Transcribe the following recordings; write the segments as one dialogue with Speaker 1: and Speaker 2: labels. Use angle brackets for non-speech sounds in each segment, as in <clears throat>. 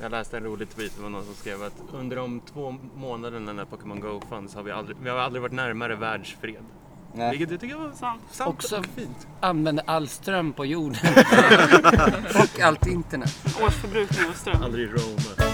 Speaker 1: Jag läste en rolig tweet, det var någon som skrev att under de två månaderna när Pokémon Go fanns har vi aldrig, vi har aldrig varit närmare världsfred.
Speaker 2: Nej.
Speaker 1: Vilket jag tycker var sant, sant
Speaker 3: Också-
Speaker 1: och fint.
Speaker 3: Använder all ström på <laughs> jorden. Och allt internet.
Speaker 4: Årsförbrukning av ström.
Speaker 1: Aldrig Roma.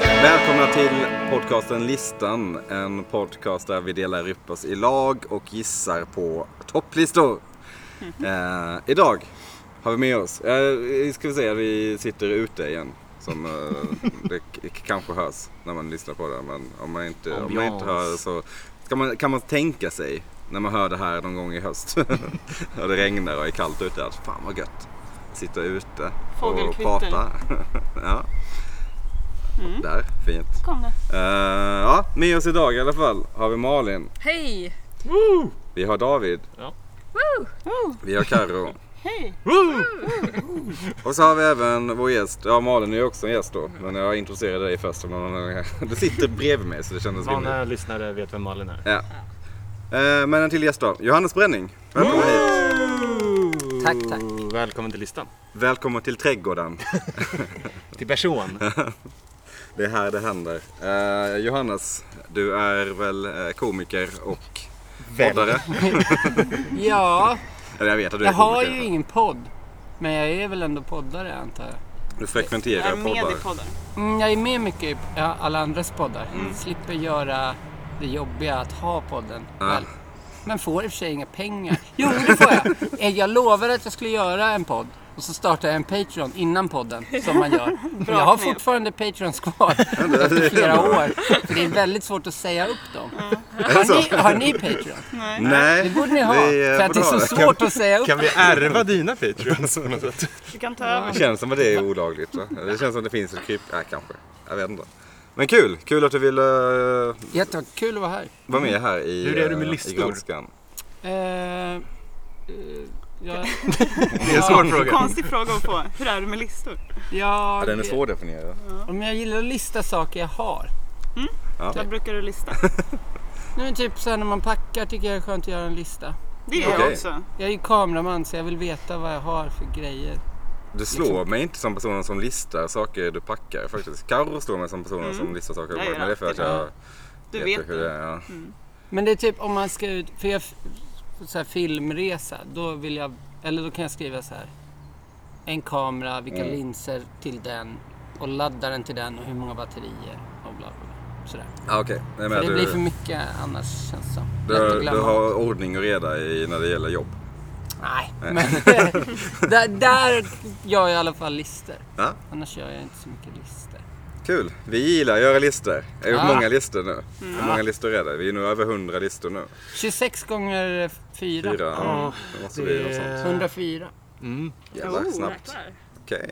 Speaker 2: Välkomna till podcasten Listan. En podcast där vi delar upp oss i lag och gissar på topplistor. Eh, idag har vi med oss, eh, ska vi säga, vi sitter ute igen. Som eh, det k- kanske hörs när man lyssnar på det. Men om man inte, om man inte
Speaker 1: Ambiance.
Speaker 2: hör det så ska man, kan man tänka sig när man hör det här någon gång i höst. <laughs> och det regnar och är kallt ute. Att fan vad gött. Sitta ute och
Speaker 4: Fågelkvitter.
Speaker 2: prata. <laughs> ja. Där, fint.
Speaker 4: Kom det.
Speaker 2: Eh, ja, med oss idag i alla fall har vi Malin,
Speaker 5: Hej!
Speaker 2: vi har David,
Speaker 4: Oh,
Speaker 2: vi har Karo
Speaker 4: hej!
Speaker 2: och så har vi även vår gäst. Ja, Malin är ju också en gäst då, men jag introducerade dig först. om någon- <laughs> Du sitter bredvid mig så det kändes rimligt.
Speaker 1: Vana lyssnare vet vem Malin är.
Speaker 2: Ja. Eh, men en till gäst då, Johannes Bränning. Välkommen hit.
Speaker 3: Tack, tack.
Speaker 1: Välkommen till listan.
Speaker 2: Välkommen till trädgården.
Speaker 1: Till person.
Speaker 2: Det är här det händer. Eh, Johannes, du är väl eh, komiker och poddare?
Speaker 3: Ja,
Speaker 2: Eller jag vet att du är
Speaker 3: jag har
Speaker 2: komiker.
Speaker 3: ju ingen podd. Men jag är väl ändå poddare antar jag.
Speaker 2: Du
Speaker 4: Jag är
Speaker 2: frekventerar
Speaker 4: med i
Speaker 2: poddar.
Speaker 4: podden.
Speaker 3: Mm, jag är med mycket i ja, alla andras poddar. Slipper göra det jobbiga att ha podden. Väl. Men får i och för sig inga pengar. <laughs> Jo, det får jag. Eh, Jag lovade att jag skulle göra en podd. Och så startade jag en Patreon innan podden, som man <laughs> gör.
Speaker 4: Bra
Speaker 3: Jag har
Speaker 4: knep.
Speaker 3: fortfarande Patreons <laughs> kvar efter flera år. För det är väldigt svårt att säga upp dem. Har ni, har ni Patreon?
Speaker 2: Nej,
Speaker 3: Det borde ni ha.
Speaker 2: eh,
Speaker 3: För att det är så svårt att säga upp
Speaker 1: Kan vi ärva dina Patreons på något sätt?
Speaker 4: Du kan ta över.
Speaker 2: Det känns som att det är olagligt. Va? Det känns som att det finns ett kryp... Nej, kanske. Jag vet inte. Men kul! Kul att du ville eh,
Speaker 3: Jättekul att vara här.
Speaker 2: vara med här i,
Speaker 1: Hur är det med
Speaker 2: eh,
Speaker 1: listor?
Speaker 2: i Granskan.
Speaker 3: Eh, eh, jag,
Speaker 1: Det är en svår fråga.
Speaker 4: Konstig fråga att få. Hur är det med listor?
Speaker 2: Ja,
Speaker 3: jag,
Speaker 2: den är svårdefinierad.
Speaker 3: Om jag gillar att lista saker jag har.
Speaker 4: Vad brukar du lista?
Speaker 3: Nu är det typ så här när man packar tycker jag det är skönt att göra en lista.
Speaker 4: Det gör jag
Speaker 2: Okej.
Speaker 4: också.
Speaker 3: Jag är ju kameraman så jag vill veta vad jag har för grejer.
Speaker 2: Du
Speaker 1: Liksom.
Speaker 2: slår mig inte som personen som listar saker du packar faktiskt. Carro slår mig som personen
Speaker 4: Mm.
Speaker 2: som listar saker du packar. Men
Speaker 4: Jag gör
Speaker 2: det är för att
Speaker 4: alltid
Speaker 2: jag
Speaker 4: Du vet
Speaker 2: hur det
Speaker 4: det.
Speaker 2: är. Ja.
Speaker 3: Mm. Men det är typ om man ska ut, för jag, på så här filmresa, då vill jag, eller då kan jag skriva så här. En kamera, vilka
Speaker 2: Mm.
Speaker 3: linser till den och ladda den till den och hur många batterier och bla bla bla. Sådär.
Speaker 2: Ah, Okej, Nej, men
Speaker 3: För det
Speaker 2: du,
Speaker 3: blir för mycket annars känns det som. Lätt att
Speaker 2: du,
Speaker 3: glömma.
Speaker 2: du har ordning och reda i, när det gäller jobb.
Speaker 3: Nej, men
Speaker 2: <laughs>
Speaker 3: där, där gör jag i alla fall lister.
Speaker 2: Ja,
Speaker 3: Annars gör jag inte så mycket lister.
Speaker 2: kul! Vi gillar att göra listor. Jag har gjort
Speaker 3: Ah. Mm.
Speaker 2: många listor nu. Hur många listor är det? Vi är nu över 100 listor nu.
Speaker 3: 26 gånger Eh, 4.
Speaker 2: Fyra? <laughs> Ja, alltså, det måste bli något sånt.
Speaker 3: 104. Oh,
Speaker 2: Jävlar, snabbt.
Speaker 5: jäklar.
Speaker 2: Okej.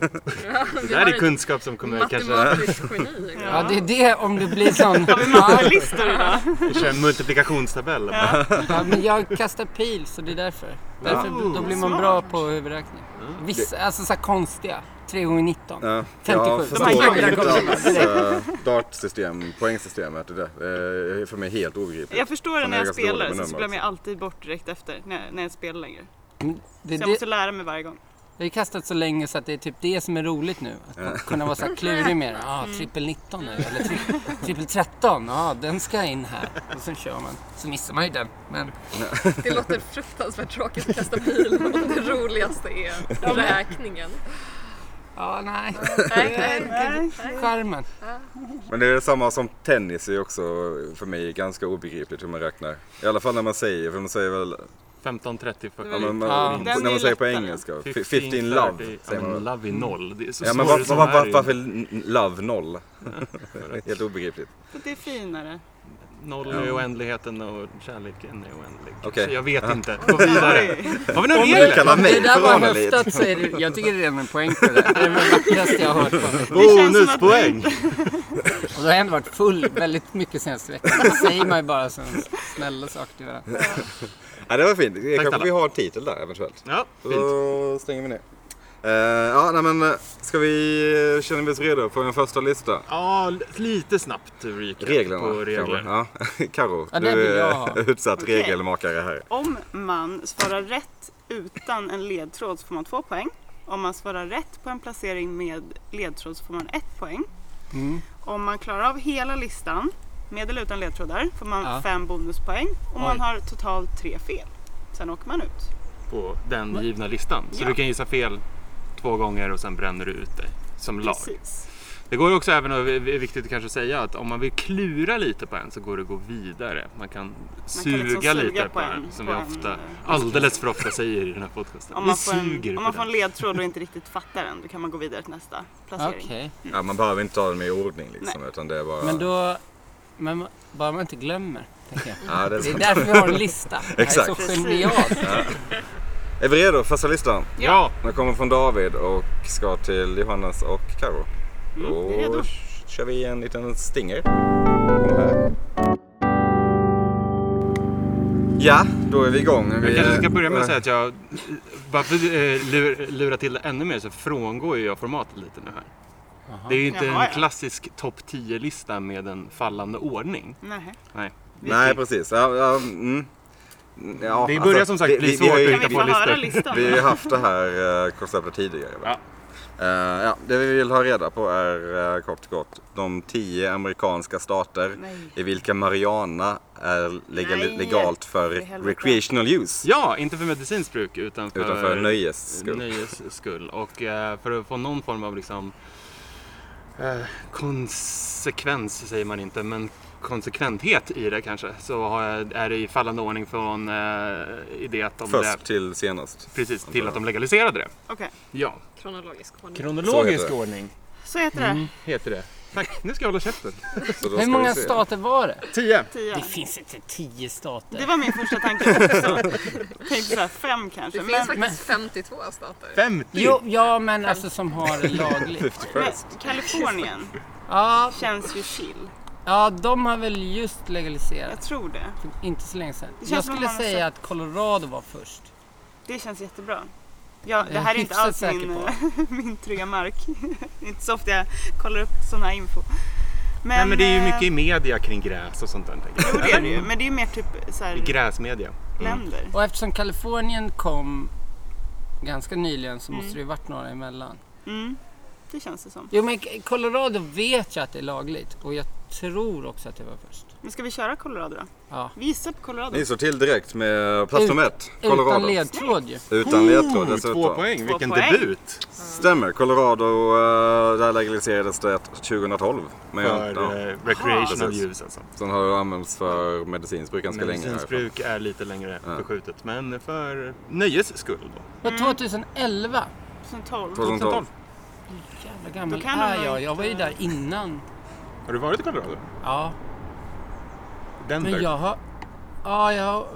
Speaker 1: Det där är kunskap som kommer kanske...
Speaker 5: Matematiskt geni.
Speaker 3: Ja, det är det om det
Speaker 2: <laughs>
Speaker 3: blir sån...
Speaker 4: Har vi listor idag?
Speaker 1: Vi kör en multiplikationstabell.
Speaker 3: Ja, men jag kastar pil så det är därför. därför då blir man bra på huvudräkning. Vissa, alltså så här konstiga. 3 gånger 19.
Speaker 2: Mm. Ja,
Speaker 3: 57.
Speaker 2: Jag
Speaker 3: De här
Speaker 2: förstår
Speaker 3: gamla
Speaker 2: inte
Speaker 3: kompisarna.
Speaker 2: alls eh, dartsystem, poängsystemet. Det där. Eh, är för mig helt obegripligt.
Speaker 4: Jag förstår det
Speaker 2: Som
Speaker 4: när
Speaker 2: är
Speaker 4: jag
Speaker 2: ganska dålig
Speaker 4: spelar
Speaker 2: med
Speaker 4: så
Speaker 2: nummer
Speaker 4: glömmer jag
Speaker 2: också.
Speaker 4: alltid bort direkt efter när jag, när jag spelar längre.
Speaker 3: Det, är
Speaker 4: Så jag
Speaker 3: det,
Speaker 4: måste lära mig varje gång.
Speaker 3: jag har ju kastat så länge så att det är typ det som är roligt nu. Att kunna vara så här klurig med det. Ah,
Speaker 5: Mm.
Speaker 3: trippel 19 nu, eller tri, trippel 13. Ja, ah, den ska in här. Och så kör man. Så missar man ju den. Men
Speaker 5: Det låter fruktansvärt tråkigt att kasta pil. och Det roligaste är räkningen.
Speaker 3: ja, nej.
Speaker 5: <laughs> Nej, nej, nej.
Speaker 3: Charmen.
Speaker 2: Men det är samma som tennis är också för mig ganska obegripligt hur man räknar. I alla fall när man säger, för man säger väl,
Speaker 1: 15, 30, 40.
Speaker 2: ja, men man,
Speaker 3: Ja.
Speaker 4: Den är
Speaker 2: när man säger på
Speaker 4: lättare.
Speaker 2: engelska, fi- 15 love säger man väl.
Speaker 1: Love i noll. Det är så
Speaker 2: Ja, men
Speaker 1: svårt
Speaker 2: var,
Speaker 1: som
Speaker 2: var,
Speaker 1: här
Speaker 2: var,
Speaker 1: är ju. <laughs>
Speaker 2: varför n- love noll? helt obegripligt.
Speaker 4: Så det är finare.
Speaker 1: Noll är oändligheten och kärleken är oändlig.
Speaker 2: Okej.
Speaker 1: Så jag vet inte. Gå
Speaker 4: <laughs>
Speaker 1: vidare. Har vi några
Speaker 2: Du
Speaker 1: regler?
Speaker 2: kallar
Speaker 3: Det
Speaker 2: mig
Speaker 3: där
Speaker 2: för
Speaker 3: var
Speaker 2: Ronnelit.
Speaker 3: höftat säger du. Jag tycker det är redan en poäng på det. där. Det är det vackraste jag har hört på mig.
Speaker 2: Bonuspoäng!
Speaker 3: Och då har jag ändå varit full väldigt mycket senaste veckan. Då säger man ju bara sån snälla saker till varandra.
Speaker 2: Ja, det var fint. Kanske
Speaker 1: snälla.
Speaker 2: vi har en titel där eventuellt.
Speaker 1: Ja, fint.
Speaker 2: Då stänger vi ner. Eh, ja, nej men eh, ska vi, eh, känner vi oss redo för en första lista?
Speaker 1: Ja, l- lite snabbt recap
Speaker 2: Reglerna.
Speaker 1: på regler.
Speaker 2: kanske. Ja. <laughs> Karo,
Speaker 3: Ja, den vill
Speaker 2: du
Speaker 3: jag
Speaker 2: är <laughs>
Speaker 3: ha.
Speaker 2: utsatt
Speaker 4: Okej.
Speaker 2: regelmakare här.
Speaker 4: Om man svarar rätt utan en ledtråd så får man två poäng. Om man svarar rätt på en placering med ledtråd så får man ett poäng.
Speaker 1: Mm.
Speaker 4: Om man klarar av hela listan med eller utan ledtrådar får man
Speaker 3: Ja.
Speaker 4: fem bonuspoäng. Och
Speaker 3: Oj.
Speaker 4: man har totalt tre fel. Sen åker man ut.
Speaker 1: På den givna listan. Så
Speaker 4: Ja.
Speaker 1: du kan gissa fel två gånger och sen bränner du ut dig. Som lag.
Speaker 4: Precis.
Speaker 1: Det går ju också även, och det är viktigt kanske att säga, att om man vill klura lite på en så går det att gå vidare. Man kan suga
Speaker 4: liksom suga
Speaker 1: lite på,
Speaker 4: på
Speaker 1: en,
Speaker 4: en-
Speaker 1: som
Speaker 4: på
Speaker 1: vi
Speaker 4: en,
Speaker 1: ofta,
Speaker 4: eh,
Speaker 1: alldeles för ofta säger i den här podcasten.
Speaker 4: Om
Speaker 1: vi
Speaker 4: man, får
Speaker 1: suger
Speaker 4: en, om man
Speaker 1: på
Speaker 4: får en
Speaker 1: den.
Speaker 4: ledtråd
Speaker 1: <laughs>
Speaker 4: och inte riktigt fattar den då kan man gå vidare till nästa placering.
Speaker 3: Okej.
Speaker 2: Ja, man behöver inte ta dem i ordning liksom, utan det är bara...
Speaker 3: Men då... Men bara man inte glömmer. Tänker jag.
Speaker 2: Ja, det är,
Speaker 3: Det är
Speaker 2: sant.
Speaker 3: därför vi har en lista. Det här är
Speaker 2: Exakt.
Speaker 3: så <laughs> genialt.
Speaker 2: är vi redo? Första listan.
Speaker 1: Ja,
Speaker 2: Den kommer från David och ska till Johannes och Karo.
Speaker 1: Mm,
Speaker 2: Då
Speaker 4: vi är redo.
Speaker 2: kör vi en liten stinger. Kommer här. Ja, då är vi igång.
Speaker 1: jag
Speaker 2: Vi
Speaker 1: kanske ska
Speaker 2: är-
Speaker 1: börja med att säga att jag, bara för att eh, lura, lura till det ännu mer så frångår ju jag formatet lite nu här. Det är ju inte
Speaker 4: Jaha,
Speaker 1: en
Speaker 4: ja.
Speaker 1: klassisk topp 10-lista med en fallande ordning.
Speaker 4: Nähä.
Speaker 1: Nej.
Speaker 2: Nej, precis. Ja, ja, mm. ja, alltså,
Speaker 1: Det börjar som sagt bli
Speaker 2: vi,
Speaker 1: svårt
Speaker 2: har ju-
Speaker 1: att
Speaker 4: Kan vi
Speaker 1: på
Speaker 4: få höra
Speaker 1: listor.
Speaker 4: listan?
Speaker 2: vi har ju haft det här eh, konceptet tidigare. va?
Speaker 1: Ja.
Speaker 2: Eh, ja, det vi vill ha reda på är eh, kort och gott de tio amerikanska stater
Speaker 4: Nej.
Speaker 2: i vilka marijuana är legal,
Speaker 4: Nej,
Speaker 2: legalt för
Speaker 4: för helvete.
Speaker 2: recreational use.
Speaker 1: Ja, inte för medicinskt bruk utan för,
Speaker 2: Utan för nöjes skull.
Speaker 1: nöjes skull. Och eh, för att få någon form av liksom eh, konsekvens säger man inte, men konsekventhet i det kanske. Så har jag, är det i fallande ordning från eh, idé att de
Speaker 2: Först
Speaker 1: lä-
Speaker 2: till senast.
Speaker 1: precis, till att de legaliserade det.
Speaker 4: Okej,
Speaker 1: Ja.
Speaker 5: Kronologisk ordning.
Speaker 2: Så heter det.
Speaker 1: ordning
Speaker 4: så heter det.
Speaker 1: heter det. Tack, nu ska jag hålla käften.
Speaker 2: Så då
Speaker 3: Hur
Speaker 2: ska
Speaker 3: många
Speaker 2: vi se.
Speaker 3: stater var det?
Speaker 1: Tio.
Speaker 4: Tio.
Speaker 3: Det finns inte tio stater.
Speaker 4: Det var min första tanke också.
Speaker 1: <laughs>
Speaker 4: Tänkte såhär fem
Speaker 5: Det
Speaker 4: kanske.
Speaker 5: finns
Speaker 4: Men,
Speaker 5: faktiskt 52 stater.
Speaker 1: 50.
Speaker 3: Jo, ja men alltså som har det lagligt.
Speaker 4: men
Speaker 2: First.
Speaker 4: Kalifornien
Speaker 3: Ja,
Speaker 4: känns ju chill.
Speaker 3: ja, de har väl just legaliserat.
Speaker 4: Jag tror det.
Speaker 3: Inte så länge sedan.
Speaker 4: Det känns
Speaker 3: Jag
Speaker 4: som
Speaker 3: skulle
Speaker 4: man har
Speaker 3: säga att Colorado var först.
Speaker 4: Det känns jättebra. Ja, det
Speaker 3: Jag är
Speaker 4: här är inte
Speaker 3: hyfsat
Speaker 4: alls
Speaker 3: säker
Speaker 4: min,
Speaker 3: på.
Speaker 4: <laughs> min trygga mark. Det är inte så ofta jag kollar upp sån här info. Men,
Speaker 1: Nej men det är ju mycket i
Speaker 4: eh,
Speaker 1: media kring gräs och sånt där. tänker jag.
Speaker 4: Jo det är det ju, men det är ju mer typ så här,
Speaker 1: I gräsmedia.
Speaker 4: länder.
Speaker 3: Och eftersom Kalifornien kom ganska nyligen så måste det ju varit några emellan.
Speaker 4: Mm, det känns det som.
Speaker 3: Jo men Colorado vet jag att det är lagligt och jag tror också att det var först.
Speaker 4: Men ska vi köra Colorado då?
Speaker 3: Ja.
Speaker 4: Vi gissar på Colorado.
Speaker 2: Ni slår till direkt med plats
Speaker 3: Ut-
Speaker 2: nummer ett.
Speaker 3: Utan
Speaker 2: Colorado.
Speaker 3: ledtråd ju.
Speaker 2: Utan ledtråd
Speaker 1: Oh, två
Speaker 2: dessutom.
Speaker 1: poäng,
Speaker 4: Två
Speaker 1: vilken
Speaker 4: poäng.
Speaker 1: debut.
Speaker 2: Stämmer. Colorado, eh, där legaliserades det 2012. Men jag,
Speaker 1: För
Speaker 2: ja.
Speaker 1: eh, recreational
Speaker 2: Precis.
Speaker 1: use alltså.
Speaker 2: Sen har det använts för medicinskt bruk ganska länge. i alla fall.
Speaker 1: Medicinsbruk är lite längre förskjutet, men för nöjes skull då.
Speaker 3: Det var 2011.
Speaker 4: 2012.
Speaker 2: 2012.
Speaker 3: Hur jävla gammal
Speaker 4: Då kan de eh,
Speaker 3: är
Speaker 4: nog
Speaker 3: jag? Jag var ju
Speaker 4: inte-
Speaker 3: där innan.
Speaker 1: Har du varit i Colorado?
Speaker 3: Ja,
Speaker 1: Denver?
Speaker 3: men jag har... Ja, jag har...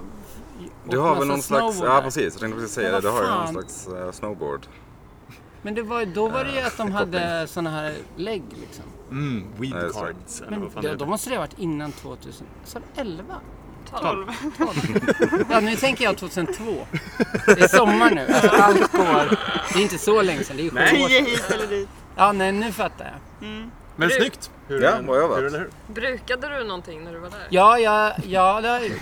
Speaker 2: Du
Speaker 3: åkt
Speaker 2: har
Speaker 3: massa
Speaker 2: väl någon slags,
Speaker 3: snowboard
Speaker 2: ja
Speaker 3: där.
Speaker 2: precis, jag tänkte precis säga det.
Speaker 3: Men
Speaker 2: Du
Speaker 3: vad
Speaker 2: har ju någon
Speaker 3: fan?
Speaker 2: slags eh, snowboard.
Speaker 3: Men det var, ju- då var det
Speaker 2: Eh,
Speaker 3: ju att de hade såna här lägg liksom.
Speaker 1: Mm, weed
Speaker 2: Ja, just det.
Speaker 1: cards eller
Speaker 3: Men
Speaker 1: vad fan
Speaker 3: då,
Speaker 1: det
Speaker 3: då
Speaker 1: heter.
Speaker 3: måste det ha varit innan 2000. Så 11?
Speaker 4: 12.
Speaker 3: Ja, nu tänker jag 2002. Det är sommar nu. Alltså, allt går... Det är inte så länge sedan. Det är ju sju år
Speaker 4: 10
Speaker 3: sedan.
Speaker 4: hit eller dit.
Speaker 3: Ja, nej, nu fattar jag.
Speaker 1: Men snyggt! Hur
Speaker 2: Ja,
Speaker 1: är den-
Speaker 2: vad jag vet.
Speaker 1: hur eller hur?
Speaker 5: Brukade du någonting när du var där?
Speaker 3: Ja, ja, ja, det har jag gjort.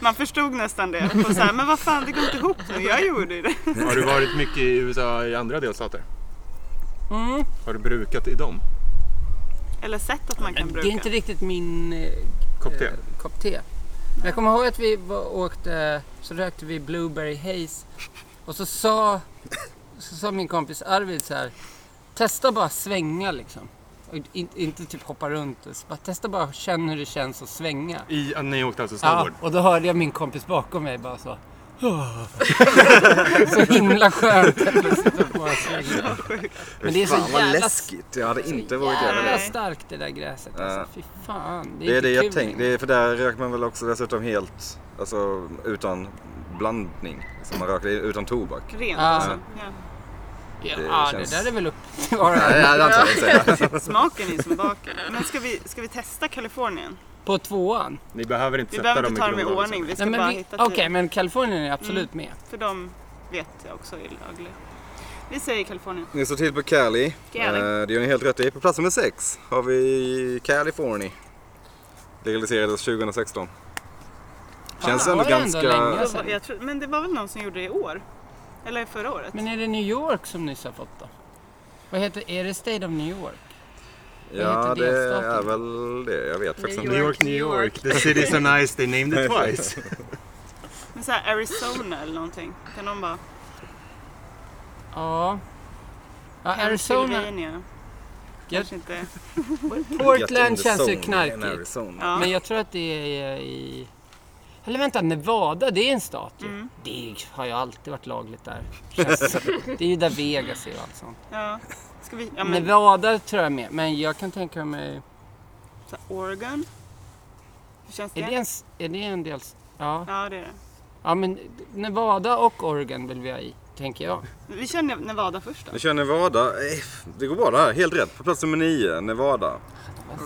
Speaker 4: Man förstod nästan det. Och så här, men vad fan, det går inte ihop nu. Jag gjorde ju det.
Speaker 1: Har du varit mycket i USA i andra delstater?
Speaker 3: Mm.
Speaker 1: Har du brukat i dem?
Speaker 4: Eller sett att man kan
Speaker 3: Det
Speaker 4: bruka.
Speaker 3: är inte riktigt min eh,
Speaker 1: Kopp te?
Speaker 3: eh, kopp te. Men jag kommer ihåg att vi var, åkte, så rökte vi Blueberry Haze och så sa, så sa min kompis Arvid så här, testa bara svänga liksom. Och in, inte typ hoppa runt, så bara, testa bara känn hur det känns att svänga.
Speaker 1: I, ah, ni åkte alltså
Speaker 3: Ja,
Speaker 1: snowboard?
Speaker 3: och då hörde jag min kompis bakom mig bara så, <laughs> Så himla skönt att plötsligt att bara slänga. Men det är så
Speaker 2: Fan vad
Speaker 3: jävla-
Speaker 2: läskigt. Jag hade inte
Speaker 3: Så
Speaker 2: vågat göra
Speaker 3: jävla
Speaker 2: det.
Speaker 3: starkt det där gräset
Speaker 2: Ja.
Speaker 3: alltså. Fy fan. Det är,
Speaker 2: Det är
Speaker 3: inte
Speaker 2: det jag
Speaker 3: kul
Speaker 2: tänkte. Det
Speaker 3: längre.
Speaker 2: är för där röker man väl också dessutom helt, alltså utan blandning. Som man röker utan tobak.
Speaker 4: Rent
Speaker 3: Ja.
Speaker 4: alltså. Ja. eh,
Speaker 3: Ja,
Speaker 2: det
Speaker 3: det,
Speaker 2: känns-
Speaker 3: där är väl upp <laughs> till var och en.
Speaker 2: Nej, det hade jag inte velat säga.
Speaker 4: Smaken är ju som baken. Men ska vi, ska vi testa Kalifornien?
Speaker 3: På tvåan?
Speaker 1: Ni behöver inte
Speaker 4: Vi
Speaker 1: sätta
Speaker 4: behöver
Speaker 1: dem i
Speaker 4: inte ta dem i
Speaker 1: grodan.
Speaker 4: ordning. Vi ska
Speaker 3: Nej,
Speaker 4: bara
Speaker 3: men vi-
Speaker 4: hitta
Speaker 3: Okej,
Speaker 4: till. Mm.
Speaker 3: men Kalifornien är absolut med.
Speaker 4: För de vet jag också är lagliga. Vi säger Kalifornien.
Speaker 2: <laughs> Ni står till på Cali.
Speaker 4: Cali.
Speaker 2: Eh, Det gör ni helt rätt i. På plats nummer sex har vi California. Legaliserades 2016. Känns
Speaker 3: Fan,
Speaker 2: ändå
Speaker 3: var det ändå
Speaker 2: ganska...
Speaker 3: länge?
Speaker 4: Då
Speaker 3: Jag
Speaker 4: var,
Speaker 3: säger-
Speaker 4: jag tror, men det var väl någon som gjorde det i år? Eller förra året?
Speaker 3: Men är det New York som nyss har fått då? Vad heter, är det State of New York?
Speaker 2: ja,
Speaker 3: heter
Speaker 2: det
Speaker 3: delstaten?
Speaker 2: är väl det. Jag vet faktiskt
Speaker 5: New
Speaker 2: inte.
Speaker 1: New York, New York. The city's so nice they named it twice.
Speaker 4: Men så här Arizona eller någonting. Kan någon bara...
Speaker 3: Ja. Ja, Arizona.
Speaker 4: Pennsylvania. Kanske inte.
Speaker 2: Get in
Speaker 3: Portland
Speaker 2: the
Speaker 3: känns
Speaker 2: zone
Speaker 3: ju
Speaker 2: in
Speaker 3: knarkigt.
Speaker 2: Arizona.
Speaker 4: Ja.
Speaker 3: Men jag tror att det är i... Eller vänta, Nevada, det är en stat ju.
Speaker 4: Mm.
Speaker 3: Det har ju alltid varit lagligt där. Känns- det är ju där Vegas är och allt sånt.
Speaker 4: Ja. Ska vi... Ja, men,
Speaker 3: Nevada tror jag är med, men jag kan tänka mig...
Speaker 4: så här, Oregon? Hur känns det?
Speaker 3: Är det en, s- är det en del... s- Ja.
Speaker 4: Ja, det är det.
Speaker 3: ja, men Nevada och Oregon vill vi ha i, tänker jag.
Speaker 4: Vi kör Nev- Nevada först då.
Speaker 2: Nu kör Nevada. Eh, Det går bra det här. Helt rätt. På plats nummer nio, Nevada.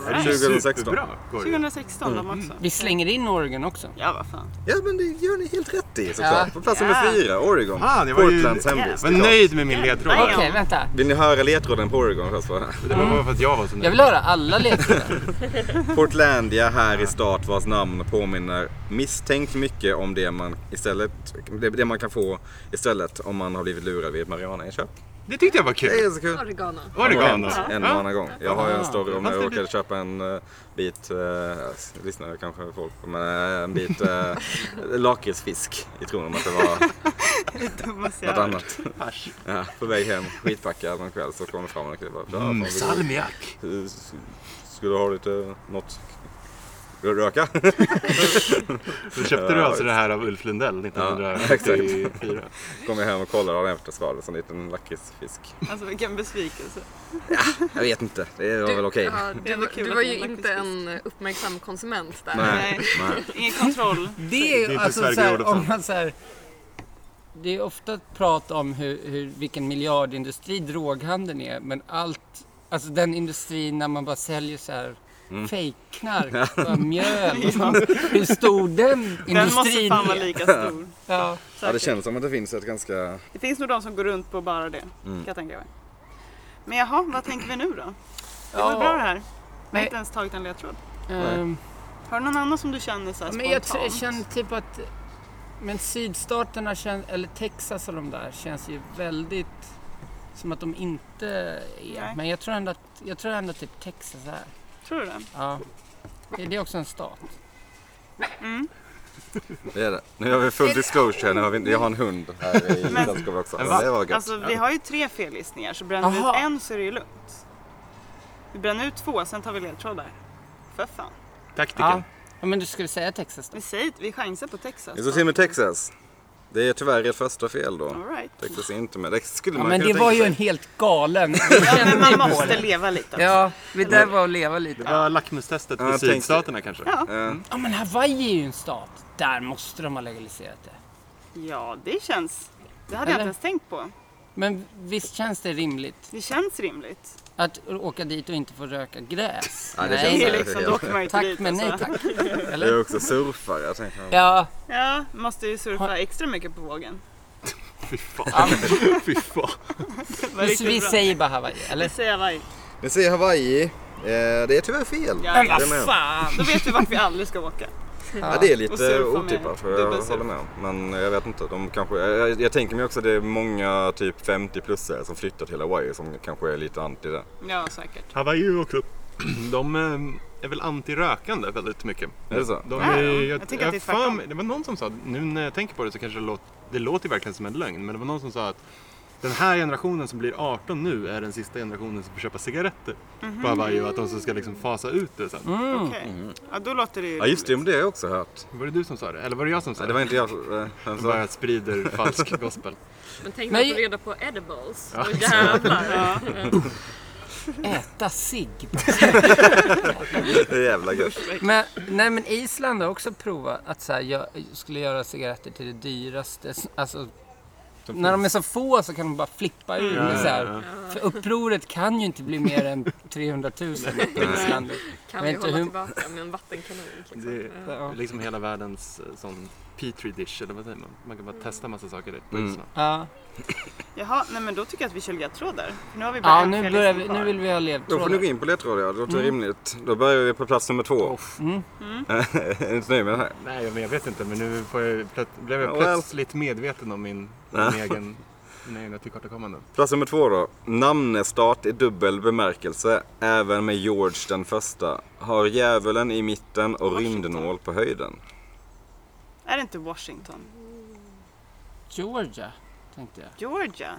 Speaker 1: Det är ju
Speaker 2: 2016.
Speaker 1: superbra. Går det.
Speaker 4: 2016 de också.
Speaker 3: Vi slänger in Oregon också.
Speaker 4: Ja, vad fan. <laughs>
Speaker 2: Ja, men det gör ni helt rätt i såklart.
Speaker 3: Ja.
Speaker 2: På plats
Speaker 4: Ja.
Speaker 2: nummer fyra, Oregon.
Speaker 1: Fan, Ah, det var ju-
Speaker 2: Portlands hemvist.
Speaker 1: Jag var
Speaker 2: såklart.
Speaker 1: nöjd med min ledtråd.
Speaker 4: Ja.
Speaker 3: Okej, vänta.
Speaker 2: Vill ni höra ledtråden på Oregon först?
Speaker 1: <laughs>
Speaker 2: va?
Speaker 1: Det var bara för att jag var så nöjd.
Speaker 3: Jag vill höra alla ledtrådar.
Speaker 2: Portlandia här i stat vars namn påminner misstänkt mycket om det man, istället, det, det man kan få istället om man har blivit lurad vid ett marijuanainköp.
Speaker 1: Det tyckte jag var
Speaker 2: Det är
Speaker 1: kul.
Speaker 2: så kul.
Speaker 5: Oregano.
Speaker 1: Var det
Speaker 2: har hänt
Speaker 1: galet?
Speaker 2: en och
Speaker 1: Ja. Ah.
Speaker 2: annan gång. Jag har ju en story om när jag
Speaker 1: Fast det
Speaker 2: råkade köpa en eh, bit, uh, lyssnar kanske folk på, men eh, en
Speaker 1: <laughs>
Speaker 2: bit eh, lakritsfisk i tron om att det var
Speaker 4: Thomas,
Speaker 2: något
Speaker 4: jag...
Speaker 2: annat. Ja, på väg hem, skitpackad någon kväll så kom det fram en kille och bara,
Speaker 1: Mm,
Speaker 2: "Ja, fan, vill du-
Speaker 1: salmiak.
Speaker 2: s- Skulle du ha lite, något, vill du röka? <laughs>
Speaker 1: Då köpte du alltså det här av Ulf Lundell
Speaker 2: Ja,
Speaker 1: 1974.
Speaker 2: Kom jag hem och kollade dagen efter så var det en liten lakritsfisk.
Speaker 4: Alltså vilken besvikelse.
Speaker 2: Jag vet inte, det var väl okej.
Speaker 5: ja,
Speaker 4: Det
Speaker 5: du,
Speaker 4: var
Speaker 5: var-
Speaker 4: kul
Speaker 5: du
Speaker 4: att
Speaker 5: var
Speaker 4: det
Speaker 5: ju
Speaker 4: var
Speaker 5: inte en uppmärksam konsument där.
Speaker 2: Nej.
Speaker 4: Nej.
Speaker 2: Nej.
Speaker 4: Ingen kontroll.
Speaker 3: <laughs> Det är,
Speaker 1: Det är inte
Speaker 3: alltså
Speaker 1: Sverige
Speaker 3: så
Speaker 1: gjorde
Speaker 3: här,
Speaker 1: fan.
Speaker 3: om man så här, Det är ofta ett prat om hur, hur, vilken miljardindustri droghandeln är, men allt... Alltså den industrin när man bara säljer så här fejkknark, bara mjöl. och sånt. Hur stor den industrin
Speaker 4: Den måste fan vara
Speaker 3: är.
Speaker 4: lika stor.
Speaker 3: Ja.
Speaker 2: Ja, det
Speaker 4: Säkert.
Speaker 2: känns som att det finns ett ganska...
Speaker 4: Det finns nog de som går runt på bara det.
Speaker 2: Mm.
Speaker 4: Kan jag tänka mig. Men jaha, vad tänker vi nu då? Det var
Speaker 3: Ja.
Speaker 4: bra det här. Jag har
Speaker 3: Men-
Speaker 4: inte ens tagit en ledtråd.
Speaker 3: Ehm,
Speaker 4: Har du någon annan som du känner så här
Speaker 3: men jag
Speaker 4: spontant?
Speaker 3: tr- känner typ att... Men sydstaterna, kän, eller Texas och de där, känns ju väldigt som att de inte är.
Speaker 4: Nej.
Speaker 3: Men jag tror ändå att, jag tror ändå typ Texas är.
Speaker 4: Tror du det?
Speaker 3: Ja. Är det också en stat?
Speaker 2: Det är det. Nu har vi full disclosure här. Nu har vi... Jag har en hund här i
Speaker 4: Men-
Speaker 2: sällskapet också.
Speaker 1: Men
Speaker 2: Ja,
Speaker 1: va?
Speaker 2: Det var gött.
Speaker 4: Alltså vi
Speaker 2: Ja.
Speaker 4: har ju tre fellistningar så bränner vi
Speaker 3: Aha.
Speaker 4: ut en så är det ju lugnt. Vi bränner ut två, sen tar vi ledtrådar. För fan.
Speaker 1: Taktiken.
Speaker 3: Ja, men du skulle säga Texas då?
Speaker 4: Vi säger vi chansar på Texas.
Speaker 2: Vi står till med Texas. Det är tyvärr ert första fel då.
Speaker 4: All right.
Speaker 2: Texas är inte med. Det skulle
Speaker 3: Ja,
Speaker 2: man
Speaker 3: men
Speaker 2: kunna
Speaker 3: det var ju
Speaker 2: tänka
Speaker 3: en
Speaker 2: sig.
Speaker 3: helt <laughs> galen...
Speaker 4: Ja, men man måste leva lite. också.
Speaker 3: ja, det där var att leva
Speaker 1: Det
Speaker 3: lite.
Speaker 1: var lackmustestet för
Speaker 2: Ja, jag tänkte-
Speaker 1: sydstaterna kanske.
Speaker 4: Ja.
Speaker 3: Ja, men Hawaii är ju en stat. Där måste de ha legaliserat det.
Speaker 4: ja, det känns... Det hade jag
Speaker 3: Eller?
Speaker 4: inte ens tänkt på.
Speaker 3: Men visst känns det rimligt
Speaker 4: Det känns rimligt.
Speaker 3: att åka dit och inte få röka gräs?
Speaker 2: Ja, det
Speaker 4: Det
Speaker 2: känns
Speaker 4: är
Speaker 2: det.
Speaker 4: liksom, då åker man ju inte
Speaker 3: Tack
Speaker 4: dit,
Speaker 3: men nej
Speaker 4: alltså.
Speaker 3: tack.
Speaker 2: Det är också surfare. Jag tänkte,
Speaker 3: Ja,
Speaker 4: Ja, måste ju surfa extra mycket på vågen.
Speaker 1: Fy fan. Fy fan.
Speaker 4: Det var
Speaker 3: vi,
Speaker 4: riktigt
Speaker 3: vi
Speaker 4: bra.
Speaker 3: säger bara Hawaii, eller?
Speaker 4: Säga varje.
Speaker 2: Ni säger Hawaii. Eh, Det är tyvärr fel.
Speaker 4: Ja,
Speaker 2: Det,
Speaker 3: Vad
Speaker 2: med.
Speaker 3: fan!
Speaker 4: Då vet vi vart vi aldrig ska åka.
Speaker 2: Ja, det är
Speaker 4: Och
Speaker 2: lite
Speaker 4: surfa med
Speaker 2: otippat. för Jag
Speaker 4: dubbelsurf.
Speaker 2: håller med. Men jag vet inte. De kanske, jag, jag- jag tänker mig också att det är många typ 50-plussare som flyttar till Hawaii som kanske är lite anti det.
Speaker 4: Ja, säkert.
Speaker 1: Hawaii också. De eh, är väl antirökande väldigt mycket.
Speaker 2: Är det så?
Speaker 1: De
Speaker 4: Ja,
Speaker 1: är,
Speaker 4: jag tänker att det är
Speaker 1: fan-
Speaker 4: tvärtom.
Speaker 1: Det var någon som sa, nu när jag tänker på det så kanske det låter, det låter ju verkligen som en lögn, men det var någon som sa att den här generationen som blir 18 nu är den sista generationen som får köpa cigaretter
Speaker 4: Mhm.
Speaker 1: på Hawaii och att de så ska liksom fasa ut det sen.
Speaker 3: Mm.
Speaker 4: Okej. Ja, då låter det ju...
Speaker 2: Ja just det, men det har jag också hört.
Speaker 1: Var det du som sa det? Eller var det jag som sa
Speaker 2: Nej,
Speaker 1: det?
Speaker 2: det var inte jag som eh, han
Speaker 1: Jag
Speaker 2: sa.
Speaker 1: bara sprider <laughs> falsk gospel.
Speaker 5: Men tänk
Speaker 3: Men-
Speaker 5: dig att få reda på edibles. Ja, jävlar.
Speaker 4: Ja.
Speaker 3: Äta sig.
Speaker 2: Det är <laughs> jävla gött.
Speaker 3: Men, nej, men Island har också provat att så här, jag skulle göra cigaretter till det dyraste. Alltså, när de är så få så kan de bara flippa ur.
Speaker 1: Ja,
Speaker 3: med så här.
Speaker 1: ja,
Speaker 3: För upproret kan ju inte bli mer än 300 000 på Island. Men
Speaker 5: Kan vi
Speaker 3: inte
Speaker 5: hålla
Speaker 3: hur-
Speaker 5: tillbaka med en vattenkanon. Liksom.
Speaker 1: Det är-
Speaker 5: Ja.
Speaker 3: Ja.
Speaker 1: Liksom hela världens eh, sån petri dish, eller vad säger man? Man kan bara testa massa saker där på
Speaker 2: Mm.
Speaker 1: Island.
Speaker 3: Ja,
Speaker 4: Jaha, nej men då tycker jag att vi kör ledtrådar. För Nu har vi bara
Speaker 3: ja
Speaker 4: en
Speaker 3: nu,
Speaker 4: fel
Speaker 3: börjar
Speaker 4: liksom
Speaker 3: vi,
Speaker 4: kvar.
Speaker 3: nu vill vi ha
Speaker 2: Då får ni gå
Speaker 3: ledtrådar.
Speaker 2: in på ledtrådar, ja. det låter rimligt. Då börjar vi på plats nummer två.
Speaker 3: Mm.
Speaker 2: <laughs> är du inte nöjd med det här?
Speaker 1: Nej, men jag vet inte, men nu får jag, plöt- blev jag
Speaker 2: Well.
Speaker 1: plötsligt medveten om min, min egen, mina egna tillkortakommanden.
Speaker 2: Plats nummer två då. Namnestat i dubbel bemärkelse, även med George den första. Har djävulen i mitten och
Speaker 4: Washington.
Speaker 2: rymdnål på höjden.
Speaker 4: Är det inte Washington?
Speaker 3: Georgia, tänkte jag.
Speaker 4: Georgia?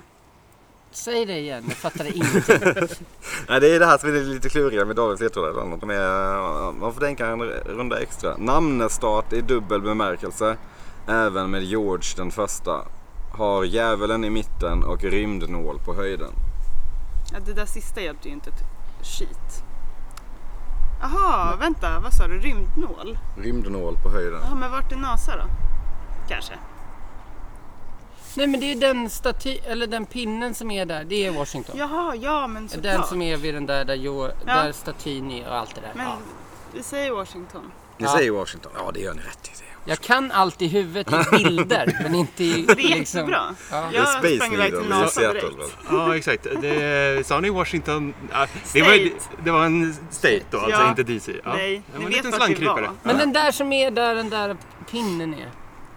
Speaker 3: Säg det igen, jag fattade ingenting.
Speaker 2: Nej, det är det här som är lite kluriga med Davids ledtrådar. ibland. De är- Man får tänka en runda extra. Namnestat i dubbel bemärkelse, även med George den första. Har djävulen i mitten och rymdnål på höjden.
Speaker 4: Ja, det där sista hjälpte ju inte ett skit. Jaha, vänta, vad sa du? Rymdnål?
Speaker 2: Rymdnål på höjden.
Speaker 4: Ja, men vart är NASA då? Kanske.
Speaker 3: Nej men det är den staty, eller den pinnen som är där, det är Washington.
Speaker 4: Jaha, ja men
Speaker 3: Den
Speaker 4: såklart.
Speaker 3: som är vid den där, där, jo, där statyn är och allt det där.
Speaker 4: Men
Speaker 3: Ja.
Speaker 4: vi
Speaker 3: <laughs>
Speaker 4: säger Washington.
Speaker 2: Ni
Speaker 3: Ja.
Speaker 2: säger Washington. Ja, det gör ni rätt i. Det.
Speaker 3: Jag kan allt i huvudet i
Speaker 4: <laughs>
Speaker 3: bilder, men inte i...
Speaker 4: Det är
Speaker 3: liksom-
Speaker 4: jättebra.
Speaker 3: Ja.
Speaker 2: Det är
Speaker 4: Jag
Speaker 2: Space
Speaker 4: sprang iväg till
Speaker 2: Needle i
Speaker 4: NASA
Speaker 2: Seattle.
Speaker 4: direkt.
Speaker 2: väl?
Speaker 1: Ja, exakt. Det, sa ni Washington? Ja, Det var, ju-
Speaker 4: State.
Speaker 1: det var en state då, alltså
Speaker 4: Ja.
Speaker 1: inte DC. Ja.
Speaker 4: Nej,
Speaker 1: det
Speaker 4: ni
Speaker 1: var en
Speaker 4: vet
Speaker 1: liten
Speaker 4: vart vi var.
Speaker 1: slangkrypare.
Speaker 3: Men den där som är där den där pinnen är,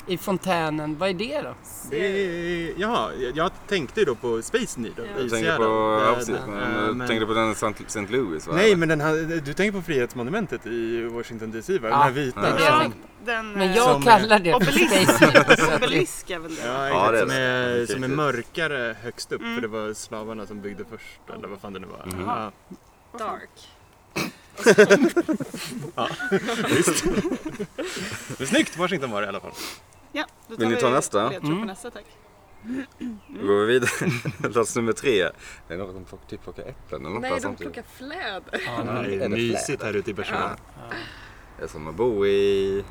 Speaker 3: i fontänen, vad är det då?
Speaker 1: Det är- Jaha, jag tänkte ju då på Space Needle i
Speaker 2: Jag tänker
Speaker 1: Seattle.
Speaker 2: på, ja,
Speaker 1: Där-
Speaker 2: precis, men,
Speaker 1: eh,
Speaker 2: jag
Speaker 1: men-
Speaker 2: tänker på den i St. St. Louis va?
Speaker 1: Nej, men den här, du tänker på Frihetsmonumentet i Washington DC, va? Den
Speaker 3: Ja,
Speaker 1: här vita.
Speaker 3: det är det jag
Speaker 4: Ja,
Speaker 3: tänker
Speaker 4: den,
Speaker 3: Men
Speaker 4: eh,
Speaker 3: jag
Speaker 1: Som-
Speaker 3: kallar det för <laughs>
Speaker 4: obelisk.
Speaker 3: Space Needle, så att det-
Speaker 4: <laughs> Obelisk är väl det?
Speaker 1: Ja,
Speaker 2: Ja,
Speaker 1: exakt,
Speaker 2: det är
Speaker 1: som,
Speaker 2: det.
Speaker 1: är,
Speaker 2: Precis,
Speaker 1: som är
Speaker 2: precis.
Speaker 1: mörkare högst upp för det var slavarna som byggde först eller vad fan det nu var. Ja.
Speaker 5: Dark.
Speaker 1: Men snyggt Washington var det i alla fall.
Speaker 4: Ja, då tar
Speaker 2: Vill ni
Speaker 4: vi
Speaker 2: ta nästa?
Speaker 4: ledtråd
Speaker 3: Mm.
Speaker 4: på nästa tack.
Speaker 2: Då går vi vidare. <laughs> Plats nummer tre. Det är några som plock- typ plockar äpplen eller något
Speaker 5: Nej,
Speaker 2: där
Speaker 5: de
Speaker 2: samtidigt.
Speaker 5: plockar fläder.
Speaker 1: det är mysigt här ute i Barcelona.
Speaker 2: Det är som att bo i...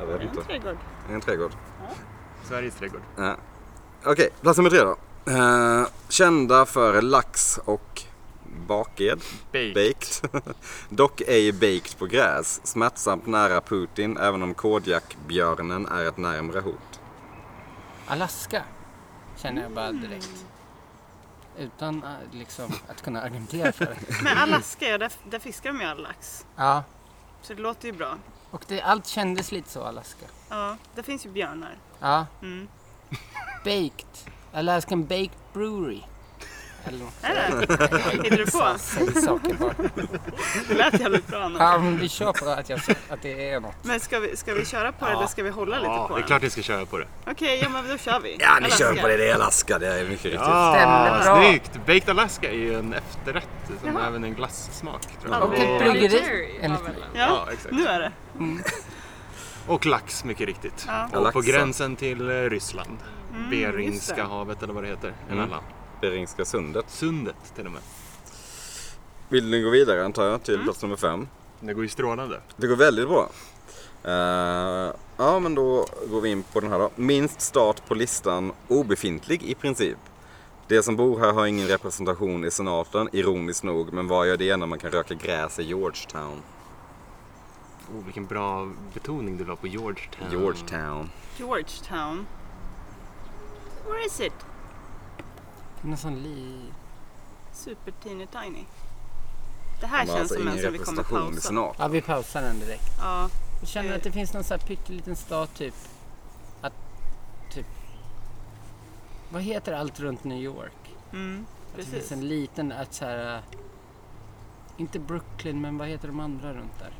Speaker 2: Jag vet
Speaker 4: En
Speaker 2: inte.
Speaker 4: trädgård.
Speaker 2: En trädgård.
Speaker 1: Sveriges trädgård.
Speaker 2: Ja. Okej, plats nummer tre då. Eh, kända för lax och baked.
Speaker 1: Baked.
Speaker 2: baked. <laughs> Dock ej baked på gräs. Smärtsamt nära Putin även om kodjakbjörnen är ett närmre hot.
Speaker 3: Alaska, känner jag bara direkt. Utan eh, liksom, att kunna argumentera för
Speaker 4: <laughs>
Speaker 3: det.
Speaker 4: Men Alaska, ja, där, där fiskar de ju all lax.
Speaker 3: Ja.
Speaker 4: Så det låter ju bra.
Speaker 3: Och det, allt kändes lite så, Alaska.
Speaker 4: Ja, där finns ju björnar.
Speaker 3: Ja.
Speaker 4: Mm.
Speaker 3: Baked. Alaskan Baked Brewery. Eller något.
Speaker 4: Är det? Hittar du på?
Speaker 3: Säg saker bara.
Speaker 4: Det lät jävligt bra. Anna.
Speaker 3: Ja, men vi kör på att, jag, att det är något.
Speaker 4: Men ska vi, ska vi köra på det eller ska vi hålla lite
Speaker 1: Ja,
Speaker 4: på
Speaker 1: det är
Speaker 4: den?
Speaker 1: klart ni ska köra på det.
Speaker 4: Okej, ja men då kör vi.
Speaker 2: Ja, ni
Speaker 4: Alaska.
Speaker 2: kör på det. Det är Alaska. Det är mycket riktigt.
Speaker 3: typ Stämmer bra.
Speaker 1: Ah, snyggt! Baked Alaska är ju en efterrätt som
Speaker 4: Jaha.
Speaker 1: även en glassmak. Tror jag.
Speaker 4: Ja,
Speaker 3: Och
Speaker 4: det-
Speaker 3: ett bryggeri.
Speaker 5: Military
Speaker 3: enligt
Speaker 5: var
Speaker 3: mig.
Speaker 5: väl en.
Speaker 4: Ja,
Speaker 1: Ja, exakt.
Speaker 4: nu är det.
Speaker 1: Och lax mycket riktigt.
Speaker 4: Ja. Mm,
Speaker 1: Och
Speaker 2: Laxen.
Speaker 1: på gränsen till eh, Ryssland.
Speaker 4: just det.
Speaker 1: Beringska havet eller vad det heter. Emellan.
Speaker 2: Beringska sundet.
Speaker 1: Sundet till och med.
Speaker 2: Vill ni gå vidare antar jag till plats nummer fem?
Speaker 1: Det går ju strålande.
Speaker 2: Det går väldigt bra. Eh, ja men då går vi in på den här då. Minst start på listan, obefintlig i princip. De som bor här har ingen representation i senaten, ironiskt nog. Men vad gör det när man kan röka gräs i Georgetown?
Speaker 1: Oh, vilken bra betoning du la på Georgetown.
Speaker 2: Georgetown.
Speaker 4: Georgetown. Where is it?
Speaker 3: Någon sån li...
Speaker 4: Super teeny tiny. Det här
Speaker 2: De har
Speaker 4: känns
Speaker 2: alltså
Speaker 4: som en
Speaker 2: ingen
Speaker 4: som vi kommer
Speaker 2: representation i
Speaker 4: pausa.
Speaker 2: senaten.
Speaker 3: Ja, vi pausar den direkt.
Speaker 4: Ja,
Speaker 3: Jag känner att det finns någon sån här pytteliten stad typ. Att, typ. Vad heter allt runt New York?
Speaker 4: mm,
Speaker 3: Att det finns
Speaker 4: precis.
Speaker 3: en liten, att så här, äh, inte Brooklyn men vad heter de andra runt där?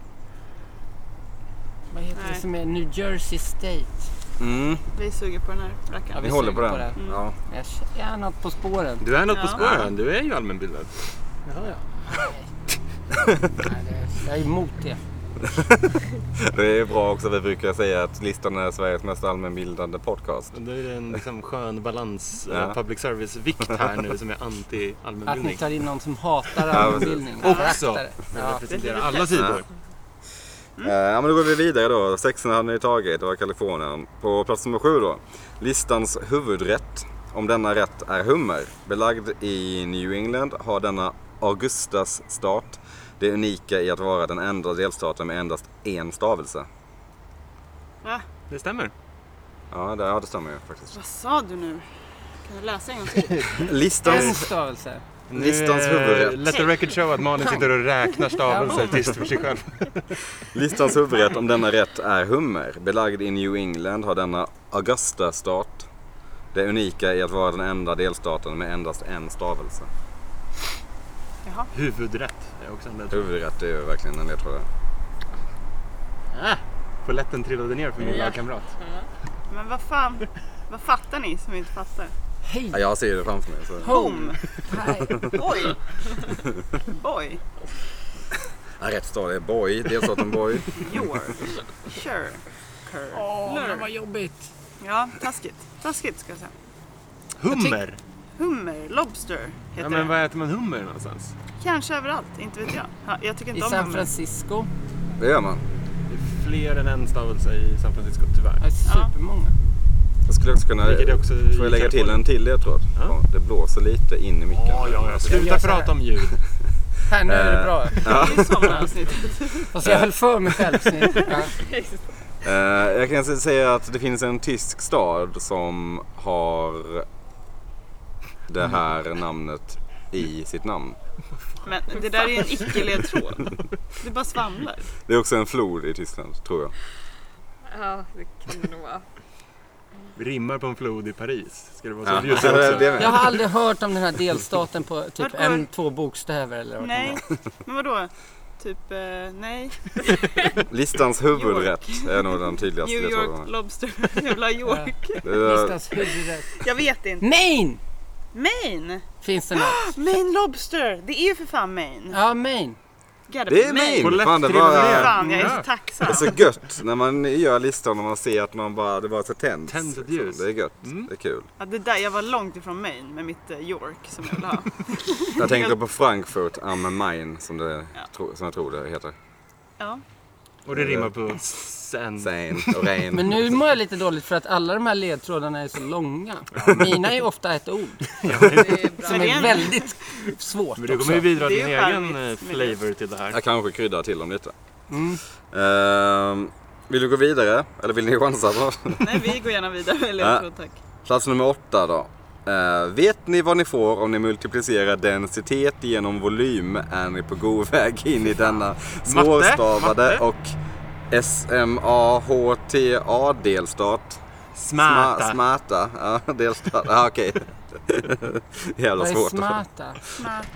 Speaker 3: Vad heter
Speaker 4: Nej.
Speaker 3: det som är New Jersey State?
Speaker 2: Mm,
Speaker 4: Vi suger på den här rackaren.
Speaker 3: Ja,
Speaker 2: vi
Speaker 3: vi
Speaker 2: håller på
Speaker 3: suger
Speaker 2: den.
Speaker 3: på det.
Speaker 2: Ja.
Speaker 3: Jag är något på spåren.
Speaker 1: Du är något på
Speaker 4: Ja.
Speaker 1: spåren. Du är ju allmänbildad. Ja, ja.
Speaker 3: Nej, det- Jag är emot det.
Speaker 2: Det är bra också, vi brukar säga att listan är Sveriges mest allmänbildande podcast.
Speaker 1: Det är en liksom, skön balans,
Speaker 2: Ja.
Speaker 1: eh, public service-vikt här nu som är
Speaker 3: Att ni
Speaker 1: anti-allmänbildning.
Speaker 3: tar in någon som hatar
Speaker 2: precis.
Speaker 3: allmänbildning.
Speaker 1: Också.
Speaker 3: Föraktar det.
Speaker 1: Jag
Speaker 3: Ja.
Speaker 1: representerar alla sidor.
Speaker 2: Eh, Ja men då går vi vidare då. Sexan hade ni tagit, det var Kalifornien. På plats nummer sju då. Listans huvudrätt, om denna rätt är hummer. Belagd i New England har denna Augustas stat det unika i att vara den enda delstaten med endast en stavelse.
Speaker 1: Det stämmer.
Speaker 2: Ja, det, ja, det stämmer ju faktiskt.
Speaker 4: Vad sa du nu? Kan du läsa en gång till?
Speaker 3: <laughs> En
Speaker 2: Listans...
Speaker 3: stavelse.
Speaker 2: Listans
Speaker 1: eh,
Speaker 2: huvudrätt.
Speaker 1: Let the record show att Malin sitter och räknar stavelser tyst för sig själv.
Speaker 2: Listans huvudrätt om denna rätt är hummer. Belagd i New England har denna Augusta-stat det unika i att vara den enda delstaten med endast en stavelse.
Speaker 4: Jaha.
Speaker 1: Huvudrätt är också en ledtråd.
Speaker 2: Huvudrätt är ju verkligen en ledtråd.
Speaker 1: Ah, polletten trillade ner för min
Speaker 5: Ja.
Speaker 1: lagkamrat.
Speaker 4: Men vad fan? Vad fattar ni som inte fattar?
Speaker 3: Hej!
Speaker 2: Ja, jag ser det framför mig. Så.
Speaker 4: Boom!
Speaker 3: Hej!
Speaker 4: Oj!
Speaker 3: <laughs>
Speaker 4: Boy!
Speaker 2: Ja, rätt stad är Boy, delstaten Boy.
Speaker 4: Your! Sure!
Speaker 3: Åh,
Speaker 4: Curler.
Speaker 3: vad jobbigt.
Speaker 4: Ja, taskigt. Taskigt ska jag säga.
Speaker 1: Hummer!
Speaker 4: Hummer, lobster heter
Speaker 1: Ja, men
Speaker 4: det.
Speaker 1: var äter man hummer någonstans?
Speaker 4: Kanske överallt, inte vet jag. Ja, jag tycker
Speaker 3: I
Speaker 4: inte om
Speaker 3: San
Speaker 4: hummer.
Speaker 3: Francisco.
Speaker 2: Det gör man.
Speaker 1: Det är fler än en stavelse i San Francisco, tyvärr.
Speaker 3: Ja, Supermånga.
Speaker 2: Jag skulle också kunna...
Speaker 1: Vilket är också
Speaker 2: Får jag lägga
Speaker 1: i
Speaker 2: till en till ledtråd?
Speaker 1: Ja.
Speaker 2: Det blåser lite in i micken.
Speaker 1: Ja, ja, ja. Sluta
Speaker 3: gör så här.
Speaker 1: prata om ljud.
Speaker 3: Här, nu
Speaker 1: Eh.
Speaker 3: är det bra.
Speaker 4: Det är sommaravsnittet.
Speaker 3: Fast jag höll för mig själv. snyggt. Ja.
Speaker 1: <laughs>
Speaker 2: Eh, jag kan säga att det finns en tysk stad som har
Speaker 1: Mm.
Speaker 2: det här namnet i sitt namn.
Speaker 4: Men det där är ju en icke-ledtråd. Du bara svamlar.
Speaker 2: Det är också en flod i Tyskland, tror jag.
Speaker 5: Ja, det kan det nog vara.
Speaker 1: Vi rimmar på en flod i Paris. Ska det vara så
Speaker 2: Ja.
Speaker 1: bjussigt också?
Speaker 2: Det är
Speaker 3: Jag
Speaker 2: med.
Speaker 3: har aldrig hört om den här delstaten på
Speaker 4: Vart
Speaker 3: typ
Speaker 4: går-
Speaker 3: en, två bokstäver eller vad det kan
Speaker 4: Nej,
Speaker 3: vara.
Speaker 4: men vadå? Typ, eh, nej.
Speaker 2: Listans huvudrätt är nog den tydligaste
Speaker 4: New York
Speaker 2: ledtråden.
Speaker 4: Lobster. <laughs> Jävla York.
Speaker 2: Det är-
Speaker 3: Listans huvudrätt.
Speaker 4: Jag vet inte.
Speaker 3: Maine!
Speaker 4: Maine!
Speaker 3: Finns det något?
Speaker 4: Maine Lobster! Det är ju för fan Maine.
Speaker 3: Ja, Maine.
Speaker 4: Gotta
Speaker 2: Det
Speaker 4: be
Speaker 2: är min!
Speaker 1: Polletten
Speaker 2: Fan, det
Speaker 1: trillade
Speaker 2: bara...
Speaker 1: ner.
Speaker 4: Fan, jag är
Speaker 1: Ja.
Speaker 4: så tacksam.
Speaker 2: Det är så gött när man gör listan och man ser att man bara, det bara så tänds.
Speaker 1: Tänds ett
Speaker 2: liksom.
Speaker 1: ljus. Mm.
Speaker 2: Det är gött. Det är kul.
Speaker 4: Ja, det där, jag var långt ifrån Maine med mitt eh, York som jag ville ha.
Speaker 2: Jag tänker på Frankfurt am Main som, det,
Speaker 4: Ja.
Speaker 2: tro- som jag tror det heter.
Speaker 1: Mm.
Speaker 4: Ja.
Speaker 1: Och det rimmar på sen.
Speaker 2: Sein och Rein.
Speaker 3: Men nu mår jag lite dåligt för att alla de här ledtrådarna är så långa. Mina är ofta ett ord
Speaker 5: Det är bra.
Speaker 3: som
Speaker 4: det är
Speaker 3: är
Speaker 4: en-
Speaker 3: väldigt svårt
Speaker 1: Men du
Speaker 3: också.
Speaker 1: kommer ju bidra till
Speaker 4: Det är
Speaker 1: din
Speaker 4: ju
Speaker 1: egen eh,
Speaker 4: charmigt med
Speaker 1: flavor till det här.
Speaker 2: Jag kanske kryddar till dem lite.
Speaker 1: Mm.
Speaker 2: Ehm, vill du gå vidare? Eller vill ni chansa? på?
Speaker 4: Nej, vi går gärna vidare med ledtråd tack.
Speaker 2: Plats nummer åtta då. Eh, vet ni vad ni får om ni multiplicerar densitet genom volym är ni på god väg in i denna svårstavade
Speaker 1: Matte?
Speaker 2: och SMAHTA delstat.
Speaker 1: Smärta.
Speaker 2: Sma- Smärta. Ja, <laughs> delstat. Ja, okej. Jävla
Speaker 3: Vad är
Speaker 2: svårt.
Speaker 3: smata?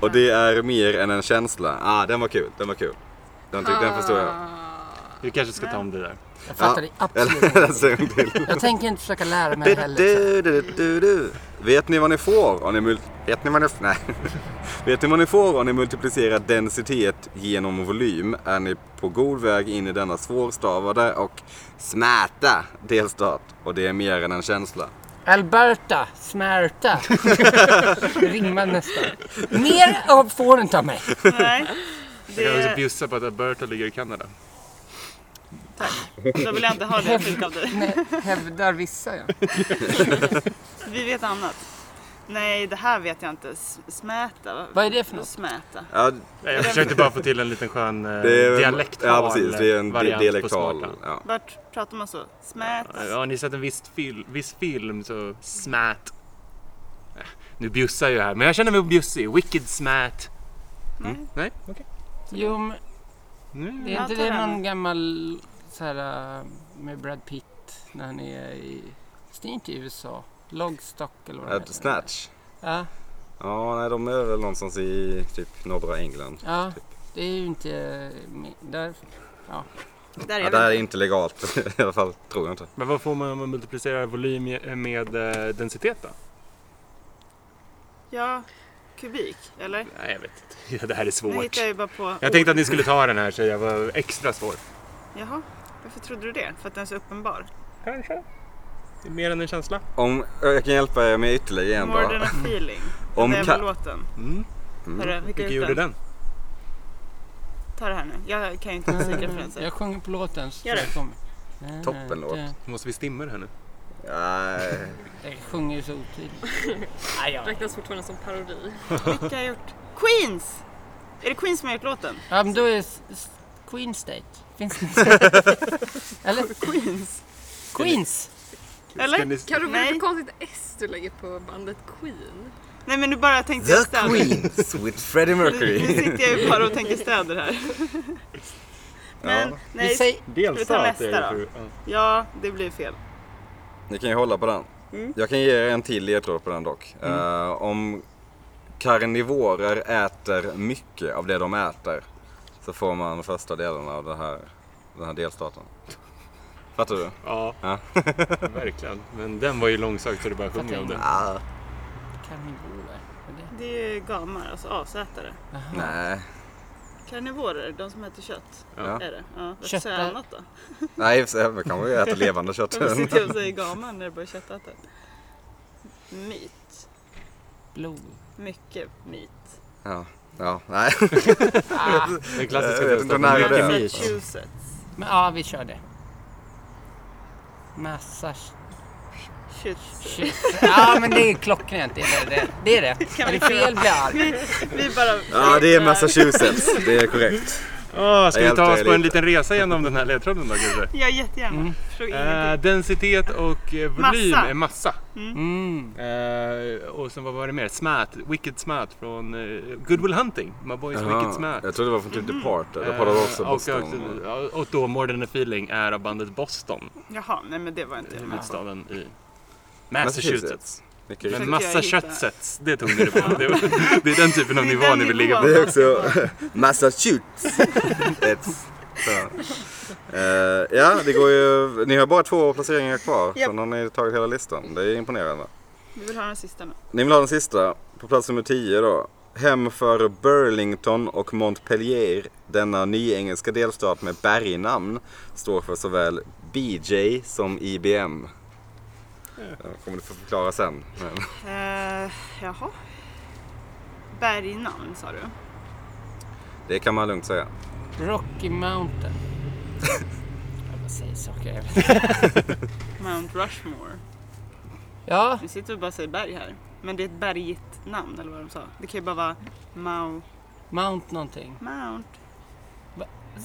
Speaker 2: Och det är mer än en känsla. Ah, den var kul. Den var kul. Den, tyck- den förstår jag.
Speaker 1: Ah.
Speaker 2: <laughs>
Speaker 1: Vi kanske ska ta om det där.
Speaker 3: Jag fattar det absolut inte.
Speaker 2: Den ser en till.
Speaker 3: Jag tänker inte försöka lära mig liksom. heller. så.
Speaker 2: Alltså, Du, du, du, du, du. Vet ni vad ni får om ni mul- Vet ni vad ni... Nej. <laughs> Vet ni vad ni får om ni multiplicerar densitet genom volym är ni på god väg in i denna svårstavade och smärta delstat. Och det är mer än en känsla.
Speaker 3: Alberta, smärta. <laughs> Det rimmar nästan. Mer av får du inte av
Speaker 4: <laughs>
Speaker 3: mig.
Speaker 1: Jag
Speaker 4: Nej.
Speaker 1: kan också
Speaker 4: Det,
Speaker 1: bjussa på att Alberta ligger i Kanada.
Speaker 4: då vill jag inte ha det fult av dig.
Speaker 3: Nej, hävdar vissa ja.
Speaker 4: Vi vet annat. Nej, det här vet jag inte. S- Smäta.
Speaker 3: Vad är det för något?
Speaker 4: Smäta.
Speaker 2: Ja,
Speaker 1: Nej, Jag försökte bara få till en liten skön eh,
Speaker 2: det är,
Speaker 1: dialektal
Speaker 2: Ja, precis. Det är en di-
Speaker 1: variant
Speaker 2: dialektal.
Speaker 1: på smarta.
Speaker 2: Ja.
Speaker 4: Vart pratar man så? Smäta.
Speaker 1: Ja, har ni sett en viss, fil- viss film så smät. Äh, Nu bjussar jag här, men jag känner mig bjussig. Wicked smät.
Speaker 4: Nej.
Speaker 1: Nej, Mm.
Speaker 3: Jo, men
Speaker 1: nu
Speaker 3: det är inte
Speaker 4: Jag tar
Speaker 3: det
Speaker 4: den.
Speaker 3: någon gammal så här äh, med Brad Pitt när han är i, det är inte i USA, Logstock eller vad
Speaker 2: Ett
Speaker 3: heter.
Speaker 2: Snatch.
Speaker 3: Ja,
Speaker 2: Ja, nej, de är väl någonstans i typ norra England.
Speaker 3: äh, ja, det är ju inte, med- där, ja.
Speaker 4: Där är
Speaker 2: Ja,
Speaker 4: vi.
Speaker 2: det här är inte legalt <laughs> i alla fall, tror jag inte.
Speaker 1: Men vad får man om man multiplicerar volym med- med eh, densitet då?
Speaker 4: Ja, kubik, eller?
Speaker 1: Nej, jag vet inte. <laughs> Ja, det här är
Speaker 4: Nu
Speaker 1: svårt.
Speaker 4: hittar jag ju bara på
Speaker 1: Jag tänkte att ni skulle ta den här så jag var extra svår.
Speaker 4: ord. Jaha, varför trodde du det? För att den är så uppenbar?
Speaker 1: Kanske. Det är mer än en känsla.
Speaker 2: Om jag kan hjälpa er med ytterligare en
Speaker 4: More than
Speaker 2: bara.
Speaker 4: a feeling.
Speaker 2: Om
Speaker 4: Om den
Speaker 2: ka-
Speaker 4: jävla låten.
Speaker 1: Mm.
Speaker 4: Hörru, vilka
Speaker 1: Vilka
Speaker 4: ut
Speaker 1: gjorde
Speaker 4: den?
Speaker 1: den?
Speaker 4: Ta det här nu. Jag kan ju inte musikreferenser.
Speaker 3: Jag sjunger på låten. så
Speaker 4: Gör det.
Speaker 3: jag kommer.
Speaker 2: Toppenlåt.
Speaker 1: Måste vi stimma det här nu?
Speaker 2: Nej.
Speaker 3: Jag sjunger ju så otydligt. Nej, jag-
Speaker 5: Räknas fortfarande som parodi.
Speaker 4: Vilka har gjort? Queens! Är det Queens som har gjort låten?
Speaker 3: Ja, men då är s- s- Queen State. Finns det
Speaker 4: <laughs>
Speaker 3: inte? Eller?
Speaker 4: Queens?
Speaker 3: Queens!
Speaker 1: Ska
Speaker 4: Eller?
Speaker 1: ni-
Speaker 5: Carro, vad är det
Speaker 4: Nej.
Speaker 5: för konstigt S du lägger på bandet Queen?
Speaker 4: Nej men nu bara tänkte jag
Speaker 2: The
Speaker 4: städer.
Speaker 2: Queens with <laughs> Freddie
Speaker 4: Nu
Speaker 2: Mercury.
Speaker 4: sitter jag ju bara och tänker städer här. Men
Speaker 2: Ja.
Speaker 3: Vi
Speaker 4: nej,
Speaker 3: säger...
Speaker 4: Vi tar nästa
Speaker 1: är det
Speaker 4: då.
Speaker 1: för- ja.
Speaker 4: ja det blir fel.
Speaker 2: Ni kan ju hålla på den. Jag kan ge er en till ledtråd på den dock. Eh, om karnivorer äter mycket av det de äter så får man första delen av det här, den här delstaten. Fattar du?
Speaker 1: Ja,
Speaker 2: Ja.
Speaker 1: <laughs> verkligen. Men den var ju långsökt så det bara sjunger om den.
Speaker 2: Ah.
Speaker 3: Karnivorer. Vad är det?
Speaker 4: Det är ju gamar, alltså asätare.
Speaker 2: Nej.
Speaker 4: Karnivorer, de som äter kött.
Speaker 2: Ja.
Speaker 4: Är det? Ja, vad
Speaker 3: Kött-
Speaker 4: säger jag annat då?
Speaker 2: Nej, i och för sig, man kanske äter levande kött.
Speaker 4: Varför sitter jag och säger gamar när det bara är köttätare? Myt.
Speaker 3: Blod.
Speaker 4: Mycket myt.
Speaker 2: ja. Ja, nej.
Speaker 1: Den
Speaker 2: Jag vet
Speaker 1: klassiska
Speaker 2: inte när det är.
Speaker 1: mycket myt.
Speaker 4: Massachusetts.
Speaker 3: Men ja, vi kör det. Massa
Speaker 4: Shit.
Speaker 3: shit. Ja, men det är klockrent. Det är rätt. Det är rätt.
Speaker 4: Kan
Speaker 3: Är det
Speaker 4: vi köra?
Speaker 3: fel blir jag arg.
Speaker 4: Vi
Speaker 2: <laughs>
Speaker 4: bara...
Speaker 2: Ja, det är Massachusetts. Det är korrekt.
Speaker 1: Åh, ska
Speaker 2: Jag
Speaker 1: vi ta
Speaker 2: hjälpte
Speaker 1: oss
Speaker 2: er
Speaker 1: på en
Speaker 2: lite.
Speaker 1: liten resa genom den här ledtråden då
Speaker 2: <laughs>
Speaker 1: kanske?
Speaker 4: Ja, jättegärna. Fråga
Speaker 1: Eh,
Speaker 4: ingenting.
Speaker 1: densitet och eh, volym
Speaker 4: Massa.
Speaker 1: är massa.
Speaker 3: Mm.
Speaker 1: Eh, och sen vad var det mer? Smät, Wicked Smät från eh, Good Will Hunting. My boys Wicked Smät.
Speaker 2: Jag trodde det var från typ Departed.
Speaker 1: Eh,
Speaker 2: Departed var också
Speaker 1: och,
Speaker 2: Boston.
Speaker 1: också- och då More Than A Feeling är av bandet Boston,
Speaker 4: Jaha, nej men det var inte jag med på.
Speaker 1: huvudstaden i Massachusetts.
Speaker 2: Massachusetts. Mycket
Speaker 1: Men
Speaker 2: riktigt.
Speaker 4: Försökte
Speaker 1: massa
Speaker 4: jag hitta.
Speaker 1: köttsets, det tog ni det på. Det, var, det är den typen av
Speaker 4: Det är
Speaker 1: nivå
Speaker 4: den
Speaker 1: ni vill
Speaker 4: nivån.
Speaker 1: ligga på.
Speaker 2: Det är också <laughs> Massachusetts. It's- så. Eh, ja, det går ju... Ni har bara två placeringar kvar.
Speaker 4: Japp.
Speaker 2: Sen har ni tagit hela listan. Det är imponerande.
Speaker 4: Vi vill ha den sista nu.
Speaker 2: Ni vill ha den sista. På plats nummer 10 då. Hem för Burlington och Montpellier, denna nyengelska delstat med bergnamn, står för såväl BJ som IBM. Jag kommer du få förklara sen. Men,
Speaker 4: Eh, jaha. Bergnamn sa du?
Speaker 2: det kan man lugnt säga.
Speaker 3: Rocky Mountain. Jag bara säger saker. jag vet.
Speaker 4: Mount Rushmore.
Speaker 3: Ja,
Speaker 4: Nu sitter vi bara och säger berg här. Men det är ett bergigt namn eller vad de sa. Det kan ju bara vara Mau...
Speaker 3: Mount någonting.
Speaker 4: Mount.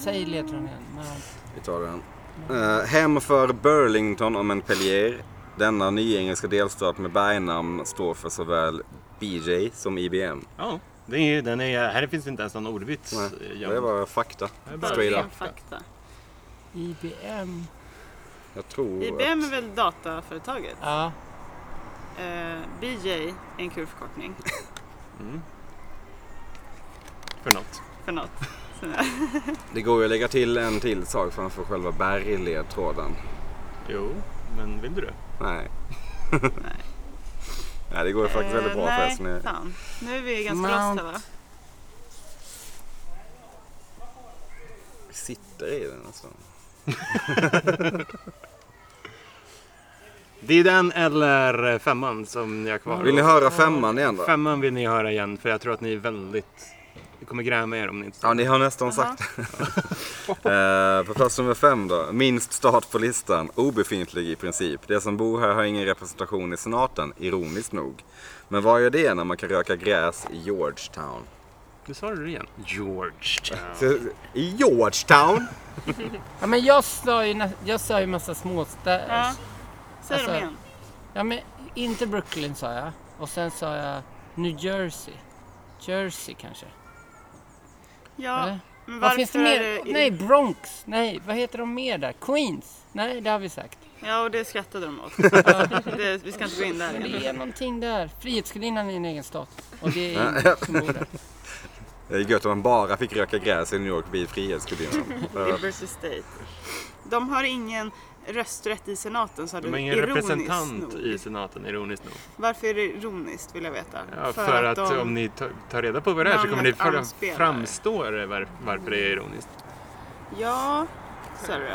Speaker 3: Säg ledtråden igen. Mount.
Speaker 2: Vi tar den. Eh, hem för Burlington och Montpellier, denna nyengelska delstat med bergnamn, står för såväl BJ som IBM.
Speaker 1: Ja, det är, den är, här finns inte ens någon ordvits. eh,
Speaker 2: Nej,
Speaker 1: Ja.
Speaker 2: Det är bara fakta.
Speaker 1: bara
Speaker 2: Straight up.
Speaker 4: ren fakta.
Speaker 3: IBM.
Speaker 2: Jag tror
Speaker 4: IBM är väl dataföretaget?
Speaker 3: Ja,
Speaker 4: Eh, BJ är en kul förkortning
Speaker 1: För något.
Speaker 2: <laughs>
Speaker 4: för något.
Speaker 2: Det går ju att lägga till en till sak framför själva bergledtråden.
Speaker 1: Jo, men vill du det?
Speaker 2: Nej. nej, det går faktiskt väldigt bra för er
Speaker 4: Eh, nej,
Speaker 2: som är...
Speaker 4: fan. Nu är vi ganska
Speaker 3: Mount-
Speaker 4: lost här va?
Speaker 2: sitter i den alltså.
Speaker 1: Det är den eller femman som ni har kvar.
Speaker 2: Vill ni höra femman igen då?
Speaker 1: Femman vill ni höra igen för jag tror att ni är väldigt... Ni kommer gräma er om ni inte
Speaker 2: Ja, ni har nästan sagt det. <laughs> Eh, På plats nummer fem då. Minst stat på listan. Obefintlig i princip. De som bor här har ingen representation i senaten, ironiskt nog. Men vad gör det när man kan röka gräs i Georgetown?
Speaker 1: Du sa det igen. George.
Speaker 2: Så- I Georgetown?
Speaker 3: ja men jag sa ju, nä- jag sa ju massa småstäder.
Speaker 4: Ja. Säg
Speaker 3: Alltså-
Speaker 4: dem igen.
Speaker 3: Ja, men inte Brooklyn sa jag. Och sen sa jag New Jersey. Jersey kanske.
Speaker 4: Ja,
Speaker 3: Eller?
Speaker 4: men
Speaker 3: eh, Vad
Speaker 4: varför
Speaker 3: finns det
Speaker 4: är
Speaker 3: mer?
Speaker 4: det...
Speaker 3: Nej, Bronx. Nej, vad heter de mer där? Queens. Nej, det har vi sagt.
Speaker 4: Ja, och det skrattade de åt.
Speaker 3: <laughs>
Speaker 4: det, vi ska inte gå in där
Speaker 3: Men
Speaker 4: igen.
Speaker 3: det är någonting där. Frihetsgudinnan är en egen stat. Och det är ingen som bor där.
Speaker 2: Det är gött om man bara fick röka gräs i New York vid Frihetsgudinnan. Det var-
Speaker 4: Liberty State. De har ingen rösträtt i senaten sa du.
Speaker 1: De har ingen
Speaker 4: Ironiskt
Speaker 1: representant
Speaker 4: nog.
Speaker 1: i senaten, ironiskt nog.
Speaker 4: Varför är det ironiskt vill jag veta?
Speaker 1: Ja, för, att, om ni ta- tar reda på vad det är så kommer ni
Speaker 4: namnet
Speaker 1: fram-
Speaker 4: anspelar.
Speaker 1: framstå det var, varför det är ironiskt.
Speaker 4: Ja, sa du.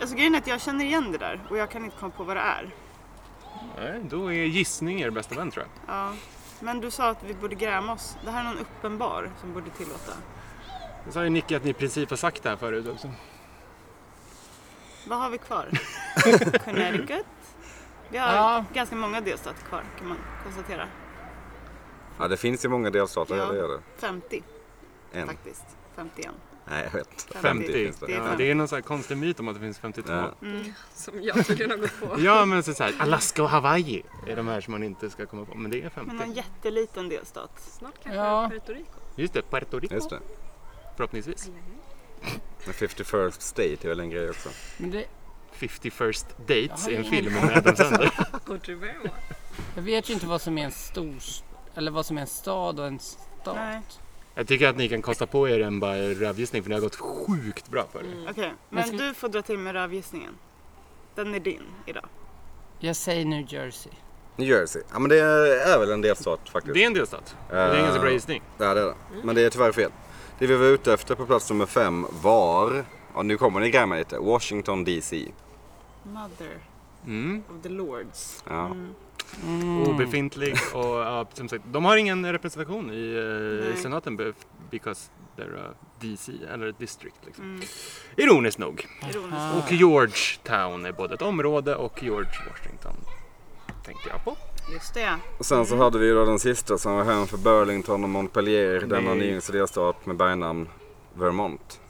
Speaker 4: Alltså grejen är att jag känner igen det där och jag kan inte komma på vad det är.
Speaker 1: Nej, då är gissning er bästa vän tror jag.
Speaker 4: Ja. Men du sa att vi borde gräma oss. Det här är någon uppenbar som borde tillåta.
Speaker 1: Jag sa ju Nicky att ni i princip har sagt det här förut också.
Speaker 4: Vad har
Speaker 1: <laughs>
Speaker 4: vi kvar? Connecticut? Vi har
Speaker 3: Ja.
Speaker 4: ganska många delstater kvar kan man konstatera.
Speaker 2: Ja, det finns ju många delstater,
Speaker 4: Ja.
Speaker 2: ja. det gör det.
Speaker 4: 50
Speaker 2: En.
Speaker 4: faktiskt. 51.
Speaker 2: Nej, jag vet.
Speaker 1: 50.
Speaker 2: finns
Speaker 1: det.
Speaker 2: det.
Speaker 4: är
Speaker 1: Ja,
Speaker 4: fan-
Speaker 1: det är någon sån här konstig myt om att det finns 52.
Speaker 2: Ja.
Speaker 5: Som jag tydligen har gått på.
Speaker 1: Ja, men så så här, Alaska och Hawaii är de här som man inte ska komma på. Men det är
Speaker 4: Men någon
Speaker 1: 50.
Speaker 4: jätteliten delstat.
Speaker 5: Snart kanske
Speaker 3: Ja.
Speaker 5: Puerto Rico.
Speaker 1: Just det, Puerto Rico
Speaker 2: Just det.
Speaker 1: förhoppningsvis.
Speaker 2: Men 51st State är väl en grej också.
Speaker 3: Men det,
Speaker 1: 51st Dates
Speaker 3: Jag
Speaker 1: är
Speaker 3: har
Speaker 1: en
Speaker 3: ingen
Speaker 1: film med Adam Sandler.
Speaker 5: Otterbema.
Speaker 3: jag vet ju inte vad som är en stor... Eller vad som är en stad och en stat.
Speaker 4: Nej.
Speaker 1: Jag tycker att ni kan kosta på er en bara rövgissning för ni har gått sjukt bra för det.
Speaker 4: Okej,
Speaker 3: Men
Speaker 4: Mm. men
Speaker 3: ska-
Speaker 4: du får dra till med rövgissningen. Den är din idag.
Speaker 3: Jag säger New Jersey.
Speaker 2: New Jersey. Ja, men det är väl en delstat faktiskt.
Speaker 1: Det är en delstat. Det är en ganska bra gissning.
Speaker 2: Ja, det är det. Men det är tyvärr fel. Det vi var ute efter på plats nummer fem var, ja nu kommer ni gräma lite, Washington DC.
Speaker 4: Mother
Speaker 1: Mm.
Speaker 4: of the Lords.
Speaker 2: Ja.
Speaker 3: Mm.
Speaker 1: Obefintlig och ja, som sagt, de har ingen representation i eh,
Speaker 4: Nej.
Speaker 1: senaten be- because they're a DC eller ett district. Liksom. Ironiskt nog.
Speaker 4: Mm. Ironiskt.
Speaker 1: Och Georgetown är både ett område och George Washington. Tänkte jag på.
Speaker 4: Just det.
Speaker 2: Och sen så hade vi ju då den sista som var hem för Burlington och Montpellier, denna
Speaker 1: Nej.
Speaker 2: nyaste delstat med bergnamn Vermont.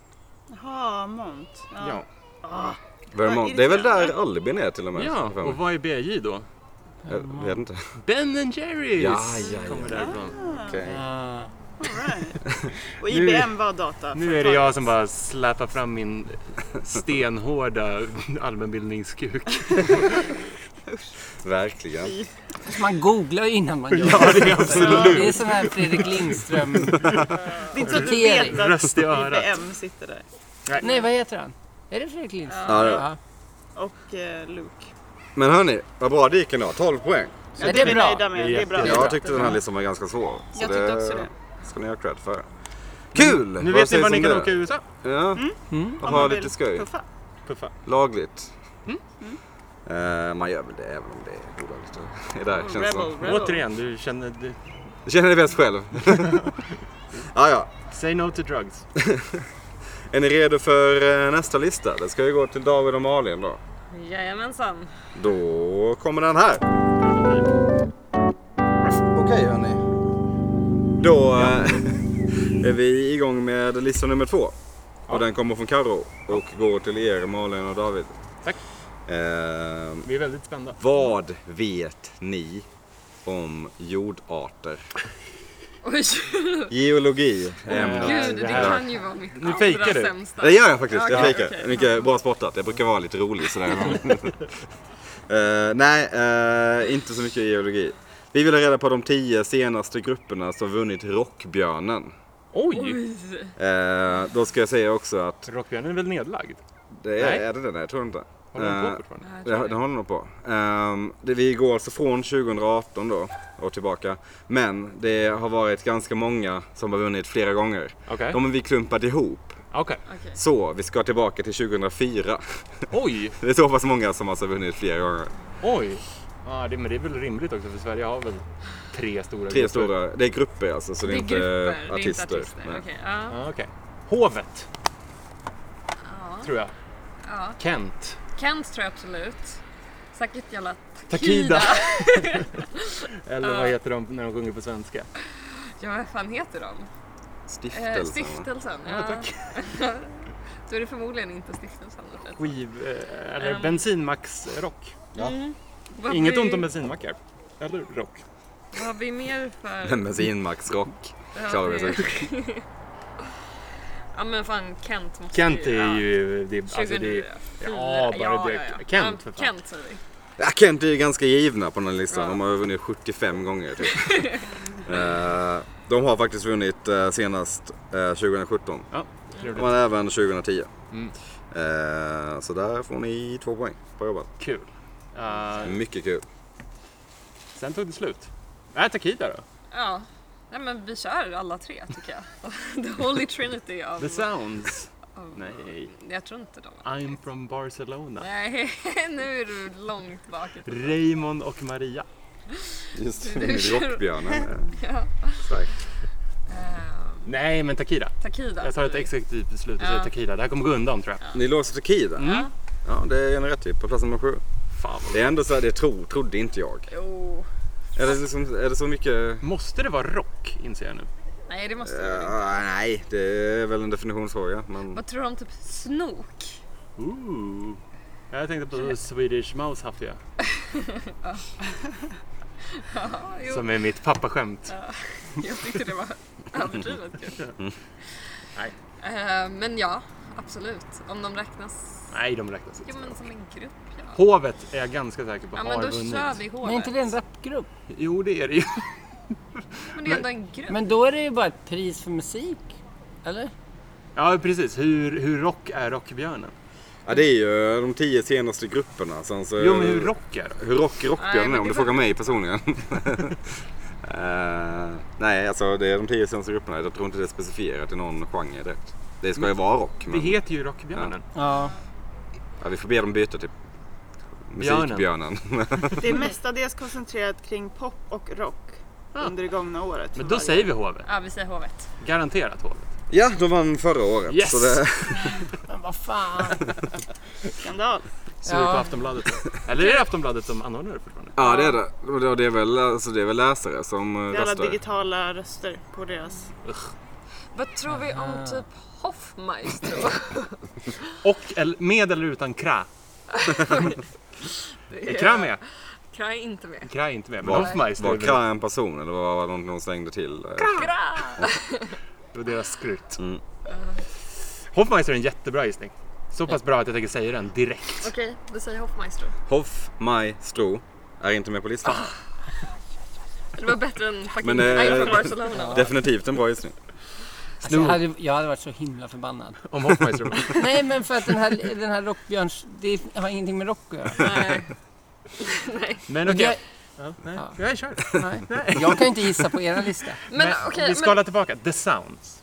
Speaker 4: Jaha, Mont. Ja.
Speaker 1: Ja.
Speaker 2: Vermont, det är väl där Albin är till och med?
Speaker 1: ja, och vad är BJ då?
Speaker 2: Jag vet inte.
Speaker 1: Ben and Jerrys!
Speaker 2: Ja, ja, ja.
Speaker 1: Kommer därifrån.
Speaker 3: Ah.
Speaker 4: All right. Och IBM var data.
Speaker 1: Nu är det jag som bara släpar fram min stenhårda <laughs> allmänbildningskuk.
Speaker 2: Verkligen.
Speaker 3: Man googlar ju innan man gör det.
Speaker 1: det är absolut.
Speaker 3: Det är sån här Fredrik Lindström...
Speaker 4: Det är inte så att du
Speaker 3: Regering.
Speaker 4: vet att
Speaker 1: Röst i örat.
Speaker 4: IBM sitter där.
Speaker 3: Nej, vad heter han? Är det Fredrik Lindström?
Speaker 2: Ja, det är det.
Speaker 3: Ja.
Speaker 4: Och eh, Luke.
Speaker 2: Men hörni, vad bra det gick ändå. 12 poäng.
Speaker 4: Så
Speaker 3: Ja,
Speaker 4: det är vi nöjda med. Det är bra.
Speaker 2: Jag tyckte den här listan var ganska svår. Så
Speaker 4: Jag tyckte också
Speaker 1: Eh,
Speaker 4: det.
Speaker 2: ska ni ha cred för. Kul!
Speaker 1: Nu vet ni
Speaker 2: sägs
Speaker 1: var ni
Speaker 2: om
Speaker 1: kan
Speaker 2: det?
Speaker 1: åka i USA.
Speaker 2: Ja, och
Speaker 4: Mm. Om
Speaker 2: ha
Speaker 4: man
Speaker 2: lite
Speaker 4: vill Mm.
Speaker 2: skoj.
Speaker 4: puffa.
Speaker 1: Puffa.
Speaker 2: Lagligt. Eh, man gör väl det även om det är olagligt. Det där känns
Speaker 4: Rebel,
Speaker 2: som.
Speaker 4: rebel.
Speaker 1: Återigen, du känner... Du,
Speaker 2: Det känner ni bäst själv. <laughs> ja, ja.
Speaker 1: say no to drugs.
Speaker 2: Är ni redo för eh, nästa lista? Det ska ju gå till David och Malin då.
Speaker 5: Jajamensan.
Speaker 2: Då kommer den här. Okej hörni. Då eh, <laughs> är vi igång med lista nummer två. Och den kommer från Karo och går till er Malin och David.
Speaker 1: Tack.
Speaker 2: Eh,
Speaker 1: Vi är väldigt spända.
Speaker 2: vad vet ni om jordarter?
Speaker 5: Oj,
Speaker 2: Geologi är ämnet.
Speaker 5: gud, det
Speaker 1: det här-
Speaker 5: kan ju vara mitt
Speaker 1: Nu
Speaker 5: allra
Speaker 1: fejkar du.
Speaker 5: sämsta.
Speaker 2: Det gör jag faktiskt. jag
Speaker 5: Okej,
Speaker 2: fejkar.
Speaker 5: okej.
Speaker 2: Mycket bra spottat. Jag brukar vara lite rolig sådär. <laughs> Eh, nej, eh, inte så mycket geologi. Vi vill ha reda på de tio senaste grupperna som vunnit Rockbjörnen.
Speaker 1: Oj!
Speaker 2: Eh, då ska jag säga också att...
Speaker 1: Rockbjörnen är väl nedlagd?
Speaker 2: Det är,
Speaker 1: Nej.
Speaker 2: är det den? Nej, jag tror inte.
Speaker 1: Håller den
Speaker 2: Eh,
Speaker 1: på fortfarande?
Speaker 5: Ja, jag tror
Speaker 2: det, det håller nog på. Ehm, det, vi går alltså från 2018 då och tillbaka. Men det har varit ganska många som har vunnit flera gånger.
Speaker 1: Okej.
Speaker 2: De har vi klumpat ihop.
Speaker 1: Okej.
Speaker 5: Okej.
Speaker 2: Så vi ska tillbaka till 2004.
Speaker 1: Oj!
Speaker 2: <laughs> Det är så pass många som alltså har vunnit flera gånger.
Speaker 1: Oj! Ja, det, men det är väl rimligt också för Sverige har väl tre stora
Speaker 2: Tre stora, det är grupper alltså så det är,
Speaker 5: Det är
Speaker 2: inte
Speaker 5: grupper, det är inte
Speaker 2: artister.
Speaker 5: artister.
Speaker 2: Nej.
Speaker 5: Okej, ja.
Speaker 1: Ja, okej. Hovet,
Speaker 5: Ja.
Speaker 1: tror jag.
Speaker 5: Ja.
Speaker 1: Kent.
Speaker 5: Kent tror jag absolut. Säkert jävla
Speaker 1: Takida.
Speaker 5: Takida. <laughs>
Speaker 1: Eller vad heter de när de sjunger på svenska?
Speaker 5: Ja, vad fan heter de?
Speaker 2: Stiftelsen.
Speaker 5: Eh,
Speaker 2: va? <laughs>
Speaker 5: stiftelsen. Ja, tack. <laughs> Då är det förmodligen inte stiftelsen. utan-
Speaker 1: Skiv... eh, Eller
Speaker 5: Ehm.
Speaker 1: bensinmacksrock.
Speaker 5: Vad
Speaker 1: Inget
Speaker 5: blir-
Speaker 1: ont om bensinmackar. Eller rock.
Speaker 5: Vad har vi mer för...
Speaker 2: Men Bensinmax Rock
Speaker 5: Ja,
Speaker 2: klarar vi
Speaker 5: det-
Speaker 2: sig.
Speaker 5: <laughs> Ja men fan Kent måste
Speaker 1: Kent
Speaker 5: ja.
Speaker 1: är ju... Det, är- alltså, det,
Speaker 5: 2004.
Speaker 1: är- ja, bara det. Kent, för fan.
Speaker 5: Kent säger vi.
Speaker 2: Ja, Kent är ju ganska givna på den här listan.
Speaker 5: Ja. <laughs>
Speaker 2: De har ju vunnit 75 gånger typ. Eh, De har faktiskt vunnit eh, senast eh, 2017.
Speaker 1: Ja,
Speaker 2: De
Speaker 1: trevligt.
Speaker 2: vann även 2010.
Speaker 1: Mm.
Speaker 2: Eh, så där får ni två poäng. Bra jobbat.
Speaker 1: Kul. Eh,
Speaker 2: Mycket kul.
Speaker 1: sen tog det slut. Äh, Takida då?
Speaker 5: Ja. Nej men vi kör alla tre tycker jag. <laughs> The Holy Trinity av...
Speaker 1: The Sounds.
Speaker 5: av-
Speaker 1: Nej.
Speaker 5: Jag tror inte de
Speaker 1: I'm from Barcelona.
Speaker 5: Nej, <laughs> nu är du långt bak. i tiden.
Speaker 1: Raymond och Maria.
Speaker 2: Just
Speaker 5: Du
Speaker 2: det.
Speaker 5: kör-
Speaker 2: Rockbjörnen. eh,
Speaker 5: <laughs> Ja.
Speaker 2: Starkt.
Speaker 5: Ehm,
Speaker 1: Nej, men Takida.
Speaker 5: Takida.
Speaker 1: Jag tar ett exekutivt beslut och säger
Speaker 5: Ja.
Speaker 1: Takida. Det här kommer gå undan tror jag.
Speaker 2: Ni låser till Kida.
Speaker 1: Mm.
Speaker 2: Ja, det är en rätt typ på plats nummer sju.
Speaker 1: Fan vad
Speaker 2: Det är ändå så här, det tro, trodde inte jag.
Speaker 5: Jo.
Speaker 2: Är det, liksom, är det så mycket?
Speaker 1: Måste det vara rock inser jag nu.
Speaker 5: Nej, det måste jag inte.
Speaker 2: Ja, nej, det är väl en definitionsfråga. Men...
Speaker 5: Vad tror du om typ snok?
Speaker 1: Ooh. Jag tänkte på Swedish Mouse Huffia
Speaker 5: <laughs> Ja, jo.
Speaker 1: som är mitt pappaskämt.
Speaker 5: <laughs> Jag tyckte det var <laughs> överdrivet kul.
Speaker 1: Nej.
Speaker 5: Ehm, men ja, absolut. Om de räknas.
Speaker 1: Nej, de räknas inte.
Speaker 5: Jo, men som en grupp. Ja,
Speaker 1: Hovet är jag ganska säker på
Speaker 5: ja
Speaker 1: har
Speaker 5: men då
Speaker 1: vunnit.
Speaker 5: kör vi håret.
Speaker 3: Men är inte det en rapgrupp?
Speaker 1: Jo, det är det ju.
Speaker 5: Men det är ändå en grupp.
Speaker 3: Men då är det ju bara ett pris för musik. Eller?
Speaker 1: Ja, precis. Hur, hur rock är Rockbjörnen?
Speaker 2: Ja, det är ju eh, de tio senaste grupperna. Sen så...
Speaker 1: Jo, men hur rock är då?
Speaker 2: Hur rock
Speaker 5: Nej,
Speaker 2: rockbjörnen
Speaker 5: men
Speaker 2: är om
Speaker 5: det
Speaker 2: du
Speaker 5: var-
Speaker 2: frågar mig personligen. <laughs> Eh, nej, alltså det är de tio senaste grupperna. Jag tror inte det är specifierat i någon genre direkt. Det ska ju vara rock.
Speaker 1: Det
Speaker 2: Men,
Speaker 1: heter ju Rockbjörnen.
Speaker 3: Ja.
Speaker 2: ja, vi får be dem byta till
Speaker 1: Björnen.
Speaker 2: <laughs> musikbjörnen.
Speaker 4: Det är mestadels koncentrerat kring pop och rock under det gånga året.
Speaker 1: Men då säger vi Hovet.
Speaker 5: Ja, vi säger hovet.
Speaker 1: Garanterat Hovet.
Speaker 2: ja, de vann förra året.
Speaker 1: Yes!
Speaker 2: Så det...
Speaker 3: Men vad fan.
Speaker 4: Skandal.
Speaker 1: Sur på
Speaker 3: Ja.
Speaker 1: Aftonbladet. Eller är det Aftonbladet som anordnar det fortfarande?
Speaker 2: Ja, det är det. Och det- och det är väl, alltså, det är väl läsare som eh,
Speaker 4: Det är alla
Speaker 2: röstar.
Speaker 4: digitala röster på deras.
Speaker 5: Vad tror vi om typ
Speaker 1: <laughs>
Speaker 5: Hoffmeister?
Speaker 1: Och el- med eller utan Kra? Är Kra med?
Speaker 5: Kra är inte med.
Speaker 1: Kra är inte med, men
Speaker 2: Var-
Speaker 1: Hoffmeister
Speaker 2: Var
Speaker 1: är väl
Speaker 2: Kra en person eller var var det någon som slängde till? eh,
Speaker 5: Kra!
Speaker 1: på deras skrut.
Speaker 2: Mm.
Speaker 1: Hoffmeister är en jättebra gissning. Så pass bra att jag tänker säga den direkt.
Speaker 5: Okej, vi säger Hoffmeister.
Speaker 2: Hoffmaestro är inte med på listan.
Speaker 5: Det var bättre än fucking
Speaker 2: Men, eh,
Speaker 5: I'm from
Speaker 1: <laughs>
Speaker 5: Barcelona.
Speaker 2: Definitivt en bra gissning.
Speaker 3: Alltså, jag, hade, jag hade varit så himla förbannad.
Speaker 1: Om Hoffmeister var.
Speaker 3: Nej men för att den här, den här rockbjörns... Det har ingenting med rock att göra.
Speaker 5: Nej. Nej.
Speaker 1: Men
Speaker 3: Och
Speaker 1: okej.
Speaker 3: jag,
Speaker 1: Ja, nej.
Speaker 3: Ja.
Speaker 1: Jag kör.
Speaker 3: nej. jag kan inte gissa på era lista.
Speaker 5: Men
Speaker 1: Nej,
Speaker 5: okej,
Speaker 1: vi
Speaker 5: men,
Speaker 1: skalar tillbaka. The Sounds.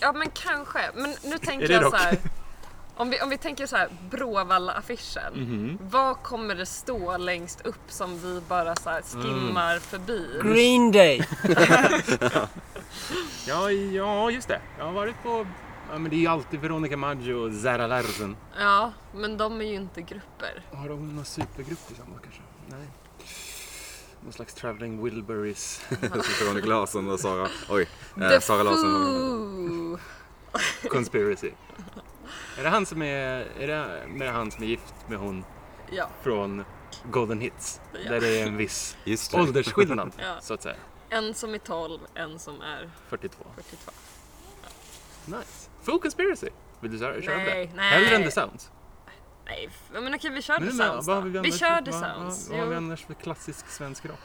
Speaker 5: ja, men kanske. Men nu
Speaker 1: Är
Speaker 5: tänker
Speaker 1: det
Speaker 5: jag
Speaker 1: rock?
Speaker 5: så
Speaker 1: <laughs>
Speaker 5: här. Om vi, om vi tänker så här, Bråvalla-affischen.
Speaker 1: Mhm.
Speaker 5: Vad kommer det stå längst upp som vi bara så här skimmar
Speaker 1: Mm.
Speaker 5: förbi?
Speaker 3: Green Day.
Speaker 1: Ja, ja, just det. Jag har varit på... Ja, men det är ju alltid Veronica Maggio och Zara Larsson.
Speaker 5: Ja, men de är ju inte grupper.
Speaker 1: Har de någon supergrupp tillsammans kanske? Nej. Någon slags Traveling Wilburys. <laughs>
Speaker 2: Veronica Larsson och Sara. Oj, eh,
Speaker 5: The
Speaker 2: Sara Larsson.
Speaker 5: Foo!
Speaker 1: Conspiracy. är det han som är... Är det, med han som är gift med hon
Speaker 5: Ja,
Speaker 1: från Golden Hits? Där det är en <laughs> viss
Speaker 2: Just det.
Speaker 1: åldersskillnad,
Speaker 5: Ja.
Speaker 1: så att säga.
Speaker 5: en som är 12, en som är
Speaker 1: 42.
Speaker 5: 42.
Speaker 1: Nice. Full Conspiracy. Vill du köra, köra
Speaker 5: Nej,
Speaker 1: det?
Speaker 5: nej.
Speaker 1: Hellre än The Sounds.
Speaker 5: Nej, f- men okej vi kör The
Speaker 1: Men,
Speaker 5: Sounds
Speaker 1: vad
Speaker 5: då.
Speaker 1: har
Speaker 5: Vi,
Speaker 1: annars
Speaker 5: kör
Speaker 1: för-
Speaker 5: The
Speaker 1: vad-
Speaker 5: Sounds.
Speaker 1: Vad, vad har vi
Speaker 5: Jo,
Speaker 1: annars för klassisk svensk rock?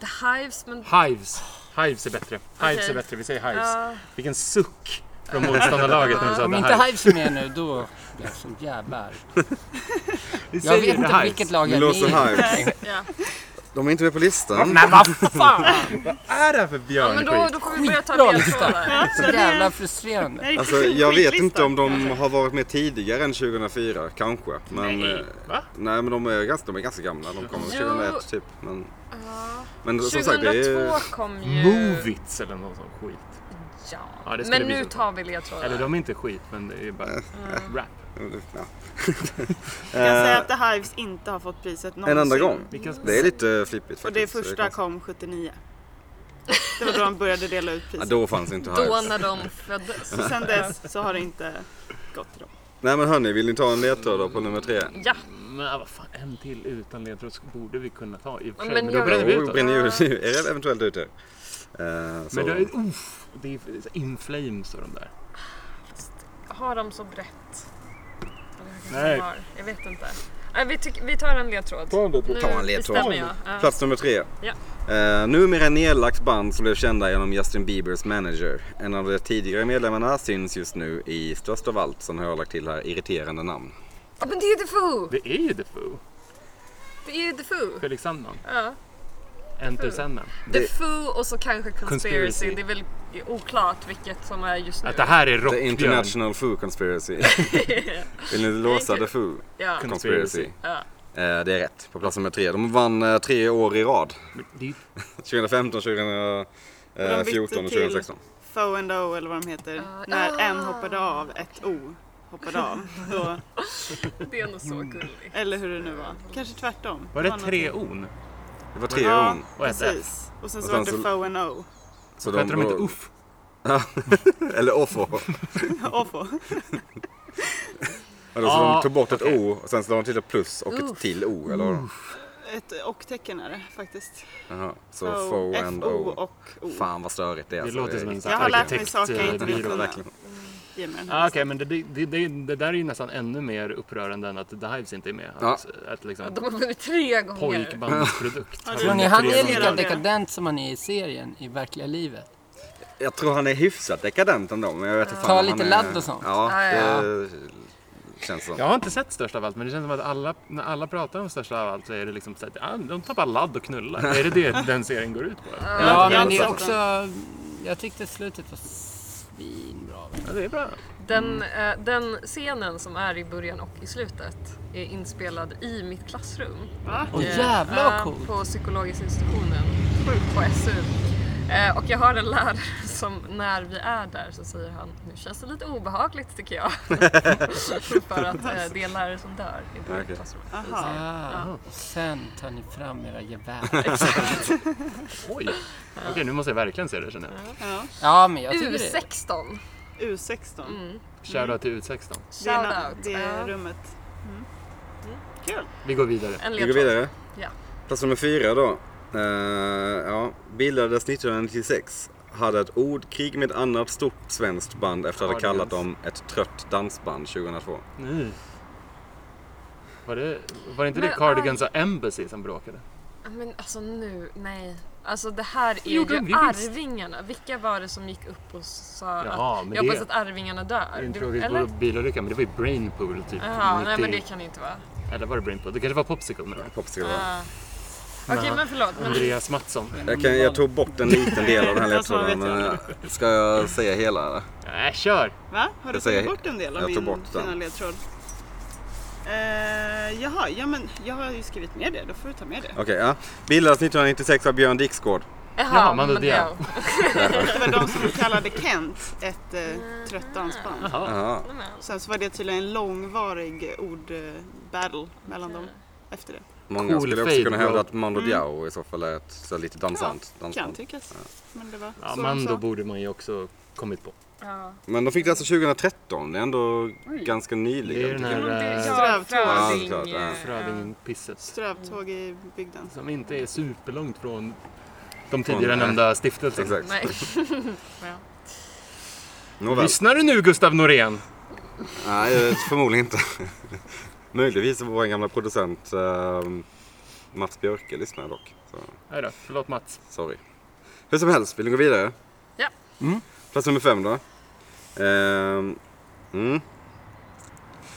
Speaker 5: The Hives, men...
Speaker 1: Hives. Hives är bättre. Hives
Speaker 5: Okej.
Speaker 1: är bättre. Vi säger Hives.
Speaker 5: Ja,
Speaker 1: Vilken suck från motståndarlaget när vi sa
Speaker 3: Om
Speaker 1: The
Speaker 3: inte
Speaker 1: Hives.
Speaker 3: Hives är med nu då blir jag så jävla arg.
Speaker 1: Vi
Speaker 3: Jag vet
Speaker 1: säger The
Speaker 3: inte
Speaker 1: Hives.
Speaker 3: vilket lag
Speaker 2: Vi
Speaker 3: jag är
Speaker 2: låser
Speaker 3: med i.
Speaker 2: Hives.
Speaker 5: ja.
Speaker 2: De är inte med på listan.
Speaker 3: Men vad fan!
Speaker 1: är det här för
Speaker 5: ja, men
Speaker 1: björnskit?
Speaker 5: då, då får vi börja ta
Speaker 3: Skitbra
Speaker 5: ledtrådar.
Speaker 4: Ja,
Speaker 3: Så
Speaker 4: den Alltså, är-
Speaker 3: jävla
Speaker 4: den
Speaker 3: frustrerande.
Speaker 4: är
Speaker 2: Alltså,
Speaker 4: riktigt
Speaker 2: jag vet
Speaker 4: skitlista.
Speaker 2: inte om de har varit med tidigare än 2004, kanske. Men,
Speaker 1: Nej,
Speaker 2: eh,
Speaker 1: va?
Speaker 2: nej, men de är, ganska, de är ganska gamla. De kommer
Speaker 5: Jo.
Speaker 2: 2001 typ. Men,
Speaker 5: Ja.
Speaker 2: men som sagt, det är...
Speaker 5: 2002 kom ju...
Speaker 1: Move it eller någon sån skit.
Speaker 5: Ja.
Speaker 1: Ja, det skulle
Speaker 5: men
Speaker 1: bli
Speaker 5: nu
Speaker 1: så.
Speaker 5: tar vi ledtrådar.
Speaker 1: Eller de är inte skit, men det är ju bara rap.
Speaker 2: Ja.
Speaker 4: Jag kan säga
Speaker 1: Eh.
Speaker 4: att The Hives inte har fått priset någonsin.
Speaker 2: En enda gång.
Speaker 1: Vilka som-
Speaker 2: Det är lite flippigt faktiskt.
Speaker 4: Och det
Speaker 2: så
Speaker 4: första
Speaker 2: konstigt.
Speaker 4: kom 79. Det var då de började dela ut
Speaker 2: ja,
Speaker 4: priset.
Speaker 2: Då fanns inte
Speaker 5: Då
Speaker 2: Hives.
Speaker 5: när de föddes.
Speaker 4: Så Sen dess så har det inte gått till dem.
Speaker 2: Nej men hörni, vill ni ta en ledtråd då på nummer tre?
Speaker 5: Ja,
Speaker 1: Men vad fan, en till utan ledtråd så borde vi kunna ta i och för sig.
Speaker 5: Men
Speaker 1: Men, då
Speaker 5: jag-
Speaker 1: bränner vi
Speaker 2: Jo,
Speaker 1: ut oss.
Speaker 2: brinner Oh, ju- <laughs> är det eventuellt ute. Eh, så.
Speaker 1: Men då, är- uff, det är In Flames och de där.
Speaker 5: har de så brett? Eller hur kanske
Speaker 1: Nej.
Speaker 5: de har. Jag vet inte. Nej, Vi, tyck- vi tar en ledtråd.
Speaker 6: Ta en ledtråd.
Speaker 5: Nu
Speaker 2: Ta en ledtråd.
Speaker 5: bestämmer jag. Ja.
Speaker 2: Plats nummer tre.
Speaker 5: Ja.
Speaker 2: Eh, numera nedlagt band som blev kända genom Justin Biebers manager. En av de tidigare medlemmarna syns just nu i Störst av allt som har lagt till här irriterande namn.
Speaker 5: Ja, Men det är ju The Foo!
Speaker 1: Det är ju The Foo.
Speaker 5: Det är ju The Foo.
Speaker 1: Felix Sandman.
Speaker 5: Ja.
Speaker 1: Enter Sandman.
Speaker 5: The
Speaker 2: Det-
Speaker 5: Foo och så kanske Conspiracy.
Speaker 1: Conspiracy.
Speaker 5: Det är väl oklart vilket som är just nu.
Speaker 1: Att det här är
Speaker 2: The
Speaker 1: rockbjörn.
Speaker 2: International Foo
Speaker 5: <laughs>
Speaker 2: Conspiracy. Vill ni låsa The Foo
Speaker 5: Ja.
Speaker 2: Conspiracy?
Speaker 5: Ja.
Speaker 2: Eh, det är rätt, på plats nummer tre. De vann eh, tre år i rad.
Speaker 1: Det är ju
Speaker 2: 2015, 2014 och
Speaker 4: bytte till-
Speaker 2: 2016.
Speaker 4: Foe and O eller vad de heter.
Speaker 5: Ja.
Speaker 4: När
Speaker 5: Ah.
Speaker 4: en hoppade av, ett O hoppade av. Då,
Speaker 5: Det är nog så gulligt.
Speaker 4: eller hur det nu var. Kanske tvärtom.
Speaker 1: Var det
Speaker 4: något-
Speaker 1: tre on?
Speaker 2: Det var tre
Speaker 4: Ja,
Speaker 2: år.
Speaker 1: och ett
Speaker 4: precis. Och sen
Speaker 2: Och
Speaker 4: så
Speaker 2: sen
Speaker 4: var det
Speaker 2: så-
Speaker 4: Foe and O. <laughs>
Speaker 2: Så
Speaker 1: Hette de inte
Speaker 2: var-
Speaker 1: Uff?
Speaker 2: Eller
Speaker 1: <laughs>
Speaker 2: Offo.
Speaker 4: Offo.
Speaker 2: Eller så
Speaker 1: Ja,
Speaker 2: de tog bort ett
Speaker 1: okej.
Speaker 2: O och sen så la de till ett plus och ett till O. Eller vad de-
Speaker 4: Ett och-tecken är det faktiskt.
Speaker 2: Jaha, Så
Speaker 4: Foe,
Speaker 2: Fo and
Speaker 4: F-O
Speaker 2: O.
Speaker 4: och O.
Speaker 2: Fan vad störigt det är.
Speaker 1: Det
Speaker 2: alltså.
Speaker 1: låter som en
Speaker 2: riktigt-
Speaker 1: sån
Speaker 4: Jag
Speaker 1: här
Speaker 4: har lärt mig saker jag inte
Speaker 2: det
Speaker 1: arkitektbyrå.
Speaker 4: vill
Speaker 2: låter
Speaker 4: kunna.
Speaker 2: verkligen.
Speaker 4: Ge mig den
Speaker 1: Ah,
Speaker 4: här.
Speaker 1: Okej, men det, det, det, det, det där är ju nästan ännu mer upprörande än att The Hives inte är med.
Speaker 2: Ja.
Speaker 1: Att, att liksom
Speaker 5: De har vunnit tre gånger.
Speaker 1: pojkbandsprodukt. Alltså,
Speaker 4: Ja, det-
Speaker 3: Tror ni han är lika
Speaker 1: liksom-
Speaker 4: Irriterande.
Speaker 3: dekadent som han är i serien i verkliga livet?
Speaker 2: Jag tror han är hyfsat dekadent ändå. Men jag vet inte fan
Speaker 3: Ta
Speaker 2: om
Speaker 3: lite
Speaker 2: han är...
Speaker 3: ladd och sånt.
Speaker 2: Ja,
Speaker 5: Ja, ja.
Speaker 2: det känns så.
Speaker 1: Jag har inte sett Störst av allt, men det känns som att alla, när alla pratar om Störst av allt så är det liksom så att ah, de tar bara ladd och knullar. är det det den serien går ut på? Ja,
Speaker 3: Ja, men
Speaker 4: jag
Speaker 3: det är
Speaker 4: har
Speaker 3: också...
Speaker 4: sett
Speaker 3: Jag tyckte slutet var svinbra.
Speaker 1: det är bra.
Speaker 5: Den, eh, den scenen som är i början och i slutet är inspelad i mitt klassrum.
Speaker 3: Åh
Speaker 5: Eh,
Speaker 3: jävlar vad
Speaker 5: ja,
Speaker 3: coolt!
Speaker 5: På psykologiska institutionen på SU. Eh, Och jag har en lärare som när vi är där så säger han nu känns det lite obehagligt tycker jag. <laughs> För att eh, det är en lärare som dör i början av
Speaker 2: Okej.
Speaker 5: klassrummet.
Speaker 4: Aha.
Speaker 3: Ah, och sen tar ni fram era gevär.
Speaker 1: Oj! Okej, nu måste jag verkligen se det känner jag.
Speaker 4: Ja.
Speaker 3: Ja, men jag tycker det.
Speaker 5: U16!
Speaker 4: U16.
Speaker 1: Shoutout till U16.
Speaker 4: Det är, na-
Speaker 5: Shoutout.
Speaker 4: det är
Speaker 5: Mm. Ja.
Speaker 4: rummet.
Speaker 1: Vi går vidare.
Speaker 5: En
Speaker 2: Vi går
Speaker 5: ledtråd.
Speaker 2: vidare.
Speaker 5: Ja.
Speaker 2: Plats nummer fyra då. Eh, ja, bildades 1996. Hade ett ordkrig med ett annat stort svenskt band efter att ha
Speaker 1: Hardens.
Speaker 2: kallat dem ett trött dansband 2002.
Speaker 1: Nu. Var det, var det inte det
Speaker 5: Men,
Speaker 1: Cardigans och Embassy som bråkade?
Speaker 5: Men alltså nu, nej. Alltså det här är
Speaker 1: Jo, de
Speaker 5: ju
Speaker 1: visst.
Speaker 5: Arvingarna. Vilka var det som gick upp och sa
Speaker 1: Jaha,
Speaker 5: att
Speaker 1: men
Speaker 5: jag
Speaker 1: det-
Speaker 5: hoppas att Arvingarna dör?
Speaker 1: En
Speaker 5: Du-
Speaker 1: tragisk
Speaker 5: eller?
Speaker 1: bilolycka, men det var ju Brainpool typ.
Speaker 5: Jaha, nej
Speaker 1: 90
Speaker 5: men det kan det inte vara.
Speaker 1: Eller var det Brainpool? Det kanske var Popsicle menar jag.
Speaker 2: Popsicle.
Speaker 5: Ah. Okej
Speaker 1: Nej.
Speaker 5: men förlåt. Men
Speaker 1: Andreas Mattsson.
Speaker 2: Jag, kan, jag tog bort en liten del av
Speaker 5: <laughs>
Speaker 2: den här
Speaker 4: Fast man
Speaker 2: ledtråden.
Speaker 4: vet
Speaker 2: Men
Speaker 4: ju
Speaker 2: eh, ska jag säga hela? Eller?
Speaker 1: Nej, kör!
Speaker 4: Va? Har du
Speaker 2: Jag säger-
Speaker 4: tagit bort en del av
Speaker 2: jag tar
Speaker 4: min
Speaker 2: bort den.
Speaker 4: fina ledtråd? Eh, jaha, ja men jag har ju skrivit ner det. Då får du ta med det.
Speaker 2: Okej, ja. Bildades 1996 av Björn Dixgård.
Speaker 5: Jaha,
Speaker 1: Ja, men det-
Speaker 5: ja.
Speaker 4: Det var de som kallade Kent ett eh, trött dansband.
Speaker 2: Aha.
Speaker 4: Sen så var det tydligen en långvarig ordbattle mellan dem efter det.
Speaker 2: Många
Speaker 1: Cool
Speaker 2: skulle också
Speaker 1: fade,
Speaker 2: kunna
Speaker 1: bro.
Speaker 2: hävda att Mando
Speaker 5: Mm.
Speaker 2: Diao i så fall är ett så här lite dansant
Speaker 4: Kan
Speaker 2: dansband.
Speaker 4: tyckas. Men det var
Speaker 1: Ja,
Speaker 4: så de
Speaker 1: Mando
Speaker 4: sa.
Speaker 1: borde man ju också kommit på.
Speaker 5: Ja.
Speaker 2: Men de fick det alltså 2013. Det är ändå ganska nyligen.
Speaker 1: Det är den
Speaker 2: tycker jag.
Speaker 5: Men det är
Speaker 1: här eh,
Speaker 5: jag,
Speaker 4: Strövtåg.
Speaker 2: Ja,
Speaker 5: Fröding.
Speaker 2: klart, ja.
Speaker 5: eh,
Speaker 1: Frödingpisset.
Speaker 4: Strövtåg i bygden.
Speaker 1: Som inte är superlångt från de tidigare
Speaker 2: Från, eh,
Speaker 1: nämnda stiftelserna.
Speaker 2: Exakt.
Speaker 5: Nej.
Speaker 2: Nåväl.
Speaker 1: Lyssnar du nu Gustav Norén?
Speaker 2: Nej, eh, förmodligen inte. <laughs> Möjligtvis vår gamla producent eh, Mats Björke lyssnar dock. Så,
Speaker 1: Nej då, förlåt Mats.
Speaker 2: sorry. Hur som helst, vill ni gå vidare?
Speaker 5: Ja.
Speaker 2: Plats nummer fem då. Ehm, mm. <laughs>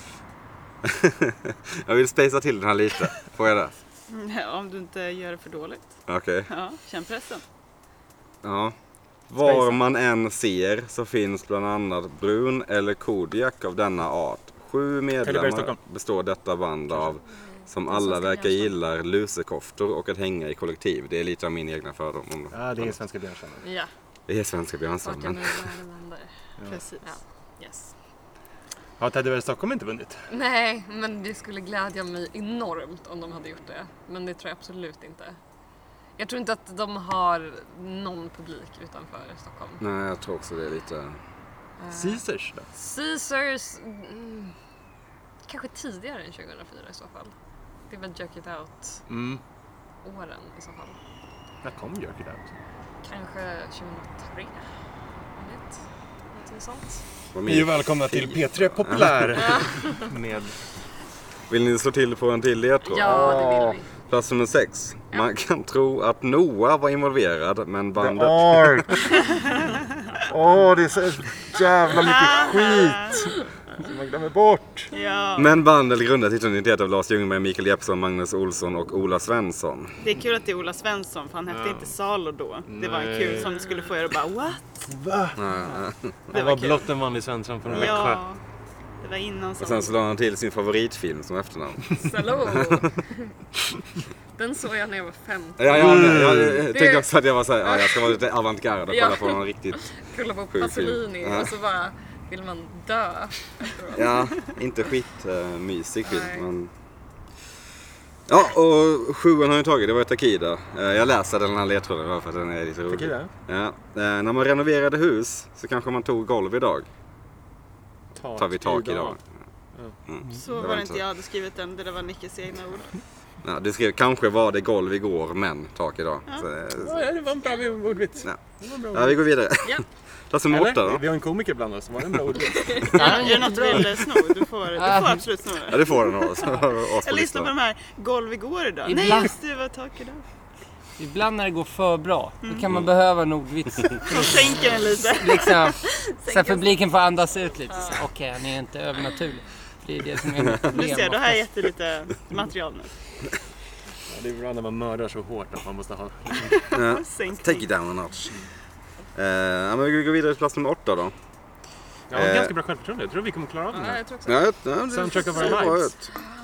Speaker 2: jag vill spacea till den här lite. Får jag det?
Speaker 5: Mm.
Speaker 4: Ja, <laughs> om du inte gör det för dåligt.
Speaker 2: Okej.
Speaker 4: Ja, känn pressen.
Speaker 2: Ja. Var man än ser så finns bland annat brun eller kodiak av denna art. Sju
Speaker 1: Kaliber i
Speaker 2: medlemmar
Speaker 1: Stockholm.
Speaker 2: består detta band av som alla verkar gilla lusekoftor och att hänga i kollektiv. Det är lite av min egna fördom om dem.
Speaker 1: Ja, det är Svenska Björnsson.
Speaker 5: Ja,
Speaker 2: Det är svenska
Speaker 5: vart
Speaker 2: Björnsson.
Speaker 5: jag
Speaker 2: Men...
Speaker 5: nu landar.
Speaker 4: Precis.
Speaker 5: Ja. Yes.
Speaker 1: Har Teddy i Stockholm inte vunnit?
Speaker 5: Nej, men det skulle glädja mig enormt om de hade gjort det. Men det tror jag absolut inte. Jag tror inte att de har någon publik utanför Stockholm.
Speaker 2: Nej, jag tror också det är lite...
Speaker 1: Caesars då?
Speaker 5: Caesars... Mm, kanske tidigare än 2004 i så fall. Det var Jerk It Out-åren
Speaker 1: Mm.
Speaker 5: i så fall.
Speaker 1: När kom Jerk It Out?
Speaker 5: Kanske 2003? om det. Någonting sånt.
Speaker 2: Vad
Speaker 1: välkomna till P3 Populär. Med
Speaker 2: Vill ni slå till på en till ledtråd?
Speaker 5: Ja, det vill vi.
Speaker 2: Plats nummer sex. Man kan tro att Noah var involverad, men bandet...
Speaker 6: Åh, Åh, det är så jävla mycket skit som man glömmer bort.
Speaker 4: Ja.
Speaker 2: Men bandet grundades 1991 av Lars Ljungberg, Mikael Jeppsson, Magnus Olsson och Ola Svensson.
Speaker 4: Det är kul att det är Ola Svensson för han hette inte Salo då. Det var en kul som skulle få er att bara what?
Speaker 1: Det var blott en vanlig svensson från Växjö.
Speaker 4: Ja. Det var innan
Speaker 2: Och sen
Speaker 4: som...
Speaker 2: så la han till sin favoritfilm som <laughs> efternamn.
Speaker 5: Salou! <laughs> Den såg jag när jag var 15.
Speaker 2: Ja, ja, nej, jag, jag, jag tänkte också att jag var såhär, ja, jag ska vara lite avantgarde och
Speaker 5: Ja.
Speaker 2: kolla på någon riktigt...
Speaker 5: Kollade på
Speaker 2: Sjuk film.
Speaker 5: Pasolini
Speaker 2: Ja.
Speaker 5: och så bara vill man dö.
Speaker 2: Ja, inte skitmysig film,
Speaker 5: Nej.
Speaker 2: men... Ja, och sjuan har jag tagit, det var ju Takida. Eh, Jag läser den här ledtråden bara för att den är lite rolig.
Speaker 6: Takida?
Speaker 2: Ja. Eh, När man renoverade hus så kanske man tog golv idag. Tar vi tak idag.
Speaker 4: Så
Speaker 2: det
Speaker 4: var
Speaker 2: var
Speaker 4: det
Speaker 2: inte
Speaker 4: inte jag hade skrivit den. Det där var Nickes egna ord.
Speaker 2: Ja, du skrev kanske var det golv igår, men tak idag. Så, eh,
Speaker 6: Ja, det var en bra ordvits.
Speaker 2: Ja. ja, vi går vidare. <laughs>
Speaker 5: Ja.
Speaker 2: Plats nummer åtta då.
Speaker 6: Vi har en komiker bland oss, var det en bra ordvits?
Speaker 4: Är det något du vill sno? Du får, du får absolut sno
Speaker 2: Ja,
Speaker 4: det.
Speaker 2: det får den av oss. oss på
Speaker 4: Jag lyssnade på
Speaker 2: listan.
Speaker 4: de här Golv igår idag. Nej
Speaker 3: Ibland-
Speaker 4: just det, det var tak idag.
Speaker 3: Ibland när det går för bra, då
Speaker 5: Mm.
Speaker 3: kan man behöva en ordvits.
Speaker 5: <laughs>
Speaker 4: De sänker den lite.
Speaker 3: liksom, så att publiken får andas ut lite. Så, Okej, han är inte övernaturlig. Det är det som är
Speaker 5: <laughs>
Speaker 3: mitt
Speaker 4: Du
Speaker 3: problem.
Speaker 4: ser, då har jag
Speaker 3: oftast.
Speaker 4: gett dig lite material nu.
Speaker 1: Ja, det är bra när man mördar så hårt att man måste ha...
Speaker 2: Take it
Speaker 4: Sänkning.
Speaker 2: down a notch. Eh, ja, men vi går vidare till plats nummer åtta då.
Speaker 1: Jag har
Speaker 2: Eh.
Speaker 1: ganska bra självförtroende. Jag tror vi kommer klara av den
Speaker 5: Ja,
Speaker 1: här.
Speaker 5: jag tror också.
Speaker 2: Ja, ja, det
Speaker 1: Soundtrack of
Speaker 2: ser
Speaker 1: our
Speaker 2: bra
Speaker 1: lives.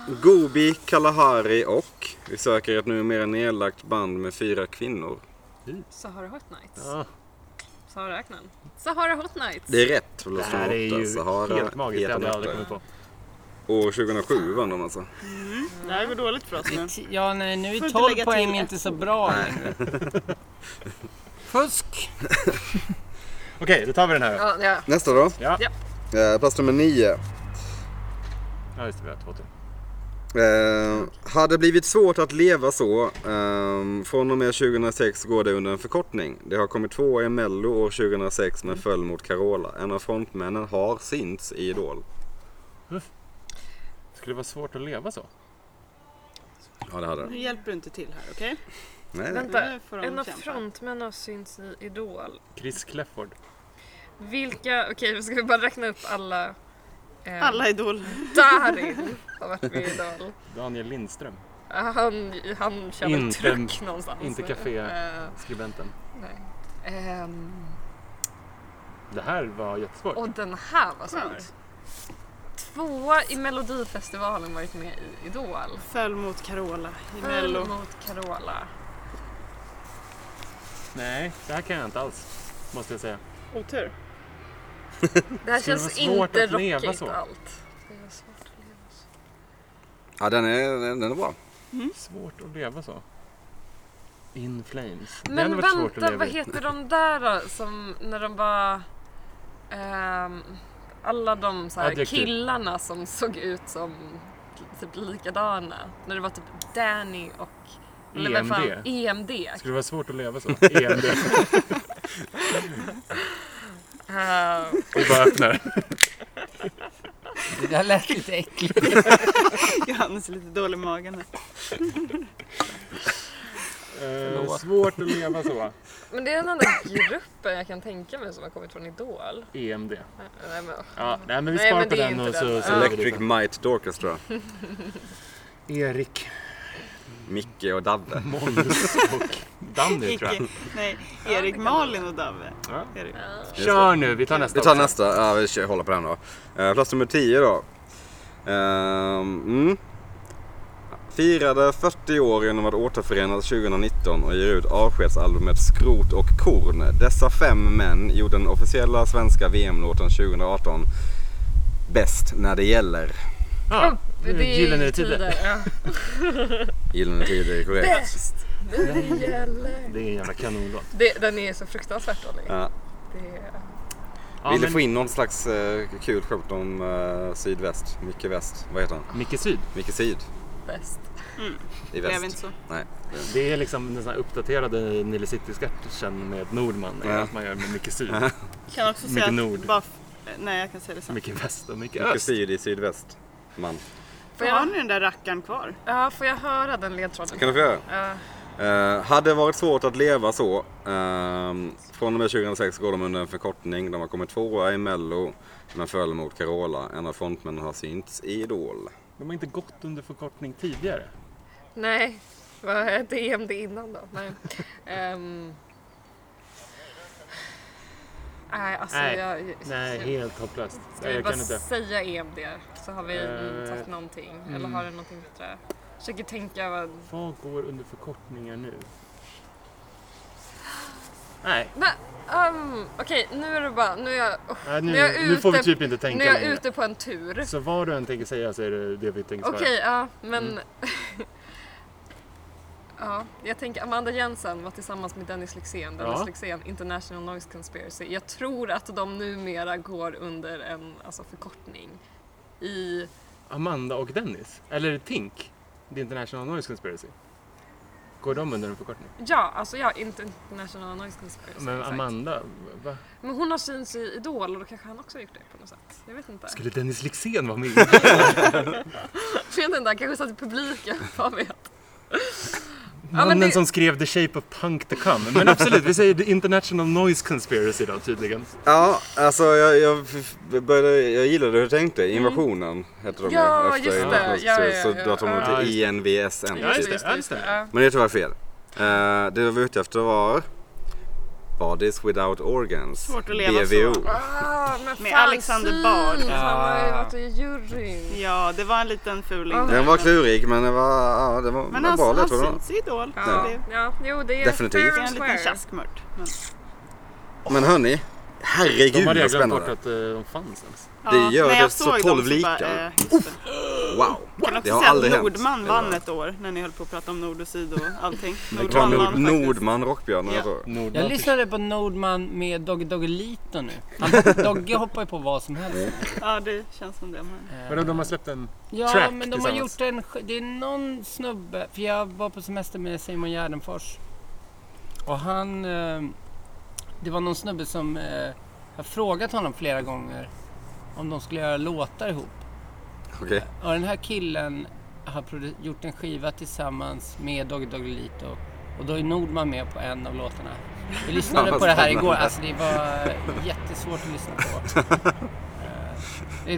Speaker 2: ut. Gobi, Kalahari och vi söker ett numera nedlagt band med fyra kvinnor.
Speaker 5: Sahara Hot Nights.
Speaker 1: Ja.
Speaker 5: Saharaöknen. Sahara Hot Nights.
Speaker 2: Det är rätt. för
Speaker 1: Det
Speaker 2: plats
Speaker 1: här
Speaker 2: nummer
Speaker 1: är ju
Speaker 2: åtta, Sahara,
Speaker 1: helt magiskt. Det
Speaker 2: heter
Speaker 1: hade jag aldrig
Speaker 2: nätter.
Speaker 1: kommit på.
Speaker 2: År 2007 vann de alltså.
Speaker 4: Det här går dåligt för oss nu.
Speaker 3: Ja, nej, nu
Speaker 4: Får
Speaker 3: är
Speaker 4: inte
Speaker 3: 12
Speaker 4: lägga
Speaker 3: poäng
Speaker 4: till
Speaker 3: inte så bra längre. Fusk!
Speaker 1: Okej, då tar vi den här då.
Speaker 5: Ja, ja.
Speaker 2: Nästa då.
Speaker 1: Ja.
Speaker 2: Eh, plats nummer nio.
Speaker 1: Ja, just det. Vi har två till.
Speaker 2: Eh, hade blivit svårt att leva så. Eh, från och med 2006 går det under en förkortning. Det har kommit två i Mello år 2006 men föll mot Carola. En av frontmännen har synts i Idol.
Speaker 1: Skulle det vara svårt att leva så?
Speaker 2: Ja det hade den.
Speaker 4: Nu hjälper du inte till här, okej?
Speaker 2: Nej, nej.
Speaker 5: Vänta.
Speaker 4: Nu får de
Speaker 5: En av
Speaker 4: kämpa.
Speaker 5: frontmännen har synts i Idol.
Speaker 1: Chris Clefford.
Speaker 5: Vilka, okej okay, ska vi bara räkna upp alla? Eh,
Speaker 4: Alla idol.
Speaker 5: <laughs> Darin har varit med i Idol.
Speaker 1: Daniel Lindström.
Speaker 5: Ja, Han, han kör väl
Speaker 1: Inte-
Speaker 5: truck någonstans.
Speaker 1: inte café.
Speaker 5: Eh,
Speaker 1: Skribenten.
Speaker 5: nej. Ehm,
Speaker 1: Det här var jättesvårt.
Speaker 5: och den här var svår.
Speaker 4: Skönt.
Speaker 5: Tvåa i Melodifestivalen varit med i Idol.
Speaker 4: Föll mot Carola i
Speaker 5: Mello.
Speaker 4: Mello.
Speaker 5: mot Carola.
Speaker 1: Nej, det här kan jag inte alls. Måste jag säga.
Speaker 4: Otur.
Speaker 5: Det här
Speaker 1: Skulle det
Speaker 5: känns
Speaker 1: vara svårt
Speaker 5: inte
Speaker 1: att leva
Speaker 5: rockigt
Speaker 1: så?
Speaker 5: allt. Det är svårt att leva så.
Speaker 2: Ja den är, den den är bra.
Speaker 1: Mm. Svårt att leva så. In Flames. det hade
Speaker 5: Men
Speaker 1: varit svårt att
Speaker 5: vänta,
Speaker 1: leva
Speaker 5: vad
Speaker 1: i.
Speaker 5: heter de där då, som när de var... ehm, alla de så här
Speaker 1: Adjektiv.
Speaker 5: killarna som såg ut som typ likadana. När det var typ Danny och... eller vem fan, E
Speaker 1: EMD.
Speaker 5: EMD.
Speaker 1: E Skulle det vara svårt att leva så? E EMD.
Speaker 5: Eh,
Speaker 1: Vi bara <laughs> öppnar.
Speaker 3: Det där lät lite äckligt.
Speaker 4: Johannes är lite dålig i magen. här.
Speaker 1: Eh, svårt att leva så.
Speaker 5: men det är den enda gruppen jag kan tänka mig som har kommit från Idol.
Speaker 1: EMD.
Speaker 5: Eh, Nej, men,
Speaker 1: Ja, nej, men vi
Speaker 5: Nej,
Speaker 1: sparar
Speaker 5: men
Speaker 1: på
Speaker 5: det är
Speaker 1: den
Speaker 5: inte
Speaker 1: och så...
Speaker 5: den.
Speaker 1: så
Speaker 5: Ja.
Speaker 1: lägger vi
Speaker 2: Electric
Speaker 1: den.
Speaker 2: Might Dorcas tror jag.
Speaker 1: Erik,
Speaker 2: Micke och Dabbe.
Speaker 1: Måns och Danny tror jag.
Speaker 4: Icke. Nej, Erik, Malin och Dave.
Speaker 1: Ja.
Speaker 4: Erik.
Speaker 1: Kör nu, vi tar nästa
Speaker 2: Vi tar
Speaker 1: också.
Speaker 2: nästa. Ja vi kör, håller på den då. Eh, plats nummer tio då. Ehm, mm. Firade 40 år genom att återförenas 2019 och ger ut avskedsalbumet Skrot och korn. Dessa fem män gjorde den officiella svenska VM-låten 2018 Bäst när det gäller.
Speaker 1: Ja,
Speaker 5: det är
Speaker 1: Gyllene Tider.
Speaker 5: ja.
Speaker 2: Gyllene Tider är korrekt.
Speaker 5: Bäst! Det gäller.
Speaker 1: Det är en jävla kanonlåt.
Speaker 5: Det, den är så fruktansvärt dålig.
Speaker 2: Ja.
Speaker 5: Det är...
Speaker 1: Ja,
Speaker 2: Ville
Speaker 1: men
Speaker 2: få in någon slags eh, kul skämt om eh, sydväst. Micke Väst. Vad heter han?
Speaker 1: Micke Syd.
Speaker 2: Micke Syd
Speaker 5: Bäst.
Speaker 2: i
Speaker 4: Blev inte
Speaker 2: väst.
Speaker 4: så.
Speaker 2: Nej.
Speaker 1: Det är liksom den sån här uppdaterade Nile City-sketchen med Nordman.
Speaker 2: Ja.
Speaker 1: Ja. Att man gör med Micke Syd,
Speaker 4: Kan också säga
Speaker 1: Mycket
Speaker 4: att
Speaker 1: nord.
Speaker 4: bara... f- Nej, jag kan säga det sen.
Speaker 1: Micke Väst och Micke
Speaker 2: Micke
Speaker 1: Öst.
Speaker 2: Syd i sydväst. Man.
Speaker 5: Får
Speaker 4: Har
Speaker 5: jag,
Speaker 4: ni den där rackaren kvar?
Speaker 5: ja, får jag höra den ledtråden?
Speaker 2: Kan du få göra?
Speaker 5: Ja.
Speaker 2: Eh, hade varit svårt att leva så. Ehm, från och med 2006 går de under en förkortning. De har kommit tvåa i Mello men föll mot Carola. En av frontmännen har synts i Idol.
Speaker 1: De har inte gått under förkortning tidigare.
Speaker 5: Nej, vad hette EMD innan då? Nej, Ehm. nej alltså
Speaker 1: Nej.
Speaker 5: jag...
Speaker 1: Nej, helt hopplöst.
Speaker 5: Ska
Speaker 1: Nej,
Speaker 5: vi
Speaker 1: jag
Speaker 5: bara
Speaker 1: kan inte.
Speaker 5: säga EMD så har vi mm, sagt
Speaker 1: Eh,
Speaker 5: någonting? Eller har du någonting bättre? Försöker tänka vad...
Speaker 1: Vad går under förkortningar nu? Nej,
Speaker 5: Nej, ehm, Okej, nu är det bara... Nu är jag, usch,
Speaker 1: nej, nu,
Speaker 5: Nu är jag
Speaker 1: nu får vi
Speaker 5: ute-
Speaker 1: typ inte
Speaker 5: nu
Speaker 1: tänka
Speaker 5: är jag
Speaker 1: längre.
Speaker 5: ute på en tur.
Speaker 1: Så vad du än tänker säga så är det det vi tänker svara.
Speaker 5: Okej, ja, men...
Speaker 1: Mm.
Speaker 5: <laughs> ja, jag tänker Amanda Jensen var tillsammans med Dennis Lyxzén, Dennis
Speaker 1: Ja.
Speaker 5: Lyxzén, International Noise Conspiracy. Jag tror att de numera går under en alltså, förkortning i...
Speaker 1: Amanda och Dennis? Eller Tink? The International Noise Conspiracy? Går de under en förkortning?
Speaker 5: Ja, alltså ja, inte International Noise Conspiracy.
Speaker 1: Men
Speaker 5: exakt.
Speaker 1: Amanda, va?
Speaker 5: men hon har syns i Idol och då kanske han också har gjort det på något sätt. Jag vet inte.
Speaker 1: Skulle Dennis Lyxzén <laughs> vara med?
Speaker 5: <laughs> Jag vet inte, han kanske satt i publiken, <laughs> vad vet.
Speaker 1: Mannen
Speaker 5: det-
Speaker 1: som skrev The Shape of Punk to Come. Men absolut, vi säger The International Noise Conspiracy då tydligen.
Speaker 2: Ja, alltså jag, jag, f- började, jag gillade hur du tänkte. Invasionen hette de ju
Speaker 5: Ja,
Speaker 2: efter
Speaker 5: just det.
Speaker 2: Invasionen.
Speaker 5: Ja, ja, ja,
Speaker 2: Så
Speaker 5: ja.
Speaker 2: då tog
Speaker 1: Ja,
Speaker 2: de
Speaker 1: just
Speaker 2: till INVSN.
Speaker 1: Ja, just det, ja, just det.
Speaker 5: ja.
Speaker 2: Men det är tyvärr fel. Eh, det vi var ute efter var Bodies Without Organs.
Speaker 4: Svårt att leva
Speaker 2: BVO.
Speaker 4: så.
Speaker 5: Ah, men
Speaker 4: Med
Speaker 5: fan,
Speaker 4: Alexander
Speaker 5: syns.
Speaker 4: Bard.
Speaker 5: Han har
Speaker 1: Ah.
Speaker 5: ju varit i juryn.
Speaker 4: Ja, det var en liten fuling.
Speaker 5: Ja.
Speaker 2: Den var klurig men det var, ja, det var
Speaker 4: Men alltså,
Speaker 2: var
Speaker 4: han,
Speaker 2: bra
Speaker 4: han
Speaker 2: ledtråd.
Speaker 4: syns i Idol. så
Speaker 5: Ja,
Speaker 4: Det
Speaker 5: ja, jo det är
Speaker 2: Definitivt.
Speaker 5: fair
Speaker 4: det är
Speaker 5: and
Speaker 4: en liten
Speaker 5: square.
Speaker 4: tjaskmört. Men, alltså-
Speaker 2: Men hörni,
Speaker 1: De
Speaker 2: herregud
Speaker 1: hade jag
Speaker 2: vad
Speaker 1: glömt bort
Speaker 2: spännande.
Speaker 1: att eh, de fanns ens.
Speaker 4: ja.
Speaker 2: Det gör
Speaker 4: när
Speaker 2: det
Speaker 4: jag
Speaker 2: så
Speaker 4: såg dem
Speaker 2: tolv
Speaker 4: bara,
Speaker 2: lika.
Speaker 4: eh, just det.
Speaker 2: Wow!
Speaker 4: Kan
Speaker 2: Det
Speaker 4: också
Speaker 2: har
Speaker 4: säga
Speaker 2: aldrig
Speaker 4: att
Speaker 2: hänt.
Speaker 4: Nordman
Speaker 2: Eller-
Speaker 4: vann ett år när ni höll på att prata om nord
Speaker 2: <laughs>
Speaker 4: och syd och allting.
Speaker 2: Bra
Speaker 4: Nordman
Speaker 2: Nord,
Speaker 4: vann faktiskt.
Speaker 2: Nordman Rockbjörn alltså.
Speaker 4: Ja.
Speaker 2: jag tror.
Speaker 1: Nordman
Speaker 3: Jag lyssnade på Nordman med Dogge Doggelito nu. Han, Dogge hoppar ju på vad som helst.
Speaker 4: Ja, det känns som det. Men...
Speaker 1: Men de, de har släppt en...
Speaker 3: Ja,
Speaker 1: Track
Speaker 3: men de har
Speaker 1: tillsammans.
Speaker 3: gjort en... sk- Det är någon snubbe, för jag var på semester med Simon Gärdenfors. Och han... eh, Det var någon snubbe som... eh, Jag har frågat honom flera gånger om de skulle göra låtar ihop.
Speaker 2: Okej.
Speaker 3: Och den här killen har produ- gjort en skiva tillsammans med Dogge Doggelito. Och då är Nordman med på en av låtarna. Vi lyssnade
Speaker 2: Fan,
Speaker 3: på det här
Speaker 2: spännande.
Speaker 3: igår. Alltså det var eh, jättesvårt att lyssna
Speaker 1: <laughs>
Speaker 3: på. Eh, Det är,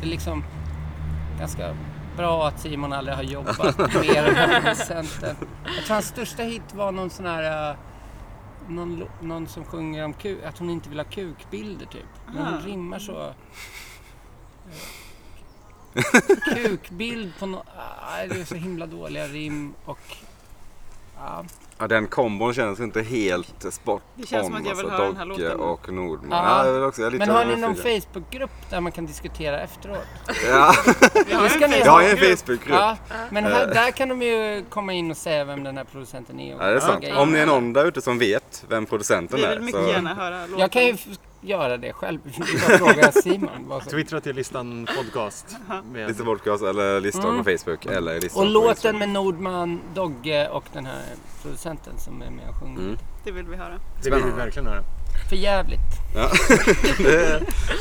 Speaker 3: det är liksom ganska bra att Simon aldrig
Speaker 2: <laughs>
Speaker 3: har jobbat med den här producenten. Jag tror hans största hit var någon sån här... eh, Någon, lo- någon som sjunger om kuk, att hon inte vill ha kukbilder typ. Men hon
Speaker 4: Ah.
Speaker 3: rimmar så... eh,
Speaker 2: <laughs>
Speaker 3: Kukbild på något... Ah, det är så himla dåliga rim och... Ja.
Speaker 2: Ja, den kombon känns inte helt spot
Speaker 4: Det känns
Speaker 2: on.
Speaker 4: som att jag vill
Speaker 2: alltså,
Speaker 4: höra den här
Speaker 2: Dogge
Speaker 4: låten nu.
Speaker 2: och Nordman.
Speaker 3: Ja.
Speaker 2: Ja, jag vill också, jag är lite
Speaker 3: Men har ni någon
Speaker 2: nyfiken.
Speaker 3: Facebookgrupp där man kan diskutera efteråt? <laughs>
Speaker 2: Ja,
Speaker 4: Vi har
Speaker 3: Det ska
Speaker 4: en
Speaker 3: ni
Speaker 2: jag har ju en
Speaker 4: Facebookgrupp.
Speaker 2: Facebookgrupp. Eh. Ja.
Speaker 3: Ja, men här, där kan de ju komma in och säga vem den här producenten är. Och
Speaker 2: det är sant.
Speaker 3: grejer.
Speaker 2: Om ni är någon där ute som vet vem producenten
Speaker 4: Vi
Speaker 2: är.
Speaker 4: vill mycket gärna höra låten.
Speaker 3: Jag kan ju f- göra det själv. <laughs> Jag frågar Simon. vad som-
Speaker 1: Twittra till listan podcast. Med,
Speaker 2: Lite podcast eller listor
Speaker 4: Mm.
Speaker 2: på Facebook. Eller listor
Speaker 3: Och
Speaker 2: på
Speaker 3: låten
Speaker 2: Instagram.
Speaker 3: med Nordman, Dogge och den här producenten som är med och sjunger.
Speaker 2: Mm.
Speaker 4: Det vill vi höra.
Speaker 1: det vill vi verkligen höra.
Speaker 3: För jävligt.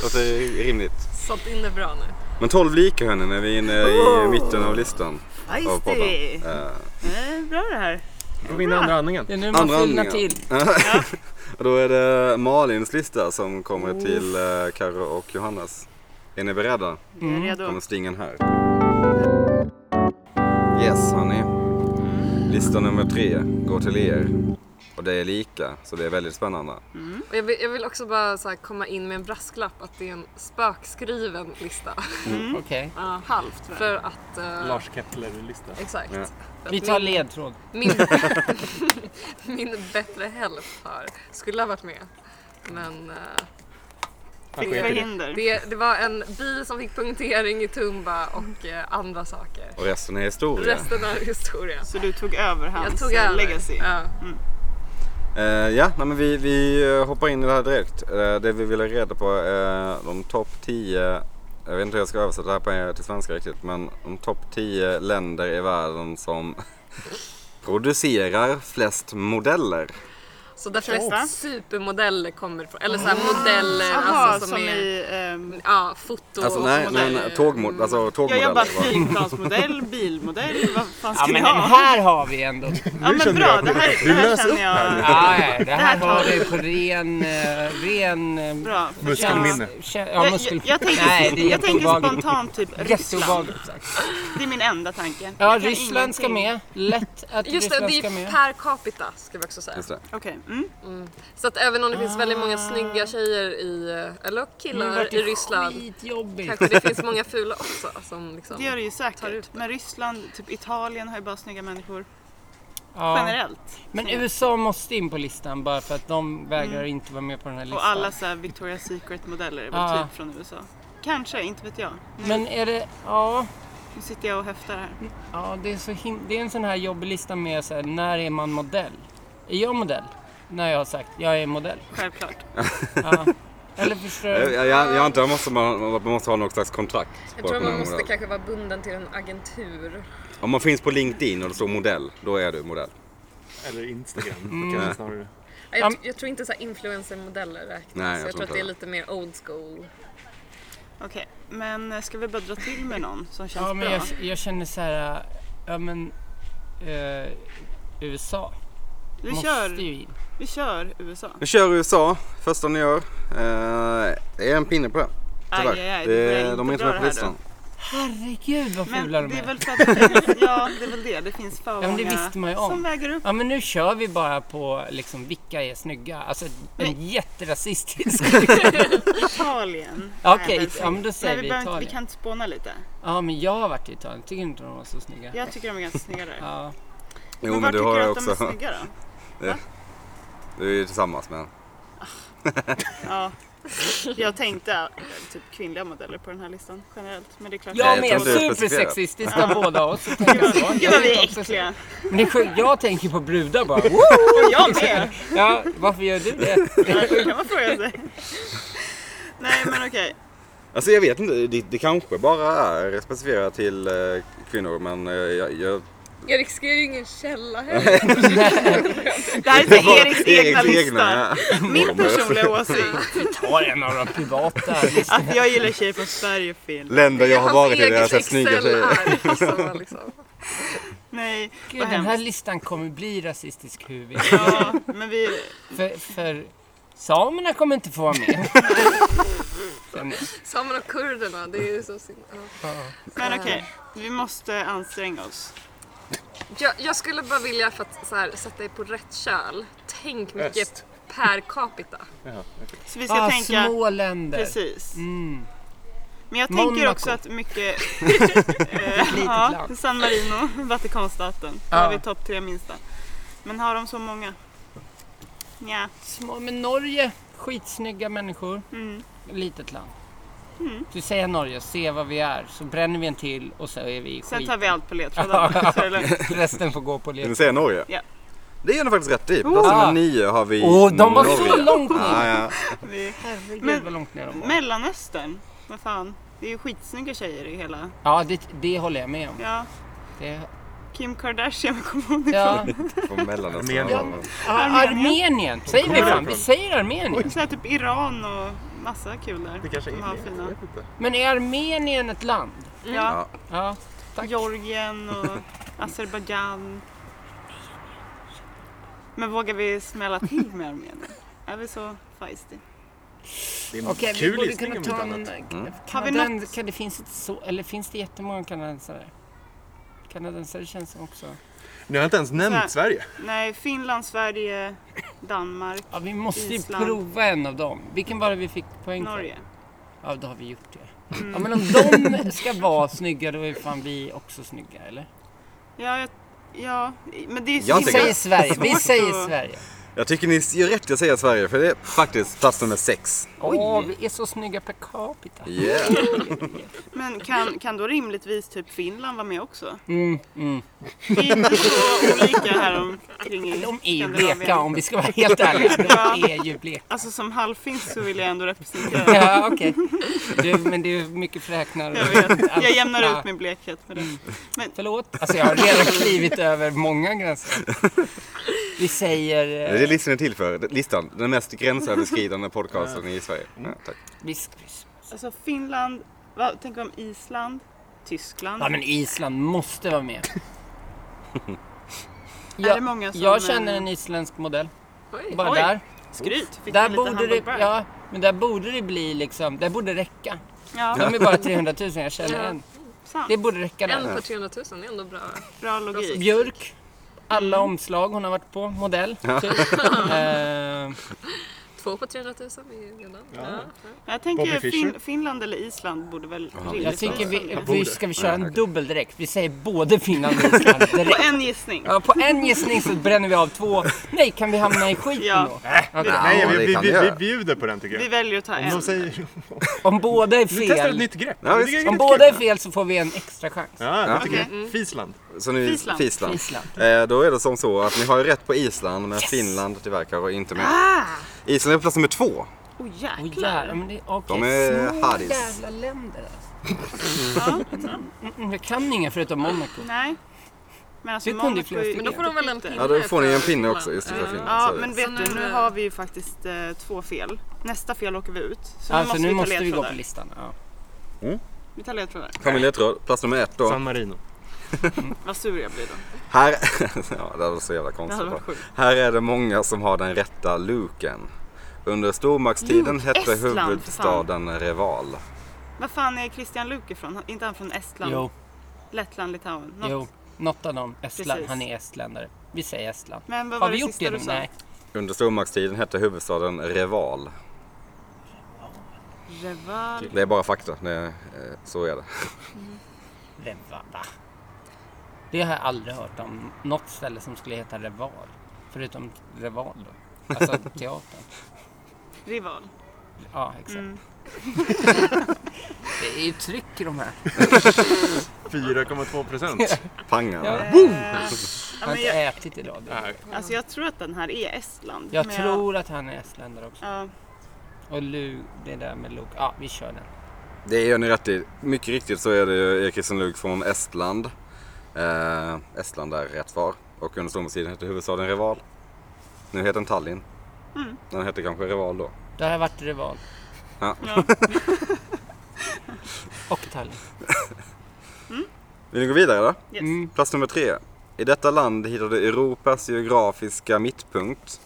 Speaker 2: Låter rimligt.
Speaker 5: Sålt in det bra nu.
Speaker 2: Men 12 lika hörni när vi är inne
Speaker 3: Oh.
Speaker 2: i mitten av listan. Av
Speaker 4: Nice
Speaker 2: podden.
Speaker 4: det.
Speaker 2: Eh,
Speaker 4: Eh, Bra det här.
Speaker 1: Går vi in i andra andningen?
Speaker 3: Det är nu man
Speaker 2: Andra
Speaker 3: fyllnar
Speaker 2: andningar.
Speaker 3: till.
Speaker 2: Och Då är det Malins lista som kommer till eh, Karo och Johannes. Är ni beredda?
Speaker 4: Vi är redo.
Speaker 2: Mm. Kommer stingen här. Yes hörni. Lista nummer tre går till er. Och det är lika, så det är väldigt spännande.
Speaker 5: Och jag, vill, jag vill också bara så här komma in med en brasklapp att det är en spökskriven lista.
Speaker 2: Mm.
Speaker 3: Okej.
Speaker 5: Ja,
Speaker 4: Halvt va?
Speaker 5: för att... eh,
Speaker 1: Lars Kettler-lista.
Speaker 5: Exakt.
Speaker 2: Ja.
Speaker 5: För
Speaker 3: Vi
Speaker 5: att
Speaker 3: tar
Speaker 5: min-
Speaker 3: ledtråd.
Speaker 5: Min, <laughs> min bättre hälft här skulle ha varit med. Men eh,
Speaker 4: Fick förhinder.
Speaker 5: det, det var en bi som fick punktering i Tumba och eh, andra saker.
Speaker 2: Och resten är historia.
Speaker 5: Resten är historia.
Speaker 4: Så du tog över
Speaker 5: Jag
Speaker 4: hans
Speaker 5: tog
Speaker 4: eh,
Speaker 5: över.
Speaker 4: legacy.
Speaker 5: Ja.
Speaker 2: Eh, ja, nej, men vi, vi eh, hoppar in i det här direkt. Eh, det vi ville reda på är de topp 10, jag vet inte hur jag ska översätta det här på, till svenska riktigt, men de topp 10 länder <laughs> i världen som producerar flest modeller.
Speaker 5: Så därför är
Speaker 4: Ursäkta?
Speaker 5: supermodeller kommer från, eller så här modeller
Speaker 4: Jaha,
Speaker 5: alltså Ah. som, är,
Speaker 4: ehm,
Speaker 5: ja foto
Speaker 2: Alltså nej,
Speaker 5: och
Speaker 2: nej,
Speaker 5: modeller.
Speaker 2: nej tågmod, alltså
Speaker 4: jag
Speaker 2: tågmodeller.
Speaker 4: jobbar
Speaker 2: va?
Speaker 4: flygplansmodell, bilmodell, vad
Speaker 3: Ja
Speaker 4: fan ska vi
Speaker 3: men den
Speaker 4: ha?
Speaker 3: här har vi ändå.
Speaker 4: Ja men bra, det här, det här
Speaker 6: löser upp
Speaker 4: känner
Speaker 3: <laughs>
Speaker 4: jag.
Speaker 3: Ja, ja, det här
Speaker 4: tar
Speaker 3: har
Speaker 4: vi.
Speaker 3: vi på ren... eh, ren eh,
Speaker 4: Bra.
Speaker 6: Muskelminne.
Speaker 3: Kä- ja,
Speaker 4: Jag,
Speaker 3: muskel...
Speaker 4: jag, jag tänker,
Speaker 3: Nej, det är
Speaker 4: jag tänker
Speaker 3: jätteobehagligt.
Speaker 4: spontant typ Ryssland.
Speaker 3: Jätteobehagligt sagt.
Speaker 4: Det är min enda tanke.
Speaker 3: Ja,
Speaker 4: Jag kan
Speaker 3: Ryssland ska
Speaker 4: ingenting.
Speaker 3: med. Lätt att
Speaker 5: Just det,
Speaker 3: Ryssland
Speaker 5: det
Speaker 3: ska
Speaker 5: är
Speaker 3: med.
Speaker 5: per capita ska vi också säga.
Speaker 2: Just det.
Speaker 4: Okej. Mm.
Speaker 5: Så att även om det finns väldigt många snygga tjejer i, eh, eller killar i Ryssland,
Speaker 3: Skitjobbigt.
Speaker 5: kanske det finns många fula också som liksom...
Speaker 4: Det gör det ju
Speaker 5: Tar ut
Speaker 4: säkert.
Speaker 5: det.
Speaker 4: Men Ryssland, typ Italien har ju bara snygga människor.
Speaker 3: Ja.
Speaker 4: Generellt.
Speaker 3: Men USA måste in på listan bara för att de vägrar inte vara med på den här listan.
Speaker 4: Mm. Och alla så här Victoria's Secret-modeller är väl
Speaker 3: Ja.
Speaker 4: typ från USA. Kanske, inte vet jag.
Speaker 3: Men är det... Ja,
Speaker 4: Nu sitter jag och höftar här.
Speaker 3: ja det, är så him- det är en sån här jobbig lista med så här, när är man modell? Är jag modell? När jag har sagt jag är modell.
Speaker 4: Självklart.
Speaker 3: Ja. Eller förstår
Speaker 2: Jag,
Speaker 4: <laughs>
Speaker 3: du?
Speaker 2: jag, jag antar man måste, man, man måste ha något slags kontrakt.
Speaker 5: Jag
Speaker 2: på
Speaker 5: tror
Speaker 2: den här
Speaker 5: man måste
Speaker 2: modellen.
Speaker 5: kanske vara bunden till en agentur.
Speaker 2: Om man finns på LinkedIn och det står modell, då är du modell.
Speaker 6: Eller Instagram
Speaker 5: Mm.
Speaker 6: kanske snarare.
Speaker 5: Jag,
Speaker 3: Ja,
Speaker 5: tr- jag tror inte så här influencermodeller räknas.
Speaker 2: Nej, jag
Speaker 5: jag,
Speaker 2: tror
Speaker 5: tror att
Speaker 2: inte
Speaker 5: det är
Speaker 2: det.
Speaker 5: lite mer old school.
Speaker 4: Okej, men eh, ska vi bara dra till med någon som känns
Speaker 3: Ja, men
Speaker 4: bra?
Speaker 3: jag, jag känner så här... äh, Ja, men... eh, USA.
Speaker 4: Vi
Speaker 3: måste
Speaker 4: kör,
Speaker 3: ju in.
Speaker 4: vi kör USA.
Speaker 2: Nu kör USA, första ni gör. Eh, det är en pinne på det.
Speaker 4: Aj, aj, aj, det börjar
Speaker 2: det, de är inte
Speaker 4: dra
Speaker 2: med på
Speaker 4: det här
Speaker 2: listan.
Speaker 3: Herregud vad
Speaker 4: då. Men
Speaker 3: fula de
Speaker 4: det är
Speaker 3: är.
Speaker 4: väl för
Speaker 3: <laughs>
Speaker 4: att, ja det är väl det, det finns
Speaker 3: men
Speaker 4: för
Speaker 3: det
Speaker 4: många
Speaker 3: visste man ju om.
Speaker 4: som väger upp.
Speaker 3: Ja men nu kör vi bara på liksom vilka är snygga. Alltså en jätterasistisk... <laughs>
Speaker 4: Italien.
Speaker 3: Ja,
Speaker 4: är
Speaker 3: okej,
Speaker 4: väl
Speaker 3: it- ja,
Speaker 4: snyggt.
Speaker 3: men då säger
Speaker 4: Nej,
Speaker 3: vi
Speaker 4: behöver inte-
Speaker 3: Italien.
Speaker 4: Vi kan spåna lite.
Speaker 3: ja men jag har varit i Italien, tycker inte de var så snygga.
Speaker 4: Jag tycker de är ganska snygga där.
Speaker 3: Ja.
Speaker 2: Jo men,
Speaker 4: men var
Speaker 2: du
Speaker 4: tycker
Speaker 2: har
Speaker 4: du
Speaker 2: ju
Speaker 4: att
Speaker 2: också,
Speaker 4: de är snygga då?
Speaker 2: du är ju tillsammans med en.
Speaker 4: Ja. <laughs> Jag tänkte eh, typ kvinnliga modeller på den här listan generellt. Men det är klart.
Speaker 3: Jag
Speaker 2: jag
Speaker 3: med,
Speaker 2: tror inte det är
Speaker 3: supersexistiska båda oss. Jag tänker så.
Speaker 4: <laughs> Gud vad vi
Speaker 3: Jag
Speaker 4: är
Speaker 3: också så.
Speaker 4: äckliga.
Speaker 3: Men det är sjukt, jag tänker på brudar bara. Woo!
Speaker 4: Jag med.
Speaker 3: Ja, varför gör du det?
Speaker 4: Ja, det kan man fråga sig. <laughs> Nej men okej.
Speaker 2: Alltså jag vet inte, det, det kanske bara är specificerat till eh, kvinnor men eh, jag, jag
Speaker 5: Jag riskerar ju ingen källa heller.
Speaker 4: Det här är så här Eriks egna lista.
Speaker 2: ja. <laughs>
Speaker 4: Min personliga åsikt.
Speaker 3: Ta en av de privata. listorna.
Speaker 4: Att jag gillar tjejer från Sverige och Finland.
Speaker 2: länder <laughs> jag har
Speaker 5: Hans
Speaker 2: varit i,
Speaker 5: eget
Speaker 2: där jag sett snygga tjejer.
Speaker 5: Excel-ark som var liksom.
Speaker 4: Nej,
Speaker 3: Gud,
Speaker 4: vad
Speaker 3: den här
Speaker 4: hemskt.
Speaker 3: listan kommer bli rasistisk huvud.
Speaker 4: Ja, men vi...
Speaker 3: För, för samerna kommer inte få vara med.
Speaker 5: Samerna och kurderna, det är ju så synd. Ja.
Speaker 4: Men okej, vi måste anstränga oss.
Speaker 5: Jag, jag skulle bara vilja, för att så här, sätta dig på rätt köl, tänk mycket
Speaker 6: Öst.
Speaker 5: per capita.
Speaker 4: Så vi ska
Speaker 3: Ah,
Speaker 4: tänka...
Speaker 3: små länder.
Speaker 4: Precis.
Speaker 3: Mm.
Speaker 4: Men jag
Speaker 3: Monaco.
Speaker 4: tänker också att mycket...
Speaker 3: litet
Speaker 4: ja,
Speaker 3: land.
Speaker 4: San Marino, <laughs> Vatikanstaten. Där
Speaker 3: Ja.
Speaker 4: har vi topp tre minsta. Men har de så många? Nja.
Speaker 3: Små, men Norge, skitsnygga människor.
Speaker 4: Mm.
Speaker 3: Litet land. Du säger Norge, se vad vi är, så bränner vi en till och så är vi i
Speaker 4: Sen
Speaker 3: skit.
Speaker 4: tar vi allt
Speaker 3: <laughs>
Speaker 4: på ledtrådarna. så är det lugnt.
Speaker 3: Resten får gå på
Speaker 2: Vill ni
Speaker 3: led.
Speaker 2: säga Norge?
Speaker 4: Ja.
Speaker 2: Det gör ni faktiskt rätt i. På plats nummer
Speaker 3: Ah.
Speaker 2: nio har vi
Speaker 3: Åh, de var så
Speaker 2: Norge.
Speaker 3: långt ner!
Speaker 2: Ja, ja.
Speaker 4: Vi-
Speaker 3: Herregud
Speaker 4: Men-
Speaker 3: vad långt ner de var.
Speaker 4: Mellanöstern, vad fan. Det är ju skitsnygga tjejer i hela...
Speaker 3: Ja, det, det håller jag med om.
Speaker 4: Ja,
Speaker 3: Det,
Speaker 4: Kim Kardashian, <laughs> vad kommer hon ifrån?
Speaker 3: ja.
Speaker 2: Från Mellanöstern.
Speaker 6: Armenien.
Speaker 2: Ja.
Speaker 3: Ja, Armenien, säger vi fan. Vi säger Armenien.
Speaker 4: Så här, typ Iran och massa kul där.
Speaker 6: Det kanske är
Speaker 4: som har
Speaker 6: det.
Speaker 4: fina.
Speaker 6: Jag vet inte.
Speaker 3: Men är Armenien ett land?
Speaker 4: Ja,
Speaker 3: Ja. Tack.
Speaker 6: <laughs>
Speaker 4: Georgien och Azerbajdzjan. Men vågar vi smälla till med Armenien? Är vi så feisty?
Speaker 6: Det är en
Speaker 3: Okej, vi
Speaker 6: kul
Speaker 3: borde
Speaker 6: listning
Speaker 3: kunna
Speaker 6: om inte
Speaker 3: ta en...
Speaker 6: annat.
Speaker 4: Har vi
Speaker 3: Kanaden, kan, det finns inte så, eller finns det jättemånga kanadensare? Kanadensare känns som också...
Speaker 6: Nu har jag inte ens
Speaker 4: Så här.
Speaker 6: nämnt Sverige.
Speaker 4: Nej, Finland, Sverige, Danmark,
Speaker 3: Ja, vi måste ju
Speaker 4: Island.
Speaker 3: prova en av dem. Vilken var det vi fick poäng
Speaker 4: Norge.
Speaker 3: för? Ja, då har vi gjort det. Ja, men om de ska vara snygga, då är fan vi också snygga, eller?
Speaker 4: Ja, jag, ja men det är
Speaker 2: Jag
Speaker 3: Vi
Speaker 4: himla-
Speaker 2: tycker-
Speaker 3: säger Sverige, vi
Speaker 4: Svårt
Speaker 3: säger
Speaker 4: att-
Speaker 3: Sverige.
Speaker 2: Jag tycker ni gör rätt i att säga Sverige för det är faktiskt plats nummer sex.
Speaker 3: Oj, Åh, vi är så snygga per capita.
Speaker 2: Yeah.
Speaker 4: Men kan, kan då rimligtvis typ Finland vara med också?
Speaker 3: Mm, mm.
Speaker 4: Det är inte så olika här omkring i
Speaker 3: De är ju
Speaker 4: Skandinavien.
Speaker 3: bleka om vi ska vara helt ärliga. De är ju bleka.
Speaker 4: Alltså som halvfinsk så vill jag ändå representera.
Speaker 3: Ja, okej. Du, Men det är mycket fräknar. och-
Speaker 4: Jag, vet. jag jämnar
Speaker 3: Ja.
Speaker 4: ut min
Speaker 3: Mm.
Speaker 4: blekhet med det.
Speaker 3: Förlåt? Alltså jag har redan klivit över många gränser. Vi säger... eh,
Speaker 2: Det lyssnar ni till för. Listan. Den mest
Speaker 4: <laughs>
Speaker 2: gränsöverskridande podcasten i Sverige.
Speaker 4: Mm.
Speaker 2: Ja, tack.
Speaker 3: Vis-
Speaker 4: Alltså Finland, vad, tänk om Island, Tyskland.
Speaker 3: Ja, men Island måste vara med.
Speaker 4: det många som,
Speaker 3: jag känner
Speaker 4: eh,
Speaker 3: en isländsk modell.
Speaker 5: Oj.
Speaker 3: Bara
Speaker 4: Oj.
Speaker 3: där.
Speaker 4: Skryt! Fick
Speaker 3: Där
Speaker 4: vi lite
Speaker 3: borde, det,
Speaker 4: humble brag.
Speaker 3: ja, men där borde det bli liksom, där borde det räcka.
Speaker 4: ja,
Speaker 3: De är bara 300 000, jag känner
Speaker 5: Ja.
Speaker 3: en.
Speaker 4: sant.
Speaker 3: Det borde räcka där.
Speaker 5: En för 300 000 det är ändå bra.
Speaker 4: Bra logik.
Speaker 3: Björk. Alla omslag hon har varit på, modell. Typ.
Speaker 6: <laughs>
Speaker 3: Eh,
Speaker 5: Två på 300 000 är redan. Ja.
Speaker 4: Jag
Speaker 6: Bobby
Speaker 4: tänker
Speaker 6: Fischer.
Speaker 4: fin, Finland eller Island borde väl rimligtvis
Speaker 3: jag tycker vi,
Speaker 4: vara
Speaker 3: vi ska vi köra en dubbel direkt. Vi säger både Finland och Island
Speaker 4: På <laughs>
Speaker 3: direkt.
Speaker 4: en gissning.
Speaker 3: Ja, på en gissning så bränner vi av två. Nej, kan vi hamna i skiten
Speaker 4: Ja.
Speaker 6: Äh,
Speaker 3: då?
Speaker 2: Ja,
Speaker 6: Nej, vi,
Speaker 2: det
Speaker 6: vi,
Speaker 2: kan
Speaker 6: vi,
Speaker 2: jag
Speaker 6: vi
Speaker 2: göra.
Speaker 6: bjuder på den tycker
Speaker 4: Vi
Speaker 6: jag.
Speaker 4: väljer att ta
Speaker 6: Om
Speaker 4: en.
Speaker 6: de säger...
Speaker 3: Om båda är
Speaker 6: <laughs> Vi testar ett
Speaker 3: fel,
Speaker 6: nytt grepp.
Speaker 2: Ja,
Speaker 6: Det
Speaker 2: visst.
Speaker 6: är
Speaker 3: om
Speaker 6: rätt
Speaker 3: båda är
Speaker 6: kul.
Speaker 3: fel så får vi en extra chans.
Speaker 6: Ja, det
Speaker 2: Ja.
Speaker 6: tycker
Speaker 4: Okej. Mm.
Speaker 6: jag. Fisland.
Speaker 2: Så nu
Speaker 4: Fisland.
Speaker 2: Fisland.
Speaker 3: Island.
Speaker 2: Eh, då är det som så att ni har ju rätt på Island, men Finland det verkar vara inte med.
Speaker 4: Ah!
Speaker 2: Island är på plats nummer två.
Speaker 4: Åh
Speaker 3: Åh
Speaker 4: jäklar.
Speaker 3: jävlar, men det är okej.
Speaker 2: De är
Speaker 3: Små
Speaker 2: haddis.
Speaker 3: jävla länder alltså. Mm, mm, Jag kan inga förutom Monaco.
Speaker 4: Nej. Men alltså
Speaker 3: Vi kunde ju
Speaker 4: Monaco
Speaker 3: flera
Speaker 4: är ju
Speaker 3: stycken.
Speaker 5: Men då får de väl en
Speaker 4: jättepytte.
Speaker 5: pinne.
Speaker 2: Ja, då får ni en
Speaker 5: för
Speaker 2: pinne
Speaker 5: Finland.
Speaker 2: också.
Speaker 5: <laughs>
Speaker 2: Just det, för
Speaker 5: Ja.
Speaker 2: Finland.
Speaker 4: Ja
Speaker 2: Sorry.
Speaker 4: men vet
Speaker 5: Så
Speaker 4: du,
Speaker 5: nu-
Speaker 4: nu har vi ju faktiskt eh, två fel. Nästa fel åker vi ut. Så
Speaker 3: Alltså nu måste
Speaker 4: ta
Speaker 3: vi gå på
Speaker 4: ledtrådar.
Speaker 3: listan. Ja.
Speaker 4: Vi tar ledtrådar.
Speaker 2: Familjeråd, plats nummer ett då.
Speaker 1: San
Speaker 6: <laughs>
Speaker 1: Marino.
Speaker 4: Vad sur jag blir då.
Speaker 2: Här... <laughs> ja, det var så jävla
Speaker 4: Det
Speaker 2: konstigt.
Speaker 4: hade varit
Speaker 2: bara.
Speaker 4: sjukt.
Speaker 2: Här är det många som har den rätta luken. Under stormaktstiden
Speaker 4: Luke,
Speaker 2: hette
Speaker 4: Estland, för
Speaker 2: huvudstaden Reval.
Speaker 4: Vad fan är Christian Luuk ifrån? Han- Inte han från Estland?
Speaker 3: Jo,
Speaker 4: Lettland, Litauen? Något.
Speaker 3: jo, något av dem. Estland.
Speaker 4: Precis.
Speaker 3: Han är estländare. Vi säger Estland.
Speaker 4: Men vad
Speaker 3: Har
Speaker 4: var
Speaker 3: vi
Speaker 4: det
Speaker 3: gjort
Speaker 4: sista
Speaker 3: det
Speaker 4: du
Speaker 3: nu?
Speaker 4: sa?
Speaker 3: Nej.
Speaker 2: Under stormaktstiden hette huvudstaden Reval.
Speaker 4: Reval.
Speaker 2: Det är bara fakta. Det, är- eh, så är det.
Speaker 3: Revala. Det har jag aldrig hört om. Något ställe som skulle heta Reval. Förutom Reval då.
Speaker 4: <laughs>
Speaker 3: Alltså teatern.
Speaker 4: Rival.
Speaker 3: Ja, exakt.
Speaker 4: Mm.
Speaker 3: det är ju tryck i de här.
Speaker 1: 4,2 procent.
Speaker 2: Pangarna.
Speaker 4: Ja,
Speaker 3: Jag har
Speaker 4: men
Speaker 3: inte
Speaker 4: jag,
Speaker 3: ätit idag. Det.
Speaker 4: alltså jag tror att den här är Estland.
Speaker 3: Jag
Speaker 4: men
Speaker 3: tror att han är estländare också.
Speaker 4: Ja,
Speaker 3: Och Lu, det där med Luke. Ja, vi kör den.
Speaker 2: Det gör ni rätt i. Mycket riktigt så är det ju Ekisen Lug från Estland. Eh, Estland är rätt svar. Och under stormaktstiden hette huvudstaden Reval. Nu heter den Tallinn.
Speaker 4: Mm.
Speaker 2: Den hette kanske Reval då.
Speaker 3: Där har jag varit i rival.
Speaker 4: ja.
Speaker 3: <laughs> Och Tallinn.
Speaker 2: Vill ni gå vidare då?
Speaker 4: Yes.
Speaker 3: Mm.
Speaker 2: Plats nummer tre. I detta land hittar du Europas geografiska mittpunkt.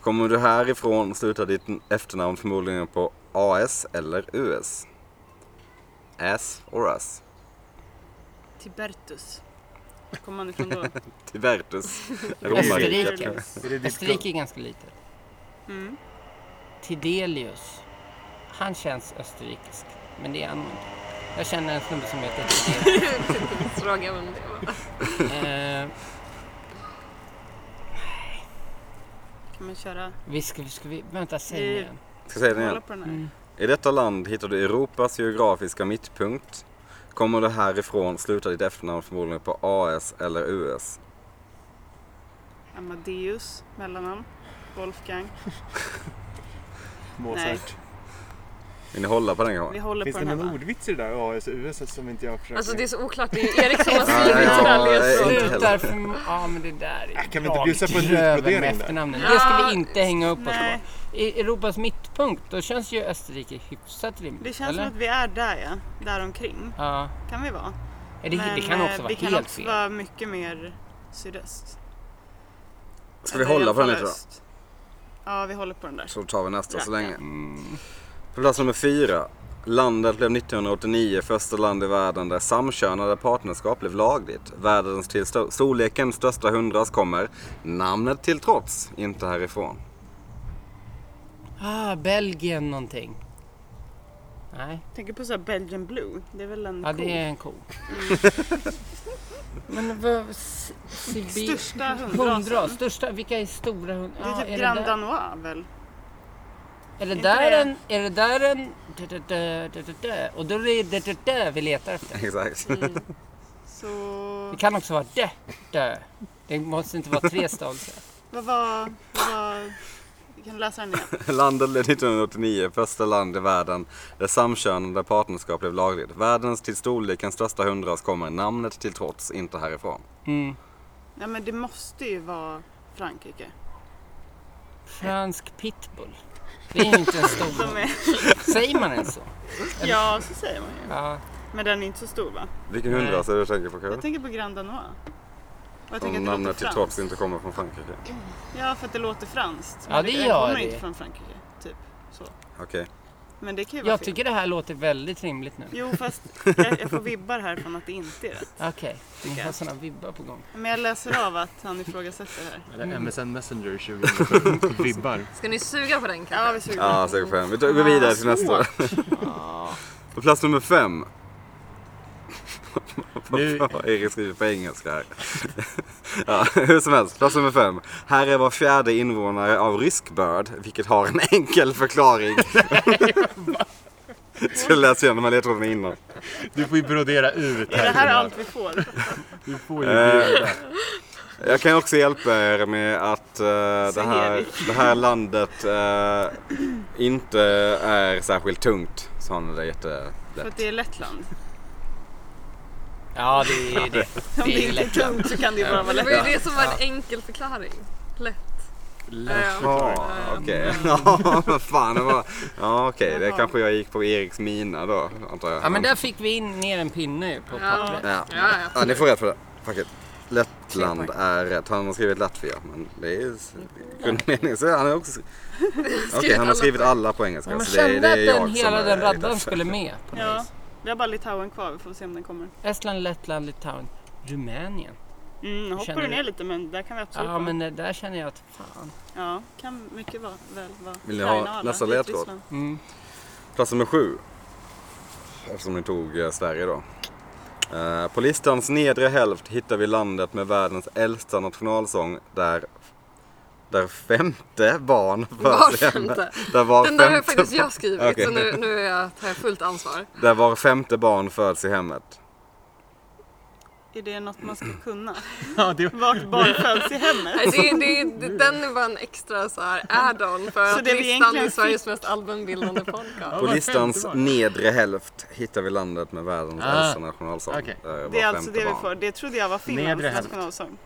Speaker 2: Kommer du härifrån slutar ditt efternamn förmodligen på AS eller US. As or us.
Speaker 4: Tibertus. Var kommer
Speaker 3: <laughs>
Speaker 4: han ifrån då? <laughs>
Speaker 2: Tibertus.
Speaker 3: Österrike.
Speaker 6: Är det ditt
Speaker 3: Österrike är ganska litet.
Speaker 4: Mm.
Speaker 3: Tidelius. Han känns österrikisk. Men det är han nog inte. Jag känner en snubbe som heter
Speaker 4: <laughs>
Speaker 3: Tidelius.
Speaker 5: Fråga om det var-
Speaker 3: eh,
Speaker 4: Kan man köra?
Speaker 3: vi ska, ska vi, vänta, säg
Speaker 4: Vi-
Speaker 3: igen.
Speaker 2: Ska jag säga det igen?
Speaker 4: Kolla på den här.
Speaker 3: Mm.
Speaker 2: I detta land hittar du Europas geografiska mittpunkt. Kommer du härifrån slutar ditt efternamn förmodligen på AS eller US.
Speaker 4: Amadeus, mellannamn. Wolfgang.
Speaker 6: Mozart.
Speaker 2: Vill ni hålla på den
Speaker 4: Vi
Speaker 2: gången?
Speaker 4: håller
Speaker 6: Finns
Speaker 4: på
Speaker 6: det
Speaker 4: den här
Speaker 6: någon
Speaker 4: va?
Speaker 6: ordvits i det där
Speaker 1: alltså,
Speaker 6: AS US som inte jag försöker...
Speaker 5: Alltså det är så oklart. Det är Erik som har
Speaker 2: Ja,
Speaker 5: skrivit
Speaker 2: ja,
Speaker 5: den här
Speaker 2: ja,
Speaker 5: ledtråden.
Speaker 2: inte heller.
Speaker 3: Slutar för... Ja, men det där är
Speaker 6: Äh, Kan vi inte
Speaker 3: bra.
Speaker 6: bjussa på en
Speaker 3: Röven
Speaker 6: utbrodering
Speaker 3: med
Speaker 6: där?
Speaker 3: efternamnen. Det ska
Speaker 5: Ja,
Speaker 3: vi inte hänga upp oss
Speaker 4: nej.
Speaker 3: på. I Europas mittpunkt, då känns ju Österrike hyfsat rimligt.
Speaker 4: Det känns
Speaker 3: eller?
Speaker 4: som att vi är där ja. Där omkring.
Speaker 3: Ja.
Speaker 4: Kan vi vara.
Speaker 3: Det, det kan
Speaker 4: eh,
Speaker 3: också vara
Speaker 4: vi kan
Speaker 3: helt
Speaker 4: också
Speaker 3: fel.
Speaker 4: vara mycket mer sydöst. Alltså,
Speaker 2: Ska vi
Speaker 4: Eller i
Speaker 2: hålla
Speaker 4: alla
Speaker 2: på den
Speaker 4: fall
Speaker 2: lite då?
Speaker 4: öst. Ja, vi håller på den där.
Speaker 2: Så tar vi nästa så
Speaker 4: Rackarn.
Speaker 2: länge. Mm. På plats nummer fyra. Landet blev 1989 första land i världen där samkönade partnerskap blev lagligt. Världens till sto- storleken största hundras kommer, namnet till trots, inte härifrån. <laughs>
Speaker 3: Ah, Belgien någonting. Nej,
Speaker 4: Tänker på så här Belgian Blue. Det är väl en
Speaker 3: ja
Speaker 4: ko.
Speaker 3: det är en ko. Men vad... S- Sibir...
Speaker 4: Största hundrasen.
Speaker 3: Hundra, största, vilka är stora hundar?
Speaker 4: Det är typ
Speaker 3: är, det
Speaker 4: Grand
Speaker 3: där,
Speaker 4: Danois väl?
Speaker 3: är det
Speaker 4: inte
Speaker 3: där
Speaker 4: det.
Speaker 3: en... Är det där en... dö, dö, dö, dö, dö, dö. Och då är det dö, dö, dö vi letar efter.
Speaker 2: Exakt.
Speaker 4: Så
Speaker 3: Det kan också vara dö, dö. Det måste inte vara tre stavelser.
Speaker 4: vad var... Vad var... Kan du läsa den igen?
Speaker 2: Landet blev 1989 första land i världen där samkönade partnerskap blev lagligt. Världens till storleken största hundras kommer namnet till trots inte härifrån.
Speaker 4: Ja men det måste ju vara Frankrike.
Speaker 3: Fransk pitbull. Det är ju inte en stor
Speaker 4: De
Speaker 3: hund.
Speaker 4: är,
Speaker 3: Säger man ens så?
Speaker 4: ja, så säger man ju.
Speaker 3: Ja.
Speaker 4: Men den är inte så stor va?
Speaker 2: Vilken hundras är du säker på Carro?
Speaker 4: Jag tänker på Grand Danois. Och jag tänker
Speaker 2: Om
Speaker 4: att det låter
Speaker 2: namnet till
Speaker 4: franskt.
Speaker 2: trots inte kommer från Frankrike.
Speaker 4: Ja, för att det låter franskt.
Speaker 3: Ja,
Speaker 4: Men
Speaker 3: det
Speaker 4: den
Speaker 3: gör
Speaker 4: kommer
Speaker 3: det.
Speaker 4: inte från Frankrike, typ. Så.
Speaker 2: Okej.
Speaker 4: Men det kan ju vara
Speaker 3: Jag
Speaker 4: fel.
Speaker 3: tycker det här låter väldigt rimligt nu.
Speaker 4: Jo, fast jag, jag får vibbar här från att det inte är rätt.
Speaker 3: Okej, ni
Speaker 4: jag.
Speaker 3: har sådana vibbar på gång.
Speaker 4: Men jag läser av att han ifrågasätter här.
Speaker 1: Eller MSN Messenger 2007. <laughs> Vibbar.
Speaker 5: Ska ni suga på den
Speaker 4: Ja,
Speaker 5: kanske?
Speaker 4: vi suger.
Speaker 2: Ja, säker på en. Vi går vidare till nästa. På plats nummer fem.
Speaker 1: Nu-
Speaker 2: Erik skriver på engelska här. <laughs> ja, hur som helst, plats nummer fem. Här är var fjärde invånare av ryskbörd, vilket har en enkel förklaring. Skulle läst igenom ledtråden innan.
Speaker 1: Du får ju brodera ut
Speaker 4: Är det här
Speaker 1: Gunnar.
Speaker 4: allt vi får?
Speaker 1: Du får ju
Speaker 2: Eh,
Speaker 1: bjuda.
Speaker 2: Jag kan också hjälpa er med att eh, det, här, det här landet eh, inte är särskilt tungt. Så han är det
Speaker 4: För
Speaker 2: jättelätt.
Speaker 4: att det är Lettland.
Speaker 3: Ja, det är det.
Speaker 4: <laughs> Om det inte är tungt så kan det ju bara vara
Speaker 5: Det var ju
Speaker 4: Lettland.
Speaker 5: det som var en enkel förklaring. Lätt.
Speaker 2: Ja, okej. <laughs> Ja, vad fan det var. Ja, okej. Det
Speaker 4: Jaha.
Speaker 2: kanske jag gick på Eriks mina då, antar jag.
Speaker 3: Ja, men där fick vi in ner en pinne ju på pappret.
Speaker 2: Ja.
Speaker 5: Ja, ja.
Speaker 2: Ja, ni får rätt för det. Fuck it. Lettland är rätt. Han har skrivit Latvia, men det är grundmeningen. Så han har
Speaker 3: <laughs>
Speaker 2: också skrivit... Okej, han har
Speaker 5: alla
Speaker 2: skrivit
Speaker 5: på-
Speaker 2: alla på engelska.
Speaker 3: Men man
Speaker 2: så Alltså, det, är- det
Speaker 3: kände
Speaker 2: är
Speaker 3: att
Speaker 2: jag
Speaker 3: den, hela
Speaker 2: som
Speaker 3: den
Speaker 2: är
Speaker 3: raddan
Speaker 2: rätt.
Speaker 3: skulle med. På något
Speaker 4: Ja,
Speaker 3: vis.
Speaker 4: vi har bara Litauen kvar. Vi får se om den kommer.
Speaker 3: Estland, Lettland, Litauen, Rumänien.
Speaker 4: Mm, nu hoppar
Speaker 3: Känner
Speaker 4: du
Speaker 3: du-
Speaker 4: ner lite men där kan vi absolut
Speaker 3: Ja,
Speaker 4: vara.
Speaker 3: men eh, där känner jag att fan.
Speaker 4: Ja, kan mycket vara, väl vara.
Speaker 2: Vill ni ha
Speaker 4: Ukraina och alla,
Speaker 2: nästa
Speaker 4: lite
Speaker 2: ledtråd?
Speaker 4: Ryssland.
Speaker 3: Mm.
Speaker 2: Plats nummer sju. Eftersom ni tog eh, Sverige då. Eh, På listans nedre hälft hittar vi landet med världens äldsta nationalsång där, där femte barn
Speaker 5: Var
Speaker 2: föds i hemmet.
Speaker 5: femte.
Speaker 2: Där var
Speaker 5: Den där har
Speaker 2: femte,
Speaker 5: faktiskt jag skrivit
Speaker 2: Okej.
Speaker 5: så nu, nu är jag, tar jag fullt ansvar.
Speaker 2: där var femte barn föds i hemmet.
Speaker 4: Är det något man ska kunna?
Speaker 1: Ja, det
Speaker 4: Vart barn föds i hemmet?
Speaker 5: Nej, Det, är- det, är- det, den är bara en extra så här add-on för
Speaker 4: Så
Speaker 5: att
Speaker 4: det vi
Speaker 5: listan
Speaker 4: egentligen
Speaker 5: är Sveriges mest allmänbildande podcast.
Speaker 2: På
Speaker 1: var
Speaker 2: listans
Speaker 1: femte barn.
Speaker 2: nedre hälft hittar vi landet med världens
Speaker 1: Ah,
Speaker 2: äldsta nationalsång.
Speaker 1: okej.
Speaker 2: Där var
Speaker 4: Det är alltså
Speaker 2: femte
Speaker 4: det vi
Speaker 2: barn.
Speaker 4: får. Det trodde jag var Finlands
Speaker 1: Nedre hälft.
Speaker 4: nationalsång.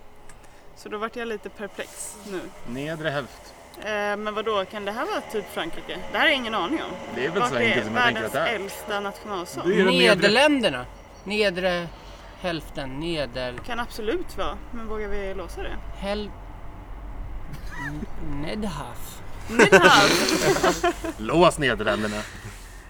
Speaker 4: Så då vart jag lite perplex nu.
Speaker 1: Nedre hälft.
Speaker 4: Eh, men vad då kan det här vara typ Frankrike? Det här är ingen aning om.
Speaker 1: Det är väl
Speaker 4: Vart
Speaker 1: så enkelt som jag tänker att
Speaker 4: världens
Speaker 1: det är.
Speaker 4: äldsta nationalsång?
Speaker 1: Det är ju de nedre...
Speaker 3: Nederländerna. Nedre hälften, neder...
Speaker 4: Kan absolut vara, men vågar vi
Speaker 1: <laughs>
Speaker 4: låsa det?
Speaker 3: Häl... Nedhaf.
Speaker 4: Nederhaf!
Speaker 1: Lås Nederländerna.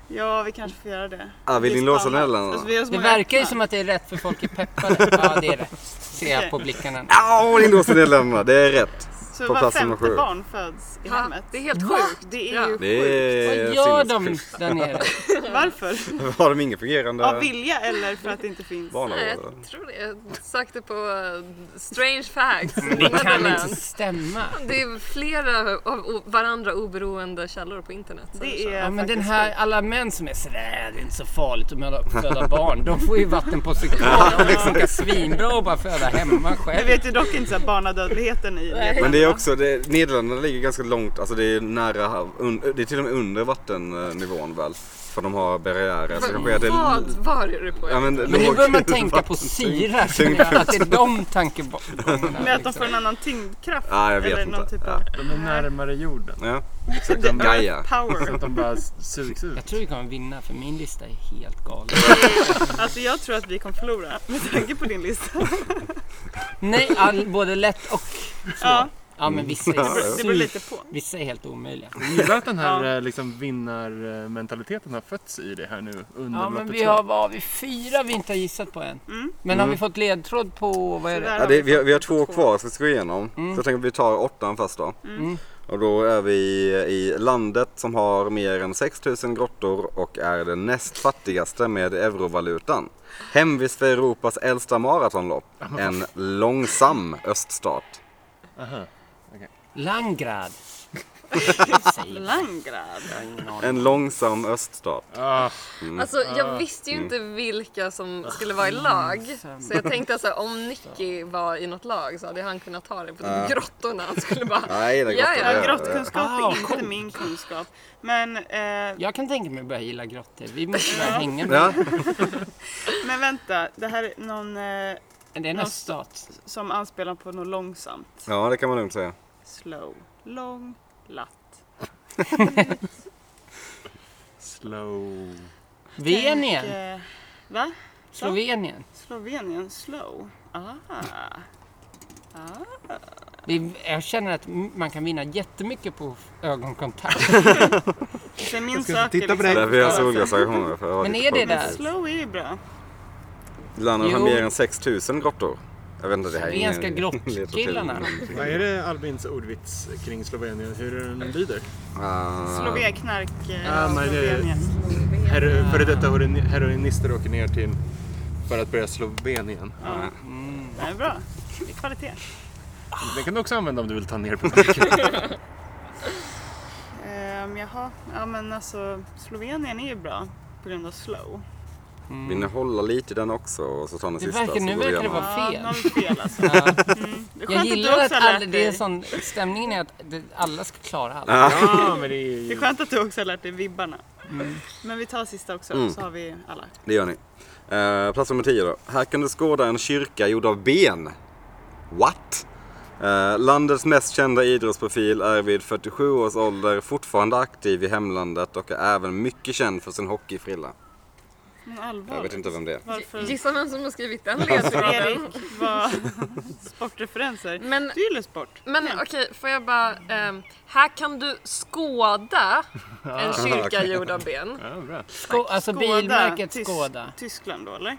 Speaker 4: ja, vi kanske får göra det.
Speaker 2: Ah, vill ni
Speaker 4: Det är
Speaker 2: låsa
Speaker 4: spännande.
Speaker 2: Nederländerna?
Speaker 4: Alltså, vi har så
Speaker 3: Det
Speaker 4: många
Speaker 3: verkar ju
Speaker 4: öppna.
Speaker 3: som att det är rätt för folk är peppade. Ja, det är rätt. Ser jag på blickarna.
Speaker 2: Ja, ni låser Nederländerna. Det är rätt.
Speaker 4: Så
Speaker 2: på
Speaker 4: var
Speaker 2: plats nummer
Speaker 4: femte
Speaker 2: sju.
Speaker 4: barn föds i
Speaker 5: Ja,
Speaker 4: hemmet.
Speaker 5: det är helt
Speaker 3: Va?
Speaker 5: sjukt.
Speaker 4: Det
Speaker 5: Ja.
Speaker 4: är ju...
Speaker 2: Det är
Speaker 3: Vad gör de
Speaker 2: sinnessjukt. <laughs>
Speaker 3: där nere?
Speaker 4: Varför?
Speaker 2: Har de ingen fungerande
Speaker 4: Av vilja eller för att det inte finns?
Speaker 5: Nej,
Speaker 2: barnavårdare?
Speaker 5: jag tror det. Jag sökte på eh, strange facts.
Speaker 3: Det kan inte
Speaker 5: Netherlands.
Speaker 3: stämma.
Speaker 5: Det är flera av o- varandra oberoende källor på internet. säger
Speaker 4: Det
Speaker 5: så.
Speaker 4: är
Speaker 3: Ja, men den
Speaker 4: faktiskt
Speaker 3: här,
Speaker 4: sjukt.
Speaker 3: alla män som är sådär, "Äh, det är inte så farligt att möda- föda barn. De får ju vatten på <laughs> sig kvar. Det funkar svinbra att bara föda hemma
Speaker 4: Jag
Speaker 3: själv.
Speaker 4: vet ju dock inte så här barnadödligheten i det.
Speaker 2: Men det är också, det, Nederländerna ligger ganska långt, alltså det är nära, hav- un, det är till och med under vattennivån väl? För de har barriärer. Så kanske är det,
Speaker 5: Vad var är du på?
Speaker 2: ja, men,
Speaker 3: Men nu
Speaker 2: låg-
Speaker 3: börjar man tänka på syra. känner jag. Att det är de tankegångarna.
Speaker 4: Med att de
Speaker 3: liksom.
Speaker 4: får en annan tyngdkraft.
Speaker 2: Ja, jag vet
Speaker 4: eller någon
Speaker 2: inte.
Speaker 4: typ
Speaker 2: Ja.
Speaker 4: av
Speaker 1: De är närmare jorden.
Speaker 2: <laughs> Ja,
Speaker 4: The
Speaker 2: Gaia.
Speaker 4: Earth
Speaker 1: Så
Speaker 4: power.
Speaker 1: att de bara sugs ut.
Speaker 3: Jag tror vi kommer vinna för min lista är helt galen.
Speaker 4: Alltså jag tror att vi kommer förlora med tanke på din lista.
Speaker 3: Nej, all, både lätt och...
Speaker 4: Ja,
Speaker 3: Ja men vissa är,
Speaker 4: det beror, det beror lite på.
Speaker 3: vissa är helt omöjliga.
Speaker 1: Gillar att den här
Speaker 4: Ja.
Speaker 1: eh, liksom, vinnarmentaliteten har fötts i det här nu under
Speaker 3: Ja men
Speaker 1: loppets
Speaker 3: vi
Speaker 1: gång.
Speaker 3: har, vad har vi, fyra vi inte har gissat på än.
Speaker 4: Mm.
Speaker 3: Men har vi fått ledtråd på, vad är det?
Speaker 4: Tyvärr
Speaker 2: ja det,
Speaker 4: har
Speaker 2: vi, har, vi har
Speaker 4: fått
Speaker 2: två kvar som vi ska gå igenom.
Speaker 3: Mm.
Speaker 2: Så jag tänker att vi tar åttan först då. Och då är vi i landet som har mer än 6000 grottor och är det näst fattigaste med eurovalutan. Hemvist för Europas äldsta maratonlopp. En långsam öststat.
Speaker 3: Langrad. Säger jag.
Speaker 4: Langrad.
Speaker 2: En långsam öststat.
Speaker 1: Ah,
Speaker 5: Alltså jag visste ju inte vilka som skulle vara i
Speaker 4: Ah,
Speaker 5: lag. Så jag tänkte så här, om Nicky var i något lag så hade han kunnat ta det på grottorna. Han skulle bara...
Speaker 2: Nej, det är
Speaker 5: Ja,
Speaker 2: grottor.
Speaker 5: ja,
Speaker 2: det är-
Speaker 4: Grottkunskap
Speaker 3: Ah,
Speaker 4: är
Speaker 3: coolt.
Speaker 4: inte min kunskap. Men, eh,
Speaker 3: Jag kan tänka mig att börja gilla grottor. Vi måste börja hänga med.
Speaker 2: Ja,
Speaker 4: men vänta, det här är någon... Eh,
Speaker 3: Men det är en öststat.
Speaker 4: som anspelar på något långsamt.
Speaker 2: Ja, det kan man lugnt säga.
Speaker 4: Slow, lång, latt.
Speaker 1: Slow.
Speaker 3: Venien.
Speaker 4: Tänk, eh, Va?
Speaker 3: Slovenien.
Speaker 4: Slovenien, slow. Ah. Ah.
Speaker 3: Vi, jag känner att m- man kan vinna jättemycket på ögonkontakt.
Speaker 4: Sen min
Speaker 1: Jag ska
Speaker 4: söker
Speaker 1: titta på dig.
Speaker 2: Därför har jag solglasögon. för jag har
Speaker 3: Men
Speaker 2: lite
Speaker 3: är det
Speaker 2: problem.
Speaker 4: Men slow är ju bra.
Speaker 2: Landet har
Speaker 3: Jo.
Speaker 2: mer än 6000 grottor. Jag vet inte, det här är ingen...
Speaker 3: Slovenska
Speaker 1: <laughs>
Speaker 3: grottkillarna.
Speaker 1: Vad är det Albins ordvits kring Slovenien? Hur den lyder?
Speaker 3: Mm.
Speaker 2: Ah,
Speaker 4: Slovén, knark, eh,
Speaker 1: Ja, men det-
Speaker 4: Slovenien.
Speaker 1: Her- före detta heroin- heroinister åker ner till för att börja Slovenien.
Speaker 4: Ja. Det är bra. Det är kvalitet.
Speaker 1: Den kan du också använda om du vill ta ner publiken.
Speaker 4: Um, jaha, ja men alltså Slovenien är ju bra på grund av slow.
Speaker 2: Vill ni hålla lite i den också och så tar ni
Speaker 3: Det
Speaker 2: sista?
Speaker 3: verkar-
Speaker 2: så
Speaker 3: nu
Speaker 2: går vi
Speaker 3: verkar
Speaker 2: igenom.
Speaker 3: det vara-
Speaker 4: Ja,
Speaker 3: fel.
Speaker 4: nu har vi fel alltså. <laughs>
Speaker 3: Ja.
Speaker 4: Mm. Det är skönt
Speaker 3: Jag gillar
Speaker 4: du
Speaker 3: att
Speaker 4: också har
Speaker 3: alla,
Speaker 4: lärt
Speaker 3: det är
Speaker 4: dig.
Speaker 3: sån, stämningen är att det, alla ska klara allt.
Speaker 1: ja, men det är
Speaker 4: Det är
Speaker 1: ju...
Speaker 4: skönt att du också har lärt dig vibbarna.
Speaker 3: Mm.
Speaker 4: Men vi tar sista också,
Speaker 2: Mm.
Speaker 4: så har vi alla.
Speaker 2: Det gör ni. Eh, plats nummer 10 då. Här kan du skåda en kyrka gjord av ben. What? Eh, landets mest kända idrottsprofil är vid 47 års ålder fortfarande aktiv i hemlandet och är även mycket känd för sin hockeyfrilla.
Speaker 4: Men
Speaker 2: Jag vet
Speaker 4: allvarligt.
Speaker 2: inte vem det är.
Speaker 4: Varför?
Speaker 5: Gissa vem som har skrivit den
Speaker 4: Erik,
Speaker 5: ledtråden.
Speaker 3: <laughs>
Speaker 4: vad... Sportreferenser.
Speaker 5: Men-
Speaker 4: Du gillar sport.
Speaker 5: Men okej, får jag bara... ehm, här kan du skåda en kyrka gjord av ben.
Speaker 1: Ja, bra.
Speaker 3: Skå, alltså bilmärket
Speaker 4: Tysk-
Speaker 3: Skoda.
Speaker 4: Tyskland då
Speaker 2: <laughs>
Speaker 4: eller?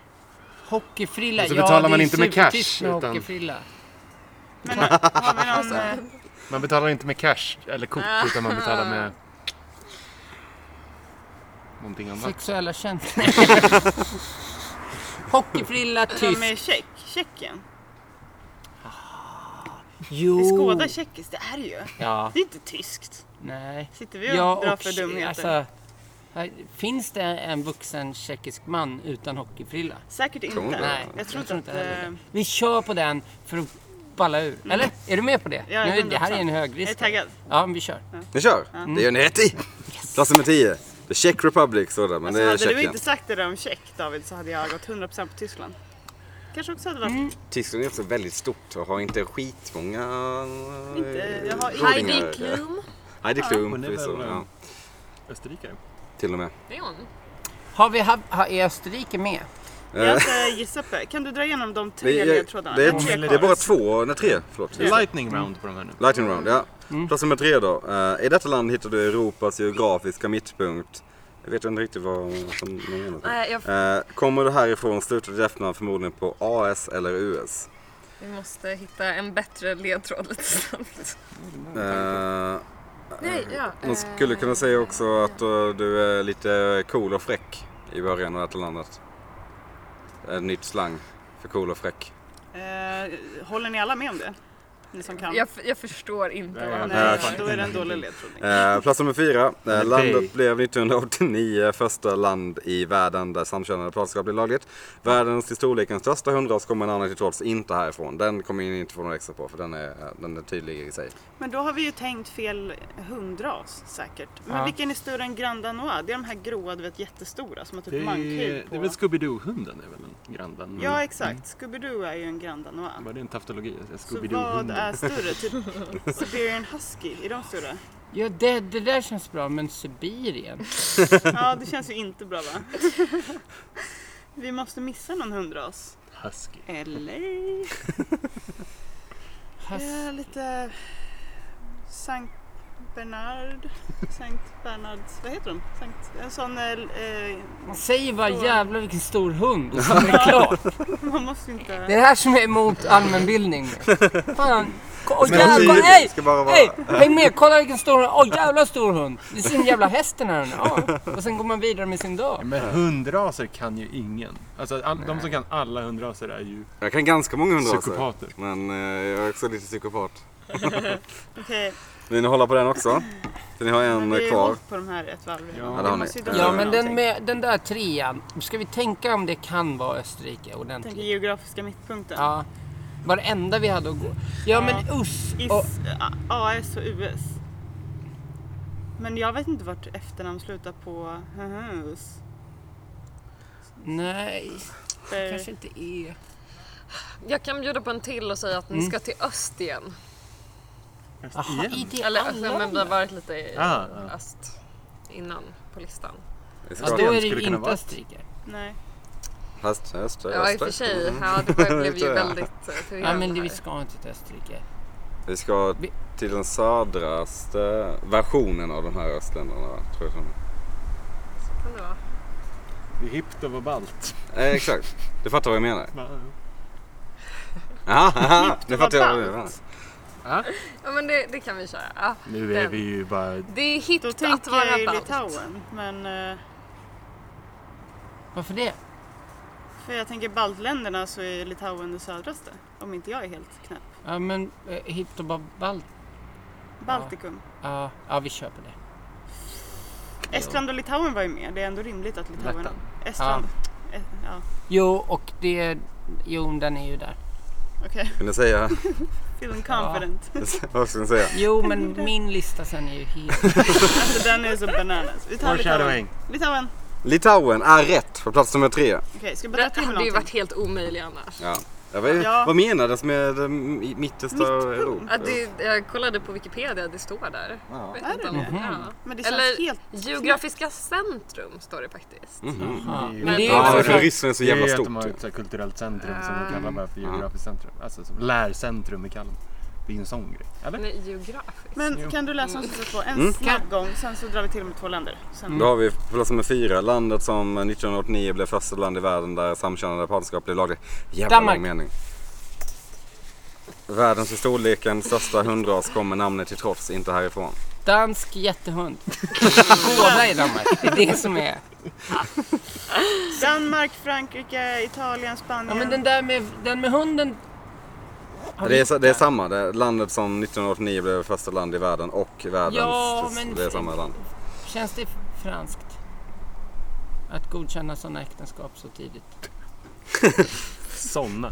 Speaker 3: Hockeyfrilla.
Speaker 1: Och så Alltså, betalar
Speaker 3: det är
Speaker 1: man inte med cash,
Speaker 3: supertyskt med
Speaker 1: utan-
Speaker 3: hockeyfrilla.
Speaker 4: Men har vi någon... eh,
Speaker 1: <laughs> Man betalar inte med cash eller kort utan man betalar med någonting annat. <laughs>
Speaker 3: Sexuella känslor. hockeyfrilla,
Speaker 4: De
Speaker 3: tysk.
Speaker 4: är tjeck, Tjeckien. Det är
Speaker 3: Jo.
Speaker 4: Skåda tjeckiskt, det är det ju.
Speaker 3: Oh. Ja,
Speaker 4: Det är inte tyskt.
Speaker 3: nej.
Speaker 4: Sitter vi och
Speaker 3: Ja,
Speaker 4: drar
Speaker 3: och
Speaker 4: för dumheter?
Speaker 3: alltså, här- finns det en vuxen tjeckisk man utan hockeyfrilla?
Speaker 4: Säkert inte.
Speaker 2: Tror inte.
Speaker 3: Nej,
Speaker 4: jag tror inte att...
Speaker 3: heller
Speaker 4: eh, Mm.
Speaker 3: det. Vi kör på den för att balla ur. Eller? Är du med på det?
Speaker 4: Ja,
Speaker 3: nu, det här är
Speaker 4: 100%.
Speaker 3: en
Speaker 4: Jag är
Speaker 3: högrisk.
Speaker 4: taggad.
Speaker 3: Ja, men vi kör.
Speaker 2: Ni kör? Det gör ni rätt i! Plats nummer 10. The Czech Republic står det, men
Speaker 4: Alltså,
Speaker 2: det är
Speaker 4: hade du
Speaker 2: Tjeckien.
Speaker 4: inte sagt det där om Tjeck David så hade jag gått 100% på Tyskland. Kanske också hade varit...
Speaker 1: Mm.
Speaker 2: Tyskland är också väldigt stort och har inte skitmånga... eh,
Speaker 4: Inte- jag har-
Speaker 5: Heidi
Speaker 2: jordingar.
Speaker 5: Klum.
Speaker 2: Heidi Klum,
Speaker 1: Hon är
Speaker 2: förvisso.
Speaker 1: väl, eh,
Speaker 2: Ja,
Speaker 1: Österrikare.
Speaker 2: till och med.
Speaker 5: Det är hon.
Speaker 3: Har vi, ha, ha, är Österrike med?
Speaker 4: Jag ska gissa eh, på Kan du dra igenom de
Speaker 2: Det
Speaker 4: tre
Speaker 2: är,
Speaker 4: ledtrådarna?
Speaker 2: det,
Speaker 4: Tre
Speaker 2: är, det är
Speaker 4: kvar.
Speaker 2: bara två, nej tre, förlåt.
Speaker 1: Lightning round på de här nu.
Speaker 2: Lightning round, ja.
Speaker 1: Mm.
Speaker 2: Plats nummer tre då. Eh, I detta land hittar du Europas geografiska mittpunkt. Jag vet inte riktigt vad som man menar.
Speaker 5: Nej, jag,
Speaker 2: Eh, kommer du härifrån slutar ditt efternamn förmodligen på AS eller US.
Speaker 5: vi måste hitta en bättre ledtråd lite snabbt.
Speaker 4: Mm.
Speaker 2: Eh,
Speaker 5: Nej, ja.
Speaker 2: man skulle kunna säga också att eh, du är lite cool och fräck i början av detta landet. En nytt slang för cool och fräck.
Speaker 4: Eh, håller ni alla med om det? Ni som kan?
Speaker 5: Jag, jag förstår inte vad han
Speaker 1: Nej,
Speaker 4: Nej,
Speaker 5: menar.
Speaker 2: fan.
Speaker 4: då är det en dålig ledtråd.
Speaker 2: Eh, plats nummer fyra. Eh,
Speaker 1: dig.
Speaker 2: landet blev 1989 första land i världen där samkönade partnerskap blev lagligt. Världens till storleken största hundras kommer en annan till trots inte härifrån. Den kommer ni inte få några extra på för den är, eh, den är tydlig i sig.
Speaker 4: Men då har vi ju tänkt fel hundras säkert. Men
Speaker 3: Ja.
Speaker 4: vilken är större än Grand Danois? Det är de här gråa, du vet jättestora som har
Speaker 1: Det
Speaker 4: typ
Speaker 1: är,
Speaker 4: mankhyv
Speaker 1: det är
Speaker 4: på.
Speaker 1: väl Mm. Scooby-Doo-hunden är väl en grannvän? men-
Speaker 4: Ja exakt, Scooby-Doo är ju en Grand Danois.
Speaker 1: Var det en taftologi?
Speaker 4: Så vad
Speaker 1: Scooby-Doo-hunden?
Speaker 4: är större?
Speaker 1: <laughs>
Speaker 4: Typ Siberian Husky, är de större?
Speaker 3: Ja, det, det där känns bra, men Sibirien?
Speaker 4: Ja, det känns ju inte bra
Speaker 3: <laughs>
Speaker 4: va? Vi måste missa någon hundras.
Speaker 1: Husky.
Speaker 4: Eller?
Speaker 3: Has-
Speaker 4: Eh, lite Sankt Bernard. Sankt Bernards, vad heter de? Sankt, en sån, eh, eh,
Speaker 3: Man säger bara jävlar vilken stor hund och så är det
Speaker 4: <laughs>
Speaker 3: klart.
Speaker 4: man måste inte...
Speaker 3: Det är det här som är emot
Speaker 4: <laughs>
Speaker 3: allmänbildning. Fan. Ko- Åh
Speaker 2: Men
Speaker 3: jävlar,
Speaker 2: tydligt,
Speaker 3: alltså, hej!
Speaker 2: ska bara vara-
Speaker 3: Hej! Häng med, kolla vilken stor hund. Åh jävla stor hund. Det är sin jävla hästen här nu. Ja. Och sen går man vidare med sin dag.
Speaker 1: Men hundraser kan ju ingen. Alltså, all, de som kan alla hundraser är ju
Speaker 2: Jag kan ganska många hundraser.
Speaker 1: psykopater.
Speaker 2: Men eh, jag är också lite psykopat.
Speaker 4: Okej,
Speaker 2: Vill ni hålla på den också? För ni har en
Speaker 4: men vi har ju
Speaker 2: kvar.
Speaker 4: hållit på de här ett varv
Speaker 1: Ja,
Speaker 2: det
Speaker 4: redan.
Speaker 2: har
Speaker 4: Vi
Speaker 2: ni.
Speaker 4: måste ju dra
Speaker 3: Ja
Speaker 4: ner
Speaker 3: men den,
Speaker 4: någonting.
Speaker 3: med, den där trean, ska vi tänka om det kan vara Österrike
Speaker 4: Jag
Speaker 3: ordentligt?
Speaker 4: tänker geografiska mittpunkten.
Speaker 3: Ja. Varenda vi hade att gå. Ja men us
Speaker 4: Is, eh,
Speaker 3: och
Speaker 4: A- AS och US. Men jag vet inte vart efternamn slutar på hus. Eh.
Speaker 3: E. Nej, kanske inte är.
Speaker 5: Jag kan bjuda på en till och säga att ni ska till öst igen.
Speaker 3: Aha, i det
Speaker 5: Eller
Speaker 3: alla
Speaker 5: nej, men vi har varit lite i
Speaker 7: Ah, ah.
Speaker 5: öst innan på listan.
Speaker 3: Ja, då är det inte Österrike.
Speaker 4: Nej.
Speaker 2: Höst, höst,
Speaker 5: Ja i och för sig, ja, det var, blev ju
Speaker 2: Mm. Ja.
Speaker 5: väldigt eh, förvirrande.
Speaker 3: Nej, men det, vi
Speaker 5: här.
Speaker 3: ska inte till Österrike.
Speaker 2: Vi ska
Speaker 3: Vi-
Speaker 2: till den södraste versionen av de här östländerna. va? Tror jag.
Speaker 5: Så kan det vara.
Speaker 7: Det är hippt att vara ballt.
Speaker 2: Eh, exakt, du fattar vad jag menar.
Speaker 7: Va?
Speaker 2: Aha, aha, nu
Speaker 4: var
Speaker 2: fattar jag vad du menar.
Speaker 5: Ja men det, det kan vi köra. Ja.
Speaker 7: Nu är
Speaker 5: Den.
Speaker 7: vi ju bara...
Speaker 5: Det är
Speaker 4: Då
Speaker 5: hippt att
Speaker 4: tänkte jag
Speaker 5: vara
Speaker 4: ju
Speaker 5: ballt.
Speaker 4: Litauen. Men, eh,
Speaker 3: Varför det?
Speaker 4: för jag tänker baltländerna så är Litauen det södraste. Om inte jag är helt knäpp.
Speaker 3: Ja, men eh, hippt och bara balt.
Speaker 4: Baltikum.
Speaker 3: Ja, ja, vi köper det.
Speaker 4: Estland och Litauen var ju med. Det är ändå rimligt att Litauen...
Speaker 3: Lettland.
Speaker 4: Estland. Eh, Ja,
Speaker 3: Jo, och det... Jo, den är ju där.
Speaker 4: okej.
Speaker 2: Vill ni säga? <laughs>
Speaker 4: Feeling confident. <laughs>
Speaker 2: Vad ska ni säga?
Speaker 3: Jo, men min lista sen är ju helt...
Speaker 4: alltså den är så bananas. Vi tar Litauen.
Speaker 7: Foreshadowing.
Speaker 4: Litauen.
Speaker 2: Litauen är rätt på plats nummer tre.
Speaker 4: Okej, ska vi
Speaker 5: Det
Speaker 4: berätta om
Speaker 5: hade ju
Speaker 4: någonting?
Speaker 5: varit helt omöjligt annars.
Speaker 2: Ja. Ja, vad,
Speaker 4: Ja.
Speaker 2: vad menades med eh, m- mittersta Europa?
Speaker 5: Ja, det, jag kollade på Wikipedia, det står där.
Speaker 2: Ja.
Speaker 5: Vet inte om- ja.
Speaker 4: Men det känns
Speaker 5: Eller
Speaker 4: helt...
Speaker 5: Geografiska centrum står det faktiskt.
Speaker 3: Men det
Speaker 2: Ja,
Speaker 3: är ju
Speaker 2: för
Speaker 3: för...
Speaker 2: Ryssland är så
Speaker 7: Det är
Speaker 2: jävla
Speaker 7: ju att de har
Speaker 2: stort. Mm.
Speaker 7: ett så här kulturellt centrum som
Speaker 4: Ah.
Speaker 7: de kallar bara för geografiskt centrum. Alltså som lärcentrum i Kalmar. Det är ju en sån grej. Eller?
Speaker 5: Nej, geografiskt.
Speaker 4: Men kan du läsa
Speaker 3: Mm.
Speaker 4: om sista två? En snabb gång, sen så drar vi till med två länder. Sen...
Speaker 2: Då har vi plats nummer fyra, landet som 1989 blev första land i världen där samkönade partnerskap blev lagligt. Jävla
Speaker 3: Danmark.
Speaker 2: lång mening. Världens i storleken största hundras kommer namnet till trots inte härifrån.
Speaker 3: Dansk jättehund. Båda i Danmark. Det är det som är...
Speaker 4: Danmark, Frankrike, Italien,
Speaker 3: Ja,
Speaker 4: Spanien.
Speaker 3: men den där med, den med hunden... har vi
Speaker 2: Det är, sa- det är
Speaker 3: hittat.
Speaker 2: samma, det är landet som 1989 blev första land i världen och världens,
Speaker 3: Ja, men-
Speaker 2: det är samma land.
Speaker 3: Känns det franskt? Att godkänna sådana äktenskap så tidigt.
Speaker 7: Såna.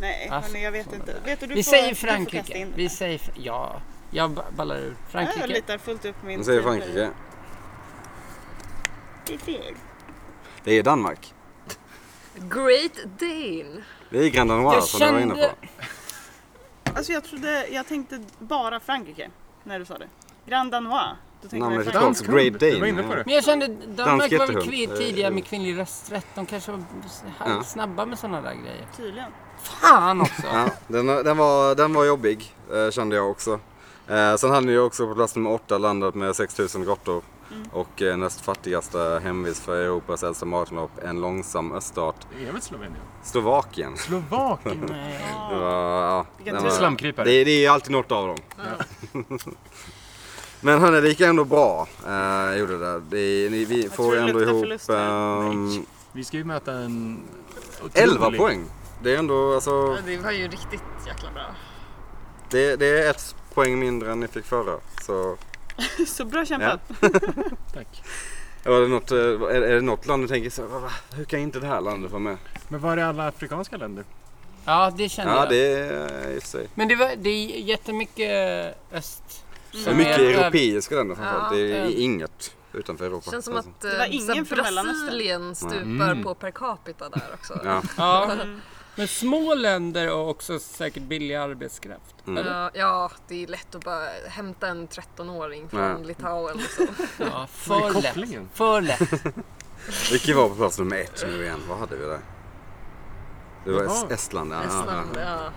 Speaker 4: Nej,
Speaker 3: Alltså,
Speaker 4: hörni, jag vet inte. Vet du, du
Speaker 3: Vi
Speaker 4: får,
Speaker 3: säger
Speaker 4: Du får kasta
Speaker 3: Frankrike.
Speaker 4: in
Speaker 3: Vi säger... fr- Ja, jag ba- ballar ur.
Speaker 4: Frankrike. Jag
Speaker 3: Frankrike.
Speaker 4: litar fullt upp på min...
Speaker 2: Nu säger Frankrike.
Speaker 4: Det är fel.
Speaker 2: Det är Danmark.
Speaker 5: Great Dane.
Speaker 2: Det är Grand Danois
Speaker 3: Jag
Speaker 2: som du var inne
Speaker 3: kände...
Speaker 2: på.
Speaker 4: Alltså jag trodde... Jag tänkte bara Frankrike när du sa det. Grand Danois. Då tänkte
Speaker 2: Namnet
Speaker 4: jag
Speaker 2: till
Speaker 4: Frankrike.
Speaker 2: trots,
Speaker 7: Dansk hund.
Speaker 2: Great Dane.
Speaker 7: Du var inne på det.
Speaker 3: Men jag kände Danmark var väl
Speaker 2: jättehund. eh,
Speaker 3: kvin- tidiga med kvinnlig rösträtt. De kanske var s-
Speaker 2: Ja.
Speaker 3: snabba med sådana där grejer.
Speaker 4: Tydligen.
Speaker 3: Fan också!
Speaker 2: Ja, den, den, var, den var jobbig, eh, kände jag också. Eh, sen hade ni också på plats nummer åtta landat med 6000 grottor.
Speaker 4: Mm.
Speaker 2: Och eh, näst fattigaste hemvist för Europas äldsta maratonlopp, en långsam öststat,
Speaker 7: Det är väl Slovenien?
Speaker 2: Slovakien.
Speaker 7: Slovakien?
Speaker 3: Nej.
Speaker 2: Det var, ja,
Speaker 4: Vilken
Speaker 2: den
Speaker 4: tur.
Speaker 2: var-
Speaker 7: Slamkrypare.
Speaker 2: det, det är ju alltid något av dem. <laughs> Men hörni, det gick ändå bra. Eh, gjorde det. det ni, vi
Speaker 4: tror
Speaker 2: får
Speaker 4: det
Speaker 2: ändå
Speaker 4: luktar
Speaker 2: ihop
Speaker 4: förlust här.
Speaker 2: ehm,
Speaker 7: Vi ska ju möta en... otrolig-
Speaker 2: 11 poäng. Det är ändå, alltså,
Speaker 5: Ja, Det var ju riktigt jäkla bra.
Speaker 2: det, det är ett poäng mindre än ni fick förra. Så
Speaker 4: <laughs> Så bra kämpat.
Speaker 7: Tack.
Speaker 2: Var det något, eh, är, är det något land du tänker så här, "Va, va, hur kan inte det här landet vara med?
Speaker 7: Men var är alla afrikanska länder?
Speaker 3: Ja, det kände
Speaker 2: Ja,
Speaker 3: jag.
Speaker 2: det är i och för sig.
Speaker 3: Men det, var, det är jättemycket öst.
Speaker 2: Det är
Speaker 3: som
Speaker 2: mycket
Speaker 3: är över-
Speaker 2: europeiska länder framförallt. Det är
Speaker 3: Ja.
Speaker 2: inget utanför Europa.
Speaker 5: Känns som
Speaker 2: Alltså.
Speaker 5: att
Speaker 4: var
Speaker 5: eh,
Speaker 4: ingen
Speaker 5: så här
Speaker 4: från Mellanöstern.
Speaker 5: Brasilien stupar på per capita där också.
Speaker 2: Ja.
Speaker 3: <laughs> Ja.
Speaker 7: Mm.
Speaker 3: Men små länder och också säkert billig arbetskraft.
Speaker 2: Mm.
Speaker 3: Eller?
Speaker 5: Ja, ja, det är lätt att bara hämta en 13-åring från
Speaker 2: Ja.
Speaker 5: Litauen. Liksom.
Speaker 3: Ja,
Speaker 7: Vad är
Speaker 3: för lätt.
Speaker 7: kopplingen?
Speaker 3: För lätt.
Speaker 2: Vilket var på plats nummer ett nu igen? Vad hade vi där? Det var
Speaker 7: Jaha.
Speaker 2: Est- Estland. Ja,
Speaker 5: Estland,
Speaker 2: ja,
Speaker 5: ja.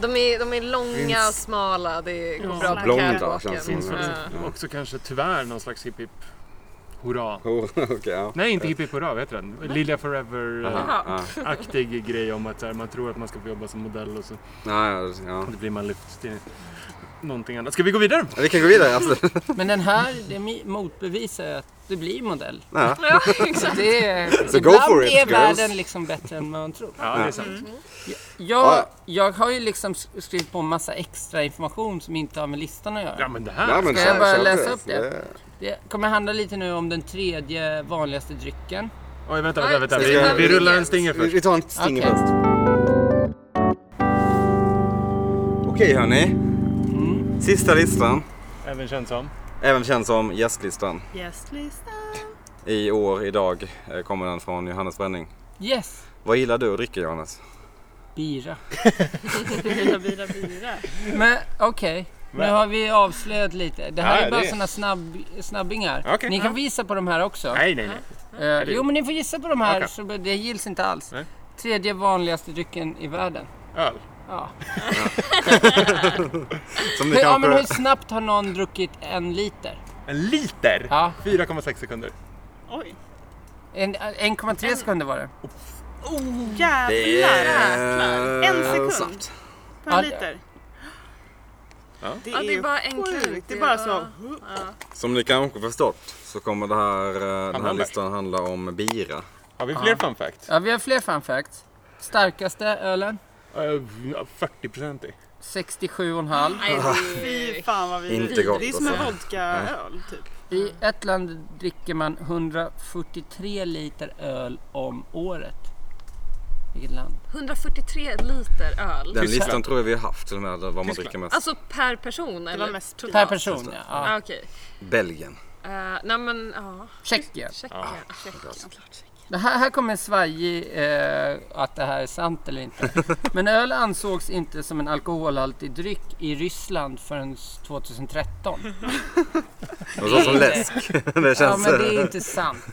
Speaker 5: De är, de är långa och smala, det går bra
Speaker 2: ja.
Speaker 5: på
Speaker 2: Blonda känns det
Speaker 5: catwalken.
Speaker 2: som.
Speaker 5: Ja.
Speaker 2: Ja.
Speaker 7: Också kanske tyvärr någon slags hipp hipp hurra.
Speaker 2: Oh, <laughs> okej, ja.
Speaker 7: Nej, inte hipp hipp hurra, vad heter den? Lilja Forever-aktig
Speaker 2: Ja.
Speaker 7: grej om att så här, man tror att man ska få jobba som modell och så
Speaker 2: Ja, ja, ja.
Speaker 7: då blir man lyft till någonting annat. Ska vi gå vidare?
Speaker 2: Vi kan gå vidare. Alltså,
Speaker 3: <laughs>
Speaker 2: Absolut.
Speaker 3: Men den här det mi- motbevisar att du blir modell.
Speaker 2: Ja.
Speaker 5: <laughs> <laughs> Ja, exakt.
Speaker 3: Det är,
Speaker 2: <laughs> So go
Speaker 3: ibland
Speaker 2: for it,
Speaker 3: är
Speaker 2: girls.
Speaker 3: världen liksom bättre än man tror.
Speaker 7: Ja, det är sant.
Speaker 3: Jag, jag har ju liksom sk- skrivit på massa extra information som inte har med listan att göra.
Speaker 7: Ja, men det här.
Speaker 2: Ja, men
Speaker 3: Ska jag
Speaker 2: så-
Speaker 3: bara
Speaker 2: så-
Speaker 3: läsa upp det?
Speaker 2: det-
Speaker 3: Det kommer handla lite nu om den tredje vanligaste drycken.
Speaker 7: Oj, vänta, vänta, vänta.
Speaker 5: Ska
Speaker 2: vi ta
Speaker 7: Vi, vi rullar en
Speaker 5: Williams?
Speaker 7: stinger
Speaker 2: Vi,
Speaker 7: först.
Speaker 2: vi tar en stinger
Speaker 3: Okej.
Speaker 2: först. Okej hörni.
Speaker 3: Mm.
Speaker 2: Sista listan.
Speaker 7: Även känd som.
Speaker 2: Även känd som gästlistan.
Speaker 4: Gästlistan.
Speaker 2: I år, idag, eh, kommer den från Johannes Bränning.
Speaker 3: Yes!
Speaker 2: Vad gillar du att dricka Johannes?
Speaker 3: Bira.
Speaker 4: Bira, bira, <laughs> bira.
Speaker 3: Men okej, nu
Speaker 1: Men-
Speaker 3: har vi avslöjat lite. Det här
Speaker 1: Ja,
Speaker 3: är bara
Speaker 1: det är-
Speaker 3: sådana snabb, snabbingar.
Speaker 1: Okej,
Speaker 3: ni kan
Speaker 1: ja.
Speaker 3: få gissa på de här också.
Speaker 1: Nej, nej, nej.
Speaker 3: Eh, jo, men ni får gissa på de här.
Speaker 1: Okej.
Speaker 3: Så det gills inte alls.
Speaker 1: Nej.
Speaker 3: Tredje vanligaste drycken i världen.
Speaker 1: Öl.
Speaker 3: Ja.
Speaker 2: Som ni
Speaker 3: Hur, ja, men hur
Speaker 2: kanske...
Speaker 3: snabbt har någon druckit en liter?
Speaker 1: En liter!
Speaker 3: Ja.
Speaker 1: 4,6 sekunder.
Speaker 4: Oj,
Speaker 3: En- 1,3 sekunder var det.
Speaker 2: Eh,
Speaker 4: jävlar. En sekund
Speaker 2: snabbt.
Speaker 4: på
Speaker 3: Ja,
Speaker 4: en
Speaker 3: det-
Speaker 4: liter. Det
Speaker 5: Ja, det är
Speaker 4: ju
Speaker 5: bara en
Speaker 4: sjukt.
Speaker 5: klunk.
Speaker 4: Det är bara så.
Speaker 2: Som ni kanske förstått så kommer det här, eh, den här
Speaker 1: Hamburg.
Speaker 2: listan handla om bira.
Speaker 1: Har vi fler fun facts?
Speaker 3: Ja, vi har fler fun facts. Starkaste ölen?
Speaker 1: Eh, 40% i.
Speaker 3: 67,5.
Speaker 5: Nej,
Speaker 4: Fy fan vad vi
Speaker 2: Inte gott,
Speaker 4: Det är som en
Speaker 2: alltså.
Speaker 4: vodkaöl typ.
Speaker 3: I ett land dricker man 143 liter öl om året. Vilket land?
Speaker 5: 143 liter
Speaker 2: Den
Speaker 5: öl.
Speaker 1: Tyskland.
Speaker 2: listan tror jag vi har haft till och med, där vad man
Speaker 1: Tyskland.
Speaker 2: dricker mest.
Speaker 5: Alltså per person
Speaker 4: Det
Speaker 5: eller?
Speaker 4: var mest
Speaker 3: Per
Speaker 4: totalt.
Speaker 3: person, ja. ja.
Speaker 5: Ah, Okej.
Speaker 2: Belgien.
Speaker 5: Eh, nej men ja,
Speaker 3: Tjeckien.
Speaker 5: Tjeckien.
Speaker 2: Ah,
Speaker 5: Tjeckien.
Speaker 3: Det här, här kommer en svajig eh, att det här är sant eller inte. Men öl ansågs inte som en alkoholhaltig dryck i Ryssland förrän 2013.
Speaker 2: Och så som läsk. <laughs> det
Speaker 3: Ja,
Speaker 2: känns...
Speaker 3: men det är inte sant.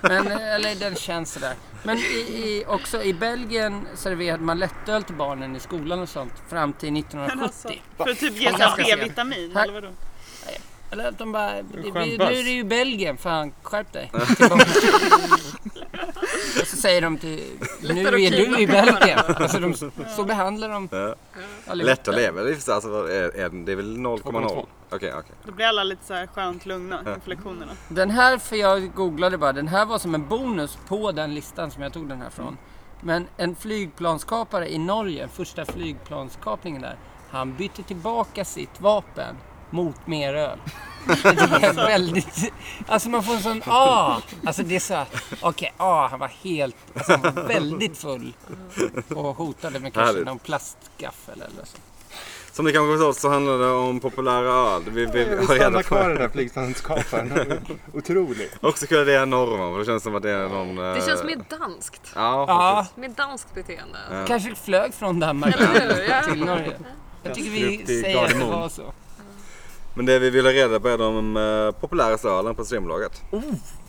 Speaker 3: Men, eller den känns sådär. Men i, i, också i Belgien serverade man lättöl till barnen i skolan och sånt fram till
Speaker 4: Men
Speaker 3: 1970.
Speaker 4: alltså, för att typ ge
Speaker 3: Ganska
Speaker 4: såhär
Speaker 3: sent.
Speaker 4: B-vitamin
Speaker 3: Tack.
Speaker 4: eller vadå?
Speaker 3: Eller att de bara, det,
Speaker 1: skön
Speaker 3: det, nu
Speaker 1: buzz.
Speaker 3: är det ju Belgien, fan skärp dig. Till barnen. och så säger de till, nu är
Speaker 5: att
Speaker 3: du i
Speaker 5: kidnappa
Speaker 3: Belgien. Alltså de, så behandlar de
Speaker 2: Ja.
Speaker 3: allihopa.
Speaker 2: Lätt att leva, det är, för- alltså, vad är, är, det är väl 0,0?
Speaker 1: 2,2.
Speaker 2: Okej, okej.
Speaker 4: Då blir alla lite såhär skönt lugna inför lektionerna.
Speaker 3: Den här, för jag googlade bara, den här var som en bonus på den listan som jag tog den här från. Men en flygplanskapare i Norge, första flygplanskapningen där, han bytte tillbaka sitt vapen mot mer öl. Det är väldigt... Alltså man får en sån ah! Alltså det är så här, okej, ah, han var helt, alltså han var väldigt full. Och hotade med kanske
Speaker 2: Härligt.
Speaker 3: någon plastgaffel eller så.
Speaker 2: Som ni kanske förstått så handlar det om populära öl. Vi, vi, vi
Speaker 1: Vi
Speaker 2: har redan
Speaker 1: stannar kvar i den där flygplanskaparen. Otrolig.
Speaker 2: <laughs> Också kul att det är norrman för det känns som att det är någon...
Speaker 5: Det
Speaker 2: eh,
Speaker 5: känns mer danskt.
Speaker 2: Ja,
Speaker 3: Ja,
Speaker 2: faktiskt.
Speaker 5: Mer danskt beteende.
Speaker 3: kanske flög från Danmark
Speaker 5: Eller
Speaker 2: <laughs>
Speaker 5: hur? Ja.
Speaker 3: till Norge. Jag tycker vi
Speaker 1: Upp till
Speaker 3: säger att det
Speaker 1: Gardermoen.
Speaker 3: var så.
Speaker 2: Men det vi ville reda på är de eh, populäraste ölen på Systembolaget.
Speaker 7: Oh,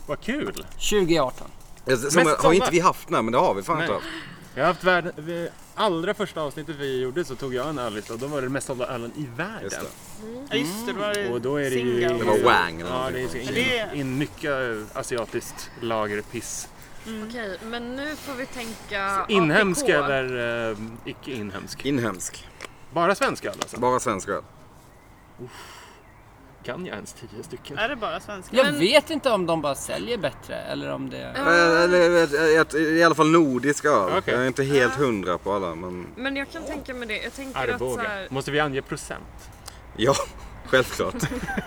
Speaker 1: Vad kul!
Speaker 3: 2018.
Speaker 2: Som, har
Speaker 1: sålda.
Speaker 2: inte vi haft den men det har vi fan inte
Speaker 1: Nej.
Speaker 2: haft.
Speaker 1: Jag har haft världen, vi, allra första avsnittet vi gjorde så tog jag en öllista och då var det den mest sålda ölen i världen.
Speaker 2: Just det.
Speaker 4: Ja just det, då var
Speaker 1: Mm. Och då är
Speaker 4: det
Speaker 1: det ju...
Speaker 4: Singa
Speaker 2: Det
Speaker 4: och
Speaker 2: var Wang eller
Speaker 1: Ja,
Speaker 2: någonting.
Speaker 1: det är in,
Speaker 4: Det är-
Speaker 1: in mycket asiatiskt lagerpiss.
Speaker 5: Okej, men nu får vi tänka
Speaker 1: Inhemsk
Speaker 5: APK.
Speaker 1: eller eh, icke inhemsk?
Speaker 2: Inhemsk.
Speaker 1: Bara svensk öl alltså?
Speaker 2: Bara svensk öl.
Speaker 1: Kan jag ens tio stycken?
Speaker 5: Äh,
Speaker 4: Är det bara svenska?
Speaker 3: Jag vet inte om de bara säljer bättre eller om det...
Speaker 2: Eh, Eller eh, ett- I alla fall nordisk öl.
Speaker 1: Okej.
Speaker 2: Jag är inte helt hundra på alla men
Speaker 5: Men jag kan tänka mig det. Jag tänker att så
Speaker 1: Arboga.
Speaker 5: här,
Speaker 1: Måste vi ange <laughs> procent?
Speaker 2: ja, <laughs> självklart.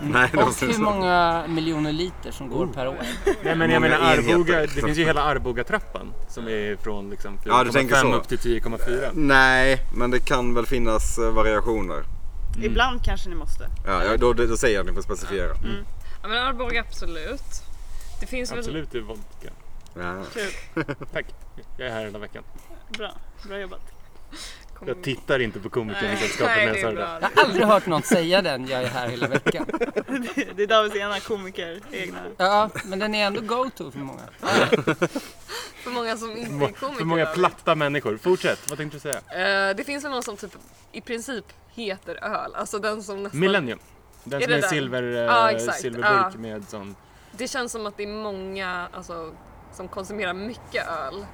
Speaker 2: Nej, det
Speaker 3: Och
Speaker 2: måste vi
Speaker 3: hur
Speaker 2: inte.
Speaker 3: många miljoner liter som går per år.
Speaker 1: Nej men jag
Speaker 2: Många
Speaker 1: menar Arboga,
Speaker 2: enheter.
Speaker 1: det finns ju hela Arboga-trappan som är från liksom
Speaker 2: Ja, du tänker
Speaker 1: 4,5
Speaker 2: så.
Speaker 1: upp till
Speaker 5: Mm.
Speaker 1: 10,4.
Speaker 2: Nej, men det kan väl finnas eh, variationer.
Speaker 4: Ibland kanske ni måste.
Speaker 2: Ja, ja, då, då säger jag att ni får specificera.
Speaker 5: ja, men Arboga absolut. Det finns väl...
Speaker 1: Absolut, det är vodka.
Speaker 2: Ja.
Speaker 4: Kul,
Speaker 1: Tack, jag är här hela veckan.
Speaker 4: bra. Bra jobbat. <laughs>
Speaker 1: Jag tittar inte på komikersällskapet när jag
Speaker 5: Mm. Nej, det
Speaker 1: sa
Speaker 5: är
Speaker 1: det där.
Speaker 5: bra.
Speaker 3: Jag har aldrig hört någon säga den, jag är här hela veckan.
Speaker 4: Det är Davids ena komiker, egna.
Speaker 3: Ja, men den är ändå go-to för många.
Speaker 5: För många som inte är komiker.
Speaker 1: För många
Speaker 5: då.
Speaker 1: platta människor. Fortsätt, vad tänkte du säga?
Speaker 5: Eh, det finns väl någon som typ i princip heter öl. Alltså den som nästan...
Speaker 1: Millennium. Den
Speaker 5: Är
Speaker 1: som
Speaker 5: det
Speaker 1: är
Speaker 5: den?
Speaker 1: silver, eh,
Speaker 5: Ja, exakt.
Speaker 1: silverburk
Speaker 5: Ja.
Speaker 1: med sån...
Speaker 5: Det känns som att det är många alltså, som konsumerar mycket öl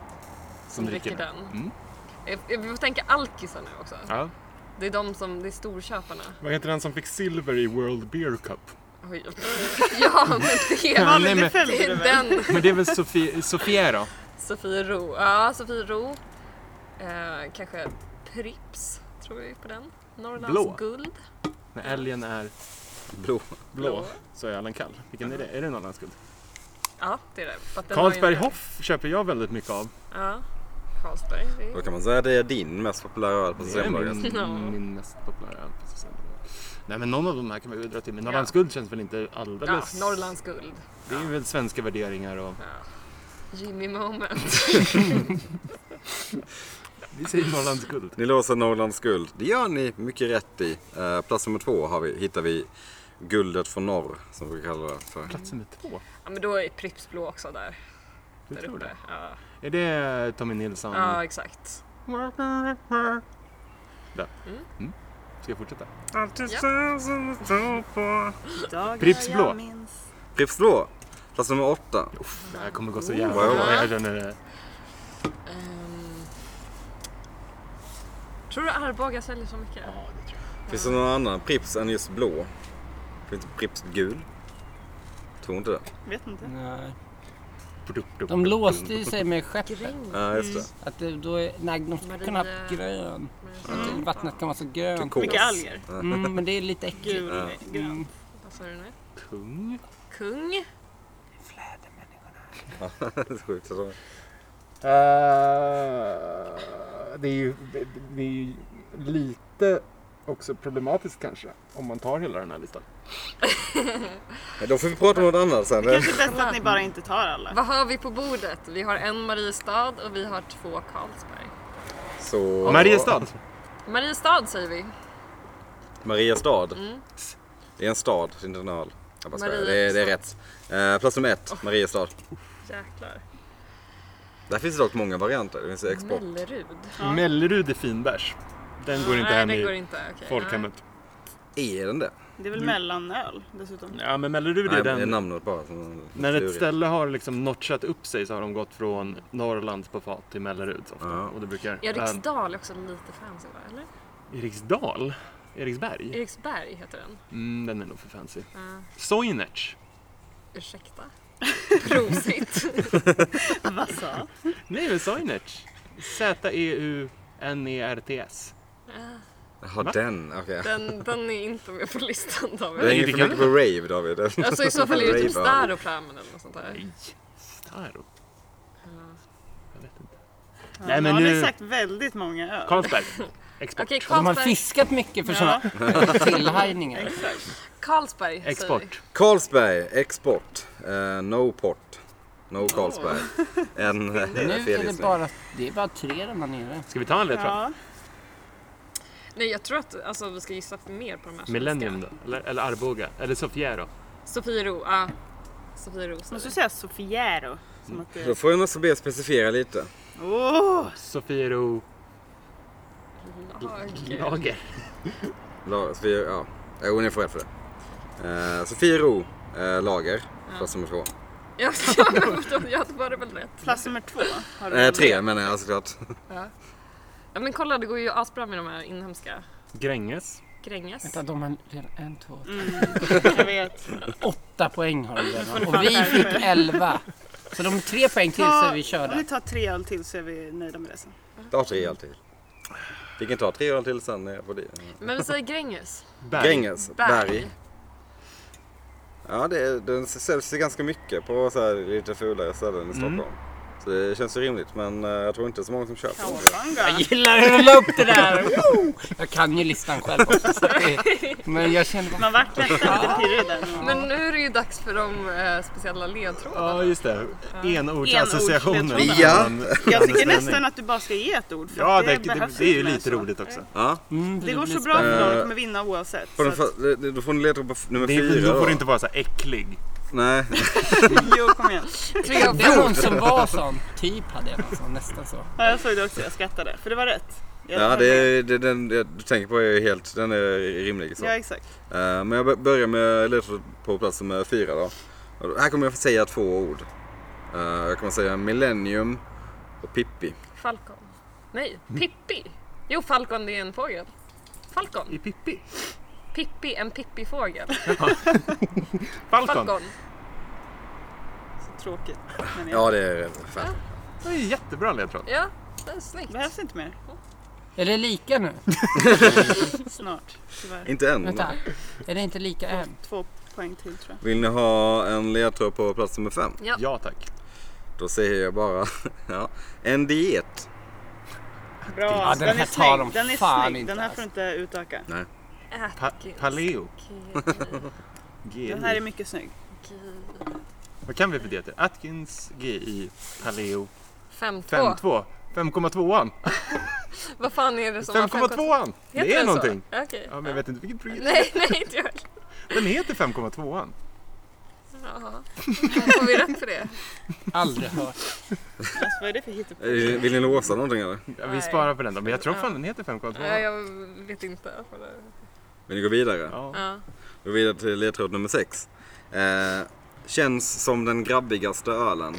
Speaker 5: som, dricker, den.
Speaker 1: Mm.
Speaker 5: Eh, eh, Vi får tänka alkisar nu också.
Speaker 1: Ja.
Speaker 5: Det är de som, det
Speaker 1: <laughs>
Speaker 5: är storköparna.
Speaker 1: Vad heter den som fick silver i World Beer Cup?
Speaker 5: Oj. Ja men det är,
Speaker 4: Malin, det följde
Speaker 5: det
Speaker 4: du
Speaker 5: är
Speaker 4: väl?
Speaker 5: den.
Speaker 1: Men det är väl Sofie, Sofiero?
Speaker 5: Sofiero. Ja, Sofiero. Eh, kanske Prips tror vi på den. Norrlands
Speaker 1: Blå.
Speaker 5: guld.
Speaker 1: När älgen är
Speaker 2: Blå.
Speaker 1: blå,
Speaker 5: Blå.
Speaker 1: så är ölen kall. Vilken är det? Är det Norrlandsguld?
Speaker 5: Ja, det är det. För att den har ju en-
Speaker 1: Carlsberg Hoff köper jag väldigt mycket av.
Speaker 5: Ja, Carlsberg. det
Speaker 2: Då
Speaker 5: är-
Speaker 2: kan man säga att det är din mest populära öl på
Speaker 1: Det är
Speaker 2: Systembolaget.
Speaker 1: min,
Speaker 5: Ja.
Speaker 1: min mest populära öl. på Systembolaget. Nej men någon av de här kan vi väl dra till. Men Norrlandsguld känns väl inte
Speaker 5: Ja,
Speaker 1: alldeles...
Speaker 5: Norrlands guld.
Speaker 1: Det är väl svenska värderingar och...
Speaker 5: Jimmy moment.
Speaker 1: Vi säger Norrlands guld.
Speaker 2: Ni låser Norrlands guld. Det gör ni mycket rätt i. Eh, plats nummer två har vi, hittar vi guldet från norr, som vi kallar det för.
Speaker 1: Plats nummer två.
Speaker 5: Ja, men då är Pripps blå också där.
Speaker 1: Du
Speaker 5: där
Speaker 1: tror
Speaker 5: uppe.
Speaker 1: det?
Speaker 5: Ja.
Speaker 1: Är det Tommy Nilsson?
Speaker 5: ja, exakt.
Speaker 1: Ska jag fortsätta?
Speaker 4: Dagar
Speaker 1: Pripps blå.
Speaker 4: jag minns.
Speaker 2: Pripps blå, plats nummer åtta.
Speaker 1: Det här kommer gå så
Speaker 5: Oh.
Speaker 1: jävla
Speaker 2: Wow.
Speaker 1: bra. Jag känner det.
Speaker 5: Ehm, tror du Arboga säljer så mycket?
Speaker 2: Finns det någon annan Pripps än just blå? Finns det Pripps gul? Tror inte det.
Speaker 5: Mm.
Speaker 4: Vet inte.
Speaker 3: Nej.
Speaker 1: Produkt-
Speaker 3: Eh, De låste ju sig med skeppet.
Speaker 5: Gräng.
Speaker 2: Ja, just det.
Speaker 3: Att det, då är, nej, de skulle kunna
Speaker 5: Maria-
Speaker 3: haft grön. Att det- Vattnet kan vara så grönt.
Speaker 2: Turkos.
Speaker 4: Mycket alger.
Speaker 3: Mm, men det är lite äckligt.
Speaker 4: Gul, grön.
Speaker 5: Vad sa du nu?
Speaker 1: Kung.
Speaker 8: Eh,
Speaker 5: Kung?
Speaker 2: <laughs> Sjukt. alltså.
Speaker 8: Eh, det, är ju, det är ju lite också problematiskt kanske om man tar hela den här listan.
Speaker 2: Men Då får vi prata om något annat sen.
Speaker 4: Det
Speaker 5: <laughs>
Speaker 4: kanske är bäst att ni bara inte tar alla.
Speaker 5: Vad har vi på bordet? Vi har en Mariestad och vi har två Carlsberg.
Speaker 2: Så...
Speaker 1: Mariestad.
Speaker 5: Mariestad säger vi.
Speaker 2: Mariestad.
Speaker 5: Mm.
Speaker 2: Det är en stad, det är inte en öl. Jag bara skojar.
Speaker 5: Mariestad. Oh.
Speaker 2: det, är, det är rätt. Eh, plats nummer ett, Mariestad.
Speaker 5: Jäklar.
Speaker 2: Där finns det dock många varianter. Det finns export.
Speaker 5: Mellerud.
Speaker 4: Ja.
Speaker 1: Mellerud är finbärs. Den går inte
Speaker 5: Nej,
Speaker 1: hem
Speaker 5: den går
Speaker 1: i
Speaker 5: inte. Okej.
Speaker 1: folkhemmet.
Speaker 2: Är den det?
Speaker 4: Det är väl mellanöl dessutom.
Speaker 1: Ja, men Mellerud
Speaker 2: Nej,
Speaker 1: är
Speaker 2: det är
Speaker 1: den.
Speaker 2: namnet bara. Som
Speaker 1: När ett ställe har liksom notchat upp sig så har de gått från Norrlands på fat till Mellerud ofta.
Speaker 2: Ja.
Speaker 1: Och det brukar...
Speaker 5: Ja,
Speaker 1: Äm,
Speaker 5: Eriksdal är också lite fancy va? Eller?
Speaker 1: Eriksdal? Eriksberg?
Speaker 5: Eriksberg heter den.
Speaker 1: Mm, den är nog för fancy.
Speaker 5: Ja.
Speaker 1: Soinec.
Speaker 5: ursäkta.
Speaker 1: <laughs>
Speaker 5: Prosit.
Speaker 4: Vad sa?
Speaker 1: Nej, men Soinec. E Z-E-U-N-E-R-T-S.
Speaker 2: Jaha, den. Okej.
Speaker 5: Den, den är inte med på listan
Speaker 2: Det är
Speaker 5: David.
Speaker 2: inget för mycket på rave David.
Speaker 5: Alltså i så fall är det typ
Speaker 2: Rave-öl.
Speaker 5: Staropram eller något sånt där.
Speaker 1: Nej, Staro. Jag vet inte.
Speaker 4: Ja,
Speaker 1: Nej,
Speaker 4: nu
Speaker 1: men
Speaker 4: har ni
Speaker 1: nu-
Speaker 4: sagt väldigt många öl. <laughs>
Speaker 1: Carlsberg. Export.
Speaker 5: Okej,
Speaker 3: De har
Speaker 5: Carlsberg.
Speaker 3: fiskat mycket för sådana tillhajningar.
Speaker 5: Carlsberg säger vi.
Speaker 1: Export.
Speaker 2: Carlsberg, export. Eh, no port. No Carlsberg. En eh,
Speaker 3: Nu är det
Speaker 2: felgissning.
Speaker 3: bara, det är bara tre där nere.
Speaker 1: Ska vi ta en ledtråd?
Speaker 4: Ja.
Speaker 5: Nej, jag tror att alltså, vi ska gissa mer på de här.
Speaker 1: Millennium då? Eller, eller Arboga? Eller Sofiero?
Speaker 5: Sofiero. Ja. Sofiero
Speaker 4: Jag måste
Speaker 5: säger vi.
Speaker 4: säga Sofiero. Som att
Speaker 2: Då
Speaker 4: det...
Speaker 2: får jag nästan be er specificera lite.
Speaker 4: Åh!
Speaker 1: Sofiero
Speaker 5: <laughs> Lager.
Speaker 1: Lager.
Speaker 2: La- Sofia, ja. Jo, ni får rätt för det. Eh, Sofiero eh, Lager, plats nummer två.
Speaker 5: Ja, ja, men förstår, jag hade väl rätt.
Speaker 4: Plats nummer två. Har du
Speaker 2: Eh, tre menar jag såklart.
Speaker 5: Ja, men kolla, det går ju asbra med de här inhemska.
Speaker 1: Gränges.
Speaker 5: Gränges.
Speaker 3: Vänta, de har redan en, två, tre.
Speaker 4: Jag vet.
Speaker 3: åtta poäng har de redan. Och vi fick elva. Så de är tre poäng till så är vi
Speaker 4: Om vi
Speaker 3: körda.
Speaker 4: tar tre öl till så är vi nöjda med det sen.
Speaker 2: Ta tre öl till. Vi kan ta tre öl till sen när jag får det.
Speaker 5: Men vi säger Gränges.
Speaker 1: Berg.
Speaker 2: Gränges,
Speaker 5: Berg.
Speaker 2: alltså. Berg. Ja, det, är- den säljs ju ganska mycket på så här lite fulare
Speaker 1: Mm.
Speaker 2: ställen i Stockholm. Så det känns ju rimligt, men eh, jag tror inte så många som köper den.
Speaker 4: Kawabanga.
Speaker 3: Gillar hur du la upp det där? Woo! Jag kan ju listan själv också. Så det, men jag känner bara...
Speaker 4: Man vart nästan lite pirrig där.
Speaker 5: Men nu är det ju dags för de eh, speciella ledtrådarna.
Speaker 1: Ja, just det. Enordsassociationen.
Speaker 4: Enordsledtrådar.
Speaker 2: Ja,
Speaker 4: Jag tycker nästan att du bara ska ge ett ord. För
Speaker 1: Ja,
Speaker 4: att
Speaker 1: det, det,
Speaker 4: behövs
Speaker 1: det är ju
Speaker 4: inte mer
Speaker 1: lite
Speaker 4: än så.
Speaker 1: roligt också.
Speaker 2: ja.
Speaker 3: Mm,
Speaker 4: Det går
Speaker 3: blir
Speaker 4: så bra för dem,
Speaker 2: Eh,
Speaker 4: de kommer vinna oavsett.
Speaker 2: På den
Speaker 4: så att-
Speaker 2: för, det- då får ni leta upp f- nummer
Speaker 1: Det är,
Speaker 2: fyra.
Speaker 1: då får
Speaker 2: då.
Speaker 1: du inte vara så här äcklig. <laughs>
Speaker 2: Nej,
Speaker 4: Jo, kom igen.
Speaker 5: Tre av
Speaker 3: Det var någon som var sån. Typ hade jag någon sån, nästan så.
Speaker 4: Ja, jag såg det också, jag skrattade. För det var rätt. Jag
Speaker 2: ja, det, är- det, den det du tänker på är ju helt, den är rimlig. Så.
Speaker 4: Ja, exakt.
Speaker 2: Eh, men jag bör- börjar med ledtråd på plats nummer fyra då. Och Här kommer jag få säga två ord. Eh, jag kommer säga millennium och Pippi.
Speaker 5: Falcon. Nej,
Speaker 1: Mm.
Speaker 5: Pippi. Jo, Falcon det är en fågel. Falcon.
Speaker 1: I Pippi.
Speaker 5: Pippi, en Pippi-fågel.
Speaker 1: Falcon.
Speaker 5: Falcon.
Speaker 4: Så tråkigt. Men ja.
Speaker 2: Ja, det är fan.
Speaker 1: Det är ju jättebra ledtråd.
Speaker 5: Ja, det är snyggt.
Speaker 4: behövs inte mer.
Speaker 3: Är det lika nu?
Speaker 4: Snart, tyvärr.
Speaker 2: Inte än.
Speaker 3: Vänta. Är det inte lika än?
Speaker 4: Två poäng till tror jag.
Speaker 2: Vill ni ha en ledtråd på plats nummer fem?
Speaker 1: Ja, tack.
Speaker 2: Då säger jag bara <laughs> ja. en diet.
Speaker 4: Bra,
Speaker 3: Ja, den här
Speaker 4: är
Speaker 3: tar de
Speaker 4: snygg. Den är
Speaker 3: fan
Speaker 4: snygg.
Speaker 3: inte
Speaker 4: Den här
Speaker 3: alltså.
Speaker 4: får du inte utöka.
Speaker 1: Pa
Speaker 5: Atkins.
Speaker 1: paleo.
Speaker 5: Okej.
Speaker 4: Den här är
Speaker 1: GI.
Speaker 4: mycket snygg.
Speaker 1: Vad kan vi för dieter? Atkins, GI, paleo.
Speaker 5: 5-2.
Speaker 1: 5,2. 5,2an.
Speaker 5: Vad fan är det som... har
Speaker 1: 5,2an!
Speaker 5: Heter
Speaker 1: Det är
Speaker 5: den så?
Speaker 1: någonting.
Speaker 5: Okej.
Speaker 1: Ja, men jag vet inte vilket program.
Speaker 5: Nej, <laughs> nej inte jag heller.
Speaker 1: Den heter 5,2an.
Speaker 5: Jaha. Får vi rätt för det?
Speaker 3: Aldrig hört.
Speaker 4: Alltså, vad är det för hittepå?
Speaker 2: Eh, Vill ni låsa någonting eller?
Speaker 1: Ja, vi sparar på den då, men jag tror fan den heter
Speaker 5: Nej,
Speaker 1: 5,2an.
Speaker 5: jag vet inte. vad det-
Speaker 2: Vill ni gå vidare?
Speaker 1: Ja.
Speaker 5: Ja.
Speaker 2: Då vidare till ledtråd nummer sex. Eh, känns som den grabbigaste ölen.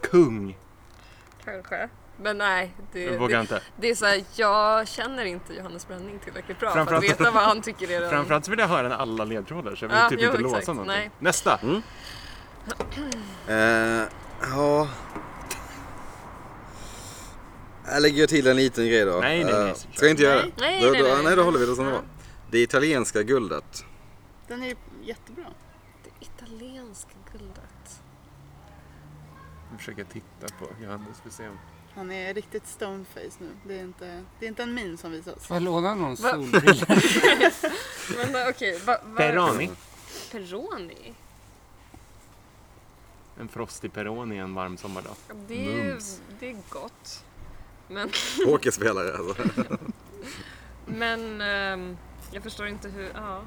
Speaker 1: Kung.
Speaker 5: Kanske. Men nej, det,
Speaker 1: Jag vågar
Speaker 5: det,
Speaker 1: inte.
Speaker 5: det är såhär, jag känner inte Johannes Bränning tillräckligt bra för att
Speaker 1: Framförallt-
Speaker 5: veta vad han tycker är den.
Speaker 1: Framförallt så vill jag höra alla ledtrådar så jag vill
Speaker 5: Ja,
Speaker 1: typ
Speaker 5: jo,
Speaker 1: inte
Speaker 5: exakt.
Speaker 1: låsa någonting.
Speaker 5: Nej.
Speaker 1: Nästa!
Speaker 2: Eh, ja. Jag lägger till en liten grej då.
Speaker 1: Nej, nej, nej.
Speaker 2: Eh, Ska jag inte göra det?
Speaker 5: Nej,
Speaker 2: då,
Speaker 5: nej,
Speaker 2: då,
Speaker 5: nej.
Speaker 2: nej, då håller vi det som det var. Det italienska guldet.
Speaker 4: Den är ju jättebra.
Speaker 5: Det italienska guldet.
Speaker 1: Jag försöker titta på Johannes för att se om...
Speaker 4: Han är riktigt stoneface nu. Det är inte, det är inte en min som visas.
Speaker 3: Får jag låna någon
Speaker 5: Va?
Speaker 3: solbrilla?
Speaker 5: Men eh, okej, vad... vad-
Speaker 1: Peroni.
Speaker 5: Peroni?
Speaker 1: En frostig peroni en varm sommardag.
Speaker 5: Det är, ju-
Speaker 1: Mums.
Speaker 5: det är gott. Men,
Speaker 2: Pokerspelare alltså.
Speaker 5: men ehm, jag förstår inte hur... Ja,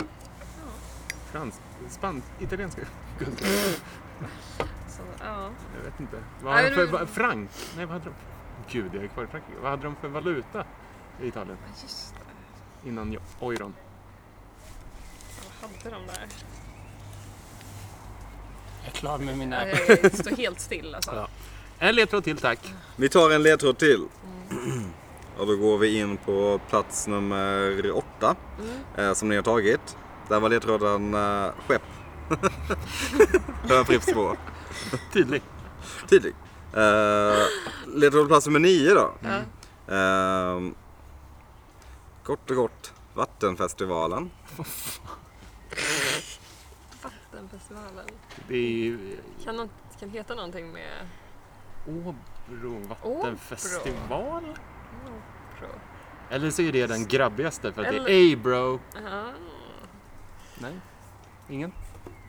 Speaker 1: Fransk, spansk, italiensk. Gud,
Speaker 5: så, ja.
Speaker 1: Jag vet inte. Vad hade
Speaker 5: Nej,
Speaker 1: de för,
Speaker 5: det-
Speaker 1: va- frank? Nej, vad hade de? Gud, jag är kvar i Frankrike. Vad hade de för valuta i Italien
Speaker 5: Ja, Just det.
Speaker 1: innan jag- euron?
Speaker 5: Vad hade de där?
Speaker 3: Jag är klar med mina...
Speaker 5: Ja, Jag Eh, står helt still alltså.
Speaker 1: Ja. En ledtråd till tack.
Speaker 2: Vi tar en ledtråd till. <clears throat> Och då går vi in på plats nummer åtta. Eh, som ni har tagit. Där var ledtråden eh, skepp. Hör Pripps på.
Speaker 1: Tydlig.
Speaker 2: Tidig. Eh, ledtråd plats nummer nio då.
Speaker 1: Mm.
Speaker 2: Eh, kort och kort. Vattenfestivalen.
Speaker 5: Den festivalen.
Speaker 1: Det är ju eh,
Speaker 5: Kan, någon, kan heta någonting med...
Speaker 1: Åbro vattenfestival.
Speaker 5: Pro.
Speaker 1: Eller så är det den grabbigaste för att det är
Speaker 5: Eller-
Speaker 1: ey bro.
Speaker 5: Ja.
Speaker 1: Nej, ingen.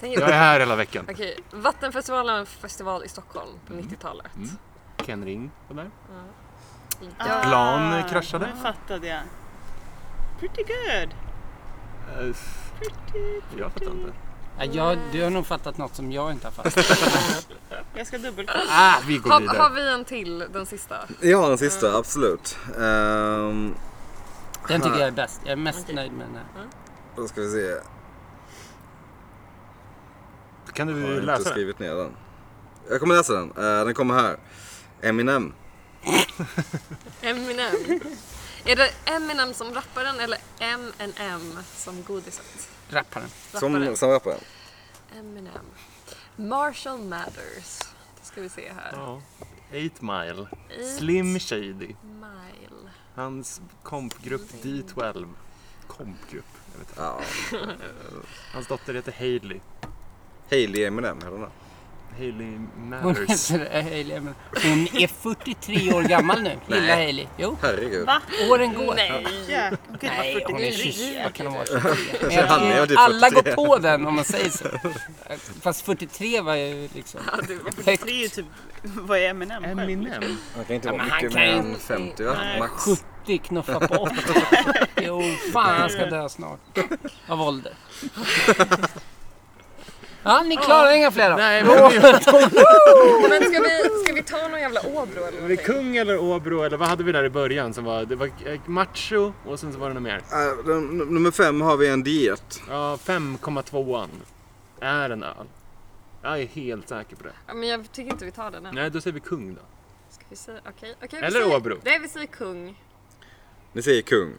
Speaker 5: Tänk
Speaker 1: Jag är
Speaker 5: er-
Speaker 1: här hela veckan.
Speaker 5: Okej, Vattenfestivalen var en festival i Stockholm på
Speaker 1: Mm.
Speaker 5: 90-talet.
Speaker 1: Ken Ring var där.
Speaker 5: Ja.
Speaker 1: Plan eh, kraschade.
Speaker 4: Ah, Nu fattade jag. Pretty good.
Speaker 1: Eh, f- Jag fattar inte.
Speaker 3: Ja, jag, du har nog fattat något som jag inte har fattat.
Speaker 4: Jag ska dubbelkolla.
Speaker 1: Ah, vi går
Speaker 5: Har, har
Speaker 1: vidare.
Speaker 5: vi en till, den sista?
Speaker 2: Jag har den sista, absolut. Ehm,
Speaker 3: Den tycker jag är bäst. Jag är mest nöjd med den här.
Speaker 2: då ska vi se.
Speaker 1: Kan
Speaker 2: Jag har
Speaker 1: du
Speaker 2: inte
Speaker 1: läsa den?
Speaker 2: skrivit ner den. Jag kommer läsa den. Eh, den kommer här. Eminem.
Speaker 5: Eminem. Är det Eminem som rapparen eller M&M som godiset?
Speaker 3: Rapparen.
Speaker 2: Som,
Speaker 5: Rapparen.
Speaker 2: som rapparen.
Speaker 5: Eminem. Marshall Mathers. Då ska vi se här.
Speaker 1: Ja. Eight Mile.
Speaker 5: Eight
Speaker 1: Slim Shady.
Speaker 5: Mile.
Speaker 1: Hans kompgrupp D12. Kompgrupp? Jag vet inte.
Speaker 2: Ja.
Speaker 1: Hans dotter heter Hailey.
Speaker 2: Hailey Eminem heter den där.
Speaker 1: Hailey
Speaker 3: Hon
Speaker 1: Matters.
Speaker 3: heter Hailey. men Hon är 43 år gammal nu. Lilla Hailey. Jo,
Speaker 2: Herregud.
Speaker 3: åren går.
Speaker 1: <laughs>
Speaker 5: Nej.
Speaker 4: Jäklar. Hon kan ju vara
Speaker 3: Mm. Nej, hon är
Speaker 4: 49.
Speaker 3: 20. Vad kan hon vara 23? Men
Speaker 2: Han är
Speaker 3: jag
Speaker 2: ju
Speaker 3: tror alla går
Speaker 2: 43.
Speaker 3: på den om man säger så. Fast 43 var ju liksom högt.
Speaker 4: Det är ju typ, vad är Eminem själv?
Speaker 3: M&M.
Speaker 1: Eminem.
Speaker 2: Han kan inte
Speaker 3: Ja,
Speaker 2: vara
Speaker 3: men han
Speaker 2: mycket
Speaker 3: kan
Speaker 2: mer
Speaker 3: ju
Speaker 2: än
Speaker 3: inte-
Speaker 2: 50 va?
Speaker 4: Nej.
Speaker 2: Max.
Speaker 3: 70 knuffar på 80. Jo, fan han ska dö snart. Av ålder. Ja, ni klarar inga fler då?
Speaker 1: Nej, men vi-
Speaker 5: Men ska vi, ska vi ta någon jävla Åbro eller
Speaker 1: var det
Speaker 5: någonting?
Speaker 1: kung eller Åbro eller vad hade vi där i början som var... Det var eh, macho och sen så var det något mer.
Speaker 2: Eh, den- num- nummer fem har vi en diet.
Speaker 1: Ja, 5,2an. Är en öl. Jag är helt säker på det.
Speaker 5: Ja, men jag tycker inte vi tar den än.
Speaker 1: Nej, då säger vi kung då.
Speaker 5: Ska vi säga, okej. okej, vi
Speaker 1: Eller
Speaker 5: säger,
Speaker 1: Åbro.
Speaker 5: Nej, vi säger kung.
Speaker 2: Ni säger kung.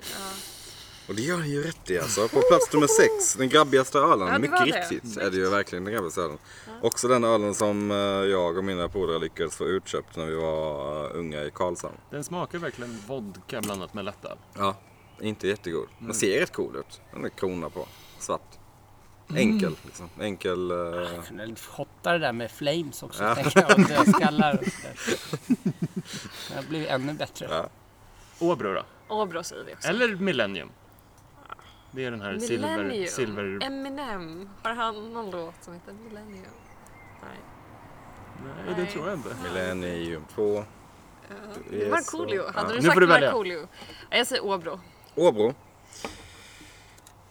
Speaker 2: Och det gör ni ju rätt i alltså. På plats nummer sex, den grabbigaste ölen.
Speaker 5: Ja, det
Speaker 2: Mycket
Speaker 5: var det.
Speaker 2: riktigt
Speaker 3: Mm.
Speaker 2: är det ju verkligen den grabbigaste ölen. Också den ölen som eh, jag och mina polare lyckades få utköpt när vi var eh, unga i Karlshamn.
Speaker 1: Den smakar verkligen vodka blandat med lättöl.
Speaker 2: Ja. Mm. Inte jättegod. Den ser rätt cool ut. Den är krona på. Svart. Enkel liksom. Enkel. eh,
Speaker 3: Hotta det där med flames också, tänker jag. Och dödskallar och sådär. Det här blir ännu bättre.
Speaker 2: Ja.
Speaker 1: Åbro då?
Speaker 5: Åbro säger vi också.
Speaker 1: Eller Millennium? Det är den här silver...
Speaker 5: Millennium.
Speaker 1: silver...
Speaker 5: Eminem. Har han någon låt som heter Millennium? Nej.
Speaker 1: Nej, det tror jag inte.
Speaker 2: Millennium 2. Det är
Speaker 5: Markoolio.
Speaker 2: så-
Speaker 5: Hade
Speaker 2: Ja.
Speaker 5: du
Speaker 1: Nu får
Speaker 5: sagt
Speaker 1: du välja.
Speaker 5: Markoolio? Ja, Jag säger Åbro.
Speaker 2: Åbro.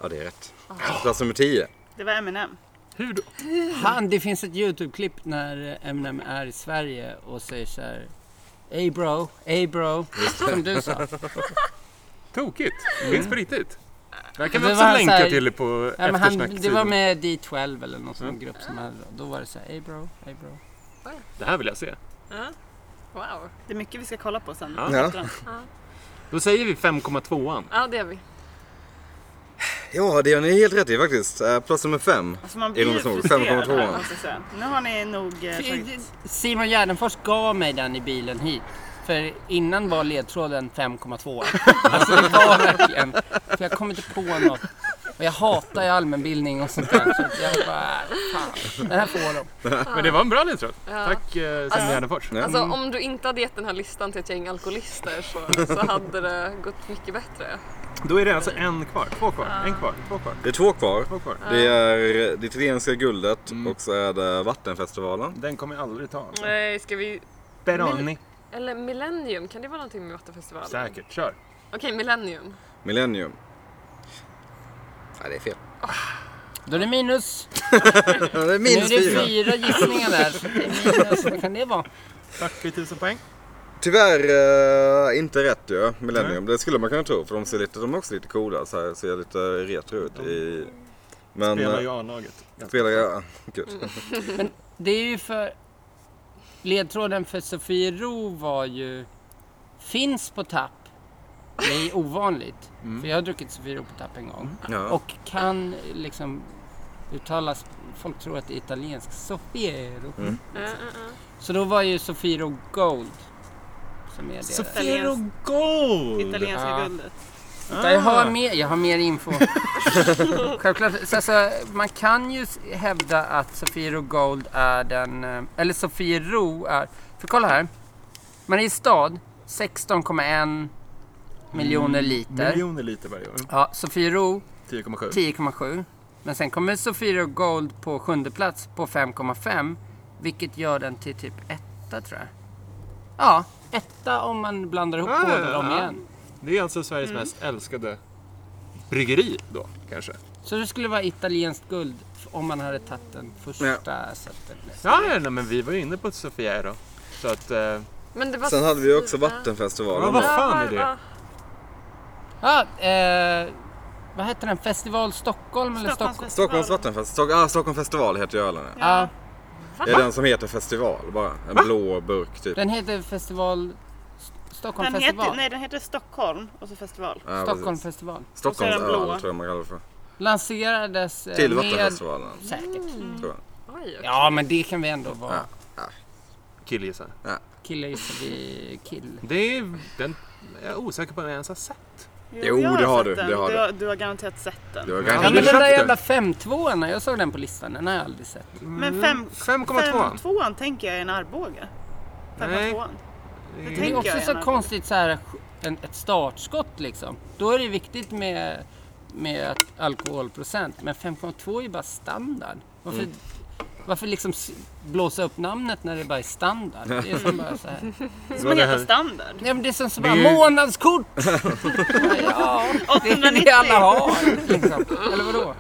Speaker 2: Ja, det är rätt. Plats nummer 10.
Speaker 4: Det var M&M. Eminem.
Speaker 1: Hur då?
Speaker 3: Han, det finns ett YouTube-klipp när Eminem är i Sverige och säger så här Ey bro, ey bro, som du sa.
Speaker 1: Tokigt. Finns på riktigt. Det här kan
Speaker 3: Mm. Det
Speaker 1: vi också
Speaker 3: var
Speaker 1: länka
Speaker 3: så här-
Speaker 1: till på
Speaker 3: Ja, men han, det var
Speaker 1: eftersnackssidan.
Speaker 3: med D12 eller någon sån grupp som hade Då var det så här, ey bro, ey bro.
Speaker 1: Det här vill jag se.
Speaker 5: Ja. Wow.
Speaker 4: Det är mycket vi ska alltså, kolla på sen.
Speaker 1: Ja. Då säger vi 5,2an.
Speaker 5: Ja, det är vi.
Speaker 2: Ja, det har ni helt rätt i faktiskt. Eh, Plats nummer 5.
Speaker 4: Alltså man blir ju
Speaker 2: Ironisk nog,
Speaker 4: frustrerad
Speaker 2: 5,2.
Speaker 4: här, måste jag säga. Nu har ni nog eh, tagit...
Speaker 3: Simon Gärdenfors gav mig den i bilen hit. För innan var ledtråden 5,2. Alltså det var verkligen... För jag kom inte på något. Och jag hatar ju allmänbildning och sånt där. Så att jag bara, fan, den här får de.
Speaker 1: Men det var en bra ledtråd.
Speaker 5: Ja.
Speaker 1: Tack eh,
Speaker 5: Alltså-
Speaker 1: Simon Gärdenfors.
Speaker 2: Ja.
Speaker 5: Alltså om du inte hade gett den här listan till ett gäng alkoholister så, så hade det gått mycket bättre.
Speaker 1: Då är det alltså en kvar, två kvar, en kvar, två kvar,
Speaker 2: Det är två kvar.
Speaker 1: två kvar.
Speaker 2: Det är det italienska guldet och så är det Vattenfestivalen.
Speaker 7: Den kommer jag aldrig ta. alltså.
Speaker 5: Nej, ska vi...
Speaker 1: Peroni.
Speaker 5: Eller Millennium, kan det vara någonting med Vattenfestivalen?
Speaker 7: Säkert, kör.
Speaker 5: Okej, Millennium.
Speaker 2: Millennium. Nej, det är fel.
Speaker 3: Då är det minus.
Speaker 2: Det är
Speaker 3: nu är
Speaker 2: minst
Speaker 3: det
Speaker 2: fyra.
Speaker 3: fyra gissningar där. Så det är minus. Alltså, Vad kan det vara?
Speaker 7: 40 000 poäng.
Speaker 2: Tyvärr eh, inte rätt ju, Millennium. Det skulle man kunna tro för de ser lite, de är också lite coola så här, ser lite retro ut. I, men...
Speaker 7: Spelar ju
Speaker 2: eh,
Speaker 7: A-laget.
Speaker 2: Spelar jag? Gud.
Speaker 3: Det är ju för... Ledtråden för Sofiero var ju... Finns på tapp. Det är ovanligt. För jag har druckit Sofiero på tapp en gång.
Speaker 2: Ja.
Speaker 3: Och kan liksom uttalas, folk tror att det är italienskt, Sofiero.
Speaker 5: Eh, eh, eh.
Speaker 3: Så då var ju Sofiero Gold som är det.
Speaker 4: Italiens-
Speaker 7: Gold!
Speaker 4: Italienska
Speaker 3: Ja.
Speaker 4: guldet.
Speaker 3: Vänta, jag, har mer, jag har mer info. Självklart, så, alltså, man kan ju s- hävda att Sofiero Gold är den, eh, eller Sofiero är, för kolla här. Mariestad 16,1 miljoner liter.
Speaker 7: Miljoner liter varje år.
Speaker 3: Ja, Sofiero
Speaker 7: 10,7.
Speaker 3: 10,7. Men sen kommer Sofiero Gold på sjunde plats på 5,5. Vilket gör den till typ etta tror jag. Ja, etta om man blandar ihop
Speaker 1: Ja, ja,
Speaker 3: båda
Speaker 1: ja,
Speaker 3: dem
Speaker 1: ja.
Speaker 3: igen.
Speaker 1: Det är alltså Sveriges mest älskade bryggeri då, kanske.
Speaker 3: Så det skulle vara italienskt guld f- om man hade tagit den första. liksom. Så att den blev-
Speaker 1: Ja, ja, nej, men vi var ju inne på Sofia då. Så att... Eh,
Speaker 5: Men det var...
Speaker 2: Sen hade vi ju också
Speaker 5: Ja.
Speaker 1: Ja,
Speaker 2: Vattenfestivalen.
Speaker 1: vad
Speaker 2: då.
Speaker 1: fan är det?
Speaker 5: Ja,
Speaker 3: Ja, eh, vad heter den? Festival Stockholm eller Stockholm?
Speaker 2: Stockholms vattenfest. Stock, ah, Stockholm festival heter ju ölen. ja.
Speaker 3: Ja,
Speaker 2: Det är den som heter festival bara. En blå burk typ.
Speaker 3: den heter Festival S- Stockholm
Speaker 4: Den
Speaker 3: Festival.
Speaker 4: heter, nej, den heter Stockholm och så festival.
Speaker 2: Ja, precis.
Speaker 3: Stockholm Festival.
Speaker 2: Stockholms
Speaker 4: Och så är den blå.
Speaker 2: öl tror jag man kallar det för.
Speaker 3: Lanserades eh,
Speaker 2: Till
Speaker 3: med...
Speaker 2: Vattenfestivalen.
Speaker 3: Säkert.
Speaker 4: Mm.
Speaker 2: Tror jag.
Speaker 5: Oj, okej.
Speaker 3: Ja, men det kan vi ändå vara.
Speaker 2: Ja.
Speaker 1: Killgissar.
Speaker 3: Killar gissar vi kill.
Speaker 1: Det är... Den, jag är osäker på om jag ens har sett.
Speaker 2: Jo,
Speaker 4: jag
Speaker 2: det har
Speaker 4: sett
Speaker 2: du,
Speaker 4: den.
Speaker 2: det har
Speaker 4: du.
Speaker 2: du.
Speaker 4: Har, du har garanterat sett den.
Speaker 2: Det var
Speaker 3: Ja,
Speaker 2: <laughs> ganska...
Speaker 3: men
Speaker 1: du
Speaker 3: den där
Speaker 1: köpt
Speaker 3: jävla 5-2an, jag såg den på listan, den har jag aldrig sett.
Speaker 4: Men
Speaker 1: Mm,
Speaker 4: fem-
Speaker 1: 5,2.
Speaker 4: 5,2 tänker jag är en Arboga.
Speaker 1: Nej.
Speaker 4: 5,2.
Speaker 1: Mm.
Speaker 4: Det
Speaker 3: Det är
Speaker 4: tänker
Speaker 3: också
Speaker 4: jag
Speaker 3: så
Speaker 4: gärna.
Speaker 3: konstigt så här, en, ett startskott liksom. Då är det viktigt med, med att alkoholprocent, men 5,2 är ju bara standard. Varför, varför liksom s- blåsa upp namnet när det bara är standard? Det är som bara så här.
Speaker 4: Som en heta standard.
Speaker 3: Ja, men det är som så bara,
Speaker 1: Det är-
Speaker 3: månadskort! ja, det är
Speaker 4: 890.
Speaker 3: det alla har liksom. Eller vadå?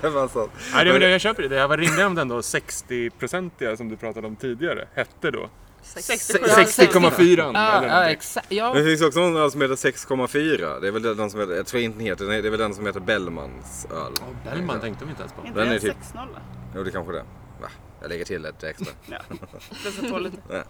Speaker 2: Det var så.
Speaker 1: Nej, det, men jag köper det. Det här var ringde om den då 60-procentiga som du pratade om tidigare hette då
Speaker 4: 67.
Speaker 1: 60,4.
Speaker 3: Ja,
Speaker 1: eller
Speaker 3: ja,
Speaker 1: någonting.
Speaker 3: exakt. Ja,
Speaker 2: Men det finns också någon öl som heter 6,4. Det är väl den som heter, jag tror inte den heter, nej, det är väl den som heter Bellmans öl.
Speaker 1: Ja, Bellman tänkte de inte ens på.
Speaker 4: Inte
Speaker 2: Den är
Speaker 4: ens
Speaker 2: typ-
Speaker 4: 6,0.
Speaker 2: Jo det kanske det. Va? Jag lägger till ett extra.
Speaker 4: Ja, plussat på lite.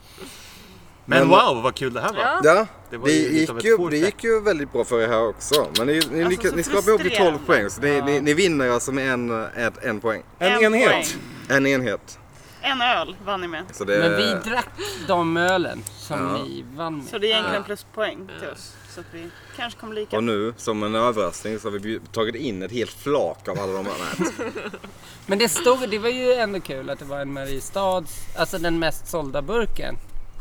Speaker 1: Men wow, vad kul det här var.
Speaker 5: Ja.
Speaker 2: Ja,
Speaker 1: Det
Speaker 2: det,
Speaker 1: var ju lite
Speaker 2: gick
Speaker 1: av ett
Speaker 2: ju,
Speaker 1: forte.
Speaker 2: det gick ju väldigt bra för er här också. Men ni, ni,
Speaker 4: Alltså,
Speaker 2: lyckas,
Speaker 4: så
Speaker 2: ni skrapade ihop till 12
Speaker 4: frustrerande.
Speaker 2: poäng. Så ni, ni, ni vinner alltså med en, ett, <laughs> en poäng.
Speaker 1: En enhet.
Speaker 4: poäng.
Speaker 2: En enhet.
Speaker 4: En öl vann ni med.
Speaker 2: Så det,
Speaker 3: Men vi drack de ölen som ni vann med.
Speaker 4: Så det är egentligen pluspoäng till oss. Så att vi kanske kommer lika.
Speaker 2: och nu, som en överraskning, så har vi bjud- tagit in ett helt flak av alla de här. Nej.
Speaker 3: Men det stod, det var ju ändå kul att det var en Mariestads, alltså den mest sålda burken,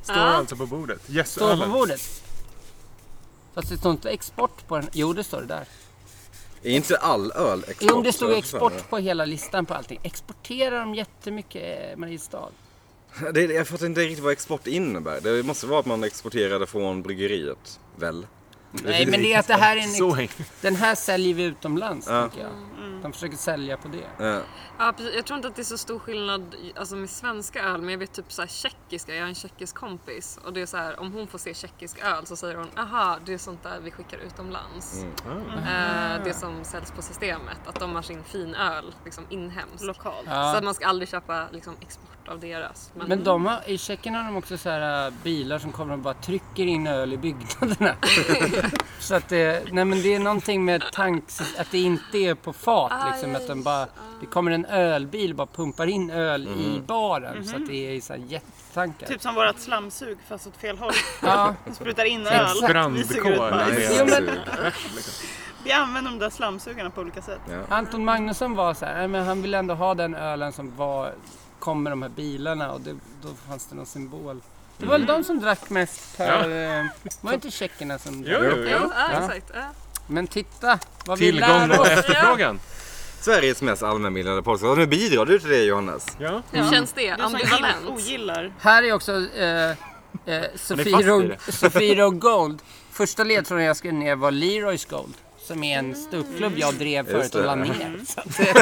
Speaker 7: Står alltså på bordet. Yes,
Speaker 3: står på
Speaker 7: ölen.
Speaker 3: bordet. Fast det står inte export på den. Jo, det står det där.
Speaker 2: Är inte all öl export?
Speaker 3: Jo, det stod
Speaker 2: Så-
Speaker 3: export på hela listan på allting. Exporterar de jättemycket eh, Mariestad?
Speaker 2: Det, jag fattar inte riktigt vad export innebär. Det måste vara att man exporterade från bryggeriet, väl? Eh,
Speaker 3: Nej, men det är att det här är
Speaker 7: Så
Speaker 3: en...
Speaker 7: häng.
Speaker 3: Den här säljer vi utomlands,
Speaker 2: Ja.
Speaker 3: tycker jag. De försöker sälja på det.
Speaker 2: Eh,
Speaker 5: Ja, precis. jag tror inte att det är så stor skillnad i- alltså, med svenska öl, men jag vet typ så här, tjeckiska, jag har en tjeckisk kompis och det är så här, om hon får se tjeckisk öl så säger hon aha, det är sånt där vi skickar utomlands. Eh, det som säljs på systemet, att de har sin fin öl, liksom inhemsk.
Speaker 4: Lokalt.
Speaker 3: Ja.
Speaker 5: Så att man ska aldrig köpa liksom, export av deras. Men,
Speaker 3: Men de har, i Tjeckien har de också så här äh, bilar som kommer och bara trycker in öl i
Speaker 5: <laughs>
Speaker 3: byggnaderna. så att det, nej men det är någonting med tanks, att det inte är på fat
Speaker 5: Ah,
Speaker 3: liksom.
Speaker 5: ja,
Speaker 3: Att den
Speaker 5: just-
Speaker 3: bara, det kommer en ölbil och bara pumpar in öl i baren. Så
Speaker 5: Mm-hmm.
Speaker 3: att det är i så här jättetankar.
Speaker 4: Typ som vårat slamsug fast åt fel håll.
Speaker 3: <laughs> Ja,
Speaker 4: Vi sprutar in
Speaker 3: Exakt.
Speaker 4: öl. Vi suger ut
Speaker 7: Brandkår.
Speaker 4: bajs.
Speaker 3: Jo, men-
Speaker 4: Vi använder de där slamsugarna på olika sätt.
Speaker 3: Anton Magnusson var så här, nej, men han ville ändå ha den ölen som var, kom med de här bilarna och det, då fanns det någon symbol. Det var
Speaker 5: Mm.
Speaker 3: väl de som drack mest per... eh, Var det inte tjeckerna som drack?
Speaker 7: Jo, jo,
Speaker 5: Ja,
Speaker 7: jo.
Speaker 5: ja,
Speaker 3: Ja.
Speaker 5: exakt. Ja.
Speaker 3: Men titta vad vi
Speaker 7: Tillgång
Speaker 3: lär
Speaker 7: och
Speaker 3: oss!
Speaker 7: efterfrågan.
Speaker 2: Sveriges mest allmänbildade podcast. Och nu bidrar du till det Johannes.
Speaker 7: Ja.
Speaker 5: Hur känns det?
Speaker 4: Du som gill-
Speaker 5: Ambivalent?
Speaker 4: ogillar.
Speaker 3: Här är också eh, eh,
Speaker 7: fast i
Speaker 3: Sofiro,
Speaker 7: det.
Speaker 3: Sofiro Gold. Första ledtråden jag skrev ner var Leroys Gold. Som är en ståuppklubb jag drev förut och
Speaker 2: det.
Speaker 3: la ner. Så att, eh,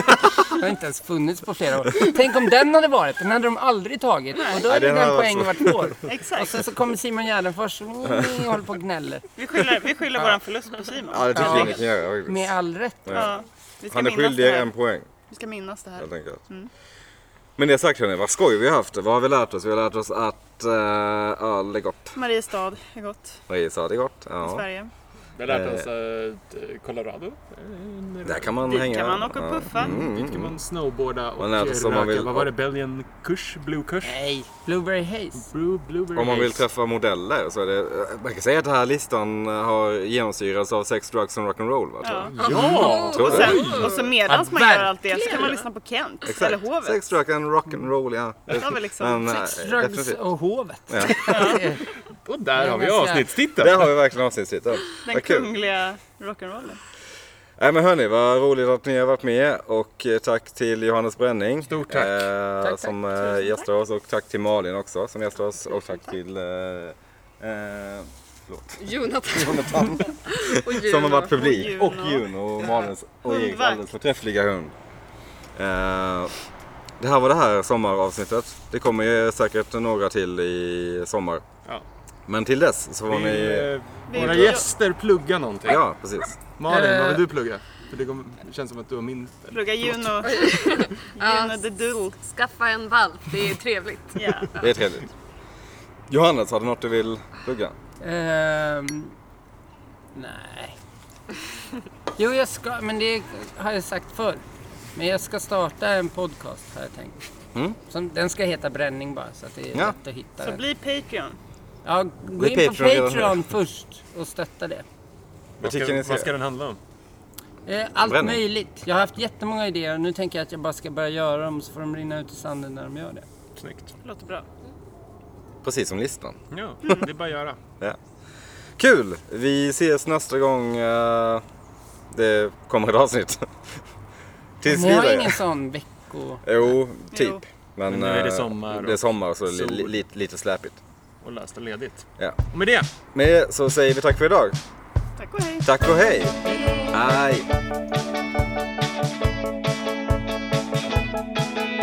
Speaker 3: den <laughs> har inte ens funnits på flera år. Tänk om den hade varit, den hade de aldrig tagit. Och då hade
Speaker 2: den
Speaker 3: den
Speaker 2: hade
Speaker 3: poäng vart år. Och
Speaker 4: Exakt.
Speaker 3: sen så kommer Simon Gärdenfors och håller på och gnäller.
Speaker 4: Vi skyller, vi skyller våran förlust på Simon.
Speaker 2: Ja, det tycker
Speaker 3: Ja.
Speaker 2: jag inget kan göra. faktiskt.
Speaker 3: Med all rätt.
Speaker 4: Ja. Vi ska
Speaker 2: Han är
Speaker 4: minnas
Speaker 2: skyldig
Speaker 4: det
Speaker 2: er
Speaker 4: här. Mm.
Speaker 2: en poäng.
Speaker 4: Vi ska minnas det här.
Speaker 2: helt enkelt. Men det sagt hörni, vad skoj vi har haft. Vad har vi lärt oss? Vi har lärt oss att uh, öl är gott.
Speaker 4: Mariestad är gott.
Speaker 2: Marie sa det är gott. Ja.
Speaker 4: Sverige.
Speaker 7: Vi har
Speaker 2: Eh.
Speaker 7: lärt
Speaker 1: alltså,
Speaker 7: oss
Speaker 1: eh,
Speaker 7: att Colorado.
Speaker 2: Där kan man
Speaker 4: Dit
Speaker 2: hänga.
Speaker 4: kan man åka och
Speaker 2: Ja. Mm.
Speaker 4: puffa.
Speaker 7: Dit kan man snowboarda och
Speaker 2: Man lär sig som man
Speaker 7: röka.
Speaker 2: vill.
Speaker 7: Vad var det? Belgian kurs? Blue kurs?
Speaker 3: Nej, Blueberry Haze.
Speaker 7: Blue, blueberry
Speaker 2: Om man vill
Speaker 7: haze.
Speaker 2: träffa modeller så är det... eh, Man kan säga att den här listan har genomsyrats av sex, drugs and rock'n'roll va? tror jag.
Speaker 4: Ja.
Speaker 7: Ja!
Speaker 2: Tror
Speaker 4: Och,
Speaker 2: du?
Speaker 4: sen, och så medans man gör allt det så kan
Speaker 5: verkligen.
Speaker 4: man lyssna på Kent eller
Speaker 2: Exakt.
Speaker 4: Hovet.
Speaker 2: Sex, drugs and rock'n'roll ja.
Speaker 4: Ja, men liksom.
Speaker 2: Men, eh,
Speaker 3: Sex, drugs
Speaker 2: definitivt.
Speaker 3: och hovet. <laughs>
Speaker 7: Och där har vi
Speaker 3: ganska-
Speaker 2: Där
Speaker 7: avsnittstiteln.
Speaker 2: har vi verkligen avsnittstiteln.
Speaker 4: Den
Speaker 2: Vad kul.
Speaker 4: kungliga rock'n'rollen.
Speaker 2: Nej men hörni, vad roligt att ni har varit med och eh, tack till Johannes Bränning.
Speaker 7: Stort tack.
Speaker 2: Eh,
Speaker 3: tack.
Speaker 2: som eh, gästar oss och tack till Malin också som gästar oss och tack till eh, eh, förlåt,
Speaker 5: Jonathan
Speaker 2: Jonathan
Speaker 5: och Juno.
Speaker 2: som har varit
Speaker 4: Och
Speaker 2: publik
Speaker 4: Juno.
Speaker 2: och Juno och Malins och Eriks
Speaker 4: Hundvakt.
Speaker 2: alldeles förträffliga hund. Eh, det här var det här sommaravsnittet. Det kommer ju säkert några till i sommar.
Speaker 7: Ja.
Speaker 2: Men till dess så får
Speaker 7: Vill,
Speaker 2: ni...
Speaker 7: eh, Våra gäster plugga någonting.
Speaker 2: Ja, precis.
Speaker 7: Malin, vad
Speaker 3: Eh.
Speaker 7: vill du plugga? För det kommer- det känns som att du har min...
Speaker 4: Plugga Juno.
Speaker 5: Ja.
Speaker 4: Juno the Doodle.
Speaker 5: Skaffa en valp, det är trevligt.
Speaker 4: Ja.
Speaker 2: Det är trevligt. Johannes, har du något du vill plugga?
Speaker 3: Ehm, nej. Jo, jag ska, men det har jag sagt förr. Men jag ska starta en podcast har jag tänkt.
Speaker 2: Mm.
Speaker 3: Som, den ska heta Bränning bara, så att det är
Speaker 2: Ja.
Speaker 3: lätt att hitta
Speaker 4: Så
Speaker 3: den.
Speaker 4: bli Patreon.
Speaker 3: Ja, gå
Speaker 2: Bli
Speaker 3: in på
Speaker 2: Patreon redan nu.
Speaker 3: Patreon först och stötta det.
Speaker 2: Vad tycker ni
Speaker 7: vad ska
Speaker 2: ska...
Speaker 7: den handla om?
Speaker 3: Eh, Allt
Speaker 2: Bränning.
Speaker 3: möjligt. Jag har haft jättemånga idéer och nu tänker jag att jag bara ska börja göra dem så får de rinna ut i sanden när de gör det.
Speaker 7: Snyggt.
Speaker 4: Låter bra.
Speaker 2: Precis som listan.
Speaker 7: Ja, det är bara att göra.
Speaker 2: Kul! Vi ses nästa gång eh, det kommer ett avsnitt. <laughs> Tills
Speaker 3: Ni har
Speaker 2: vidare.
Speaker 3: ingen sån vecko...
Speaker 2: Jo, typ.
Speaker 4: Jo.
Speaker 2: Men,
Speaker 7: Men nu är det
Speaker 2: eh,
Speaker 7: sommar
Speaker 2: Det är
Speaker 7: och
Speaker 2: sommar så det är li,
Speaker 7: sol.
Speaker 2: li, lite släpigt.
Speaker 7: Och löst och ledigt.
Speaker 2: Ja.
Speaker 7: Och med det
Speaker 2: Med det så säger vi tack för idag.
Speaker 4: Tack och hej.
Speaker 2: Tack och hej! Hej!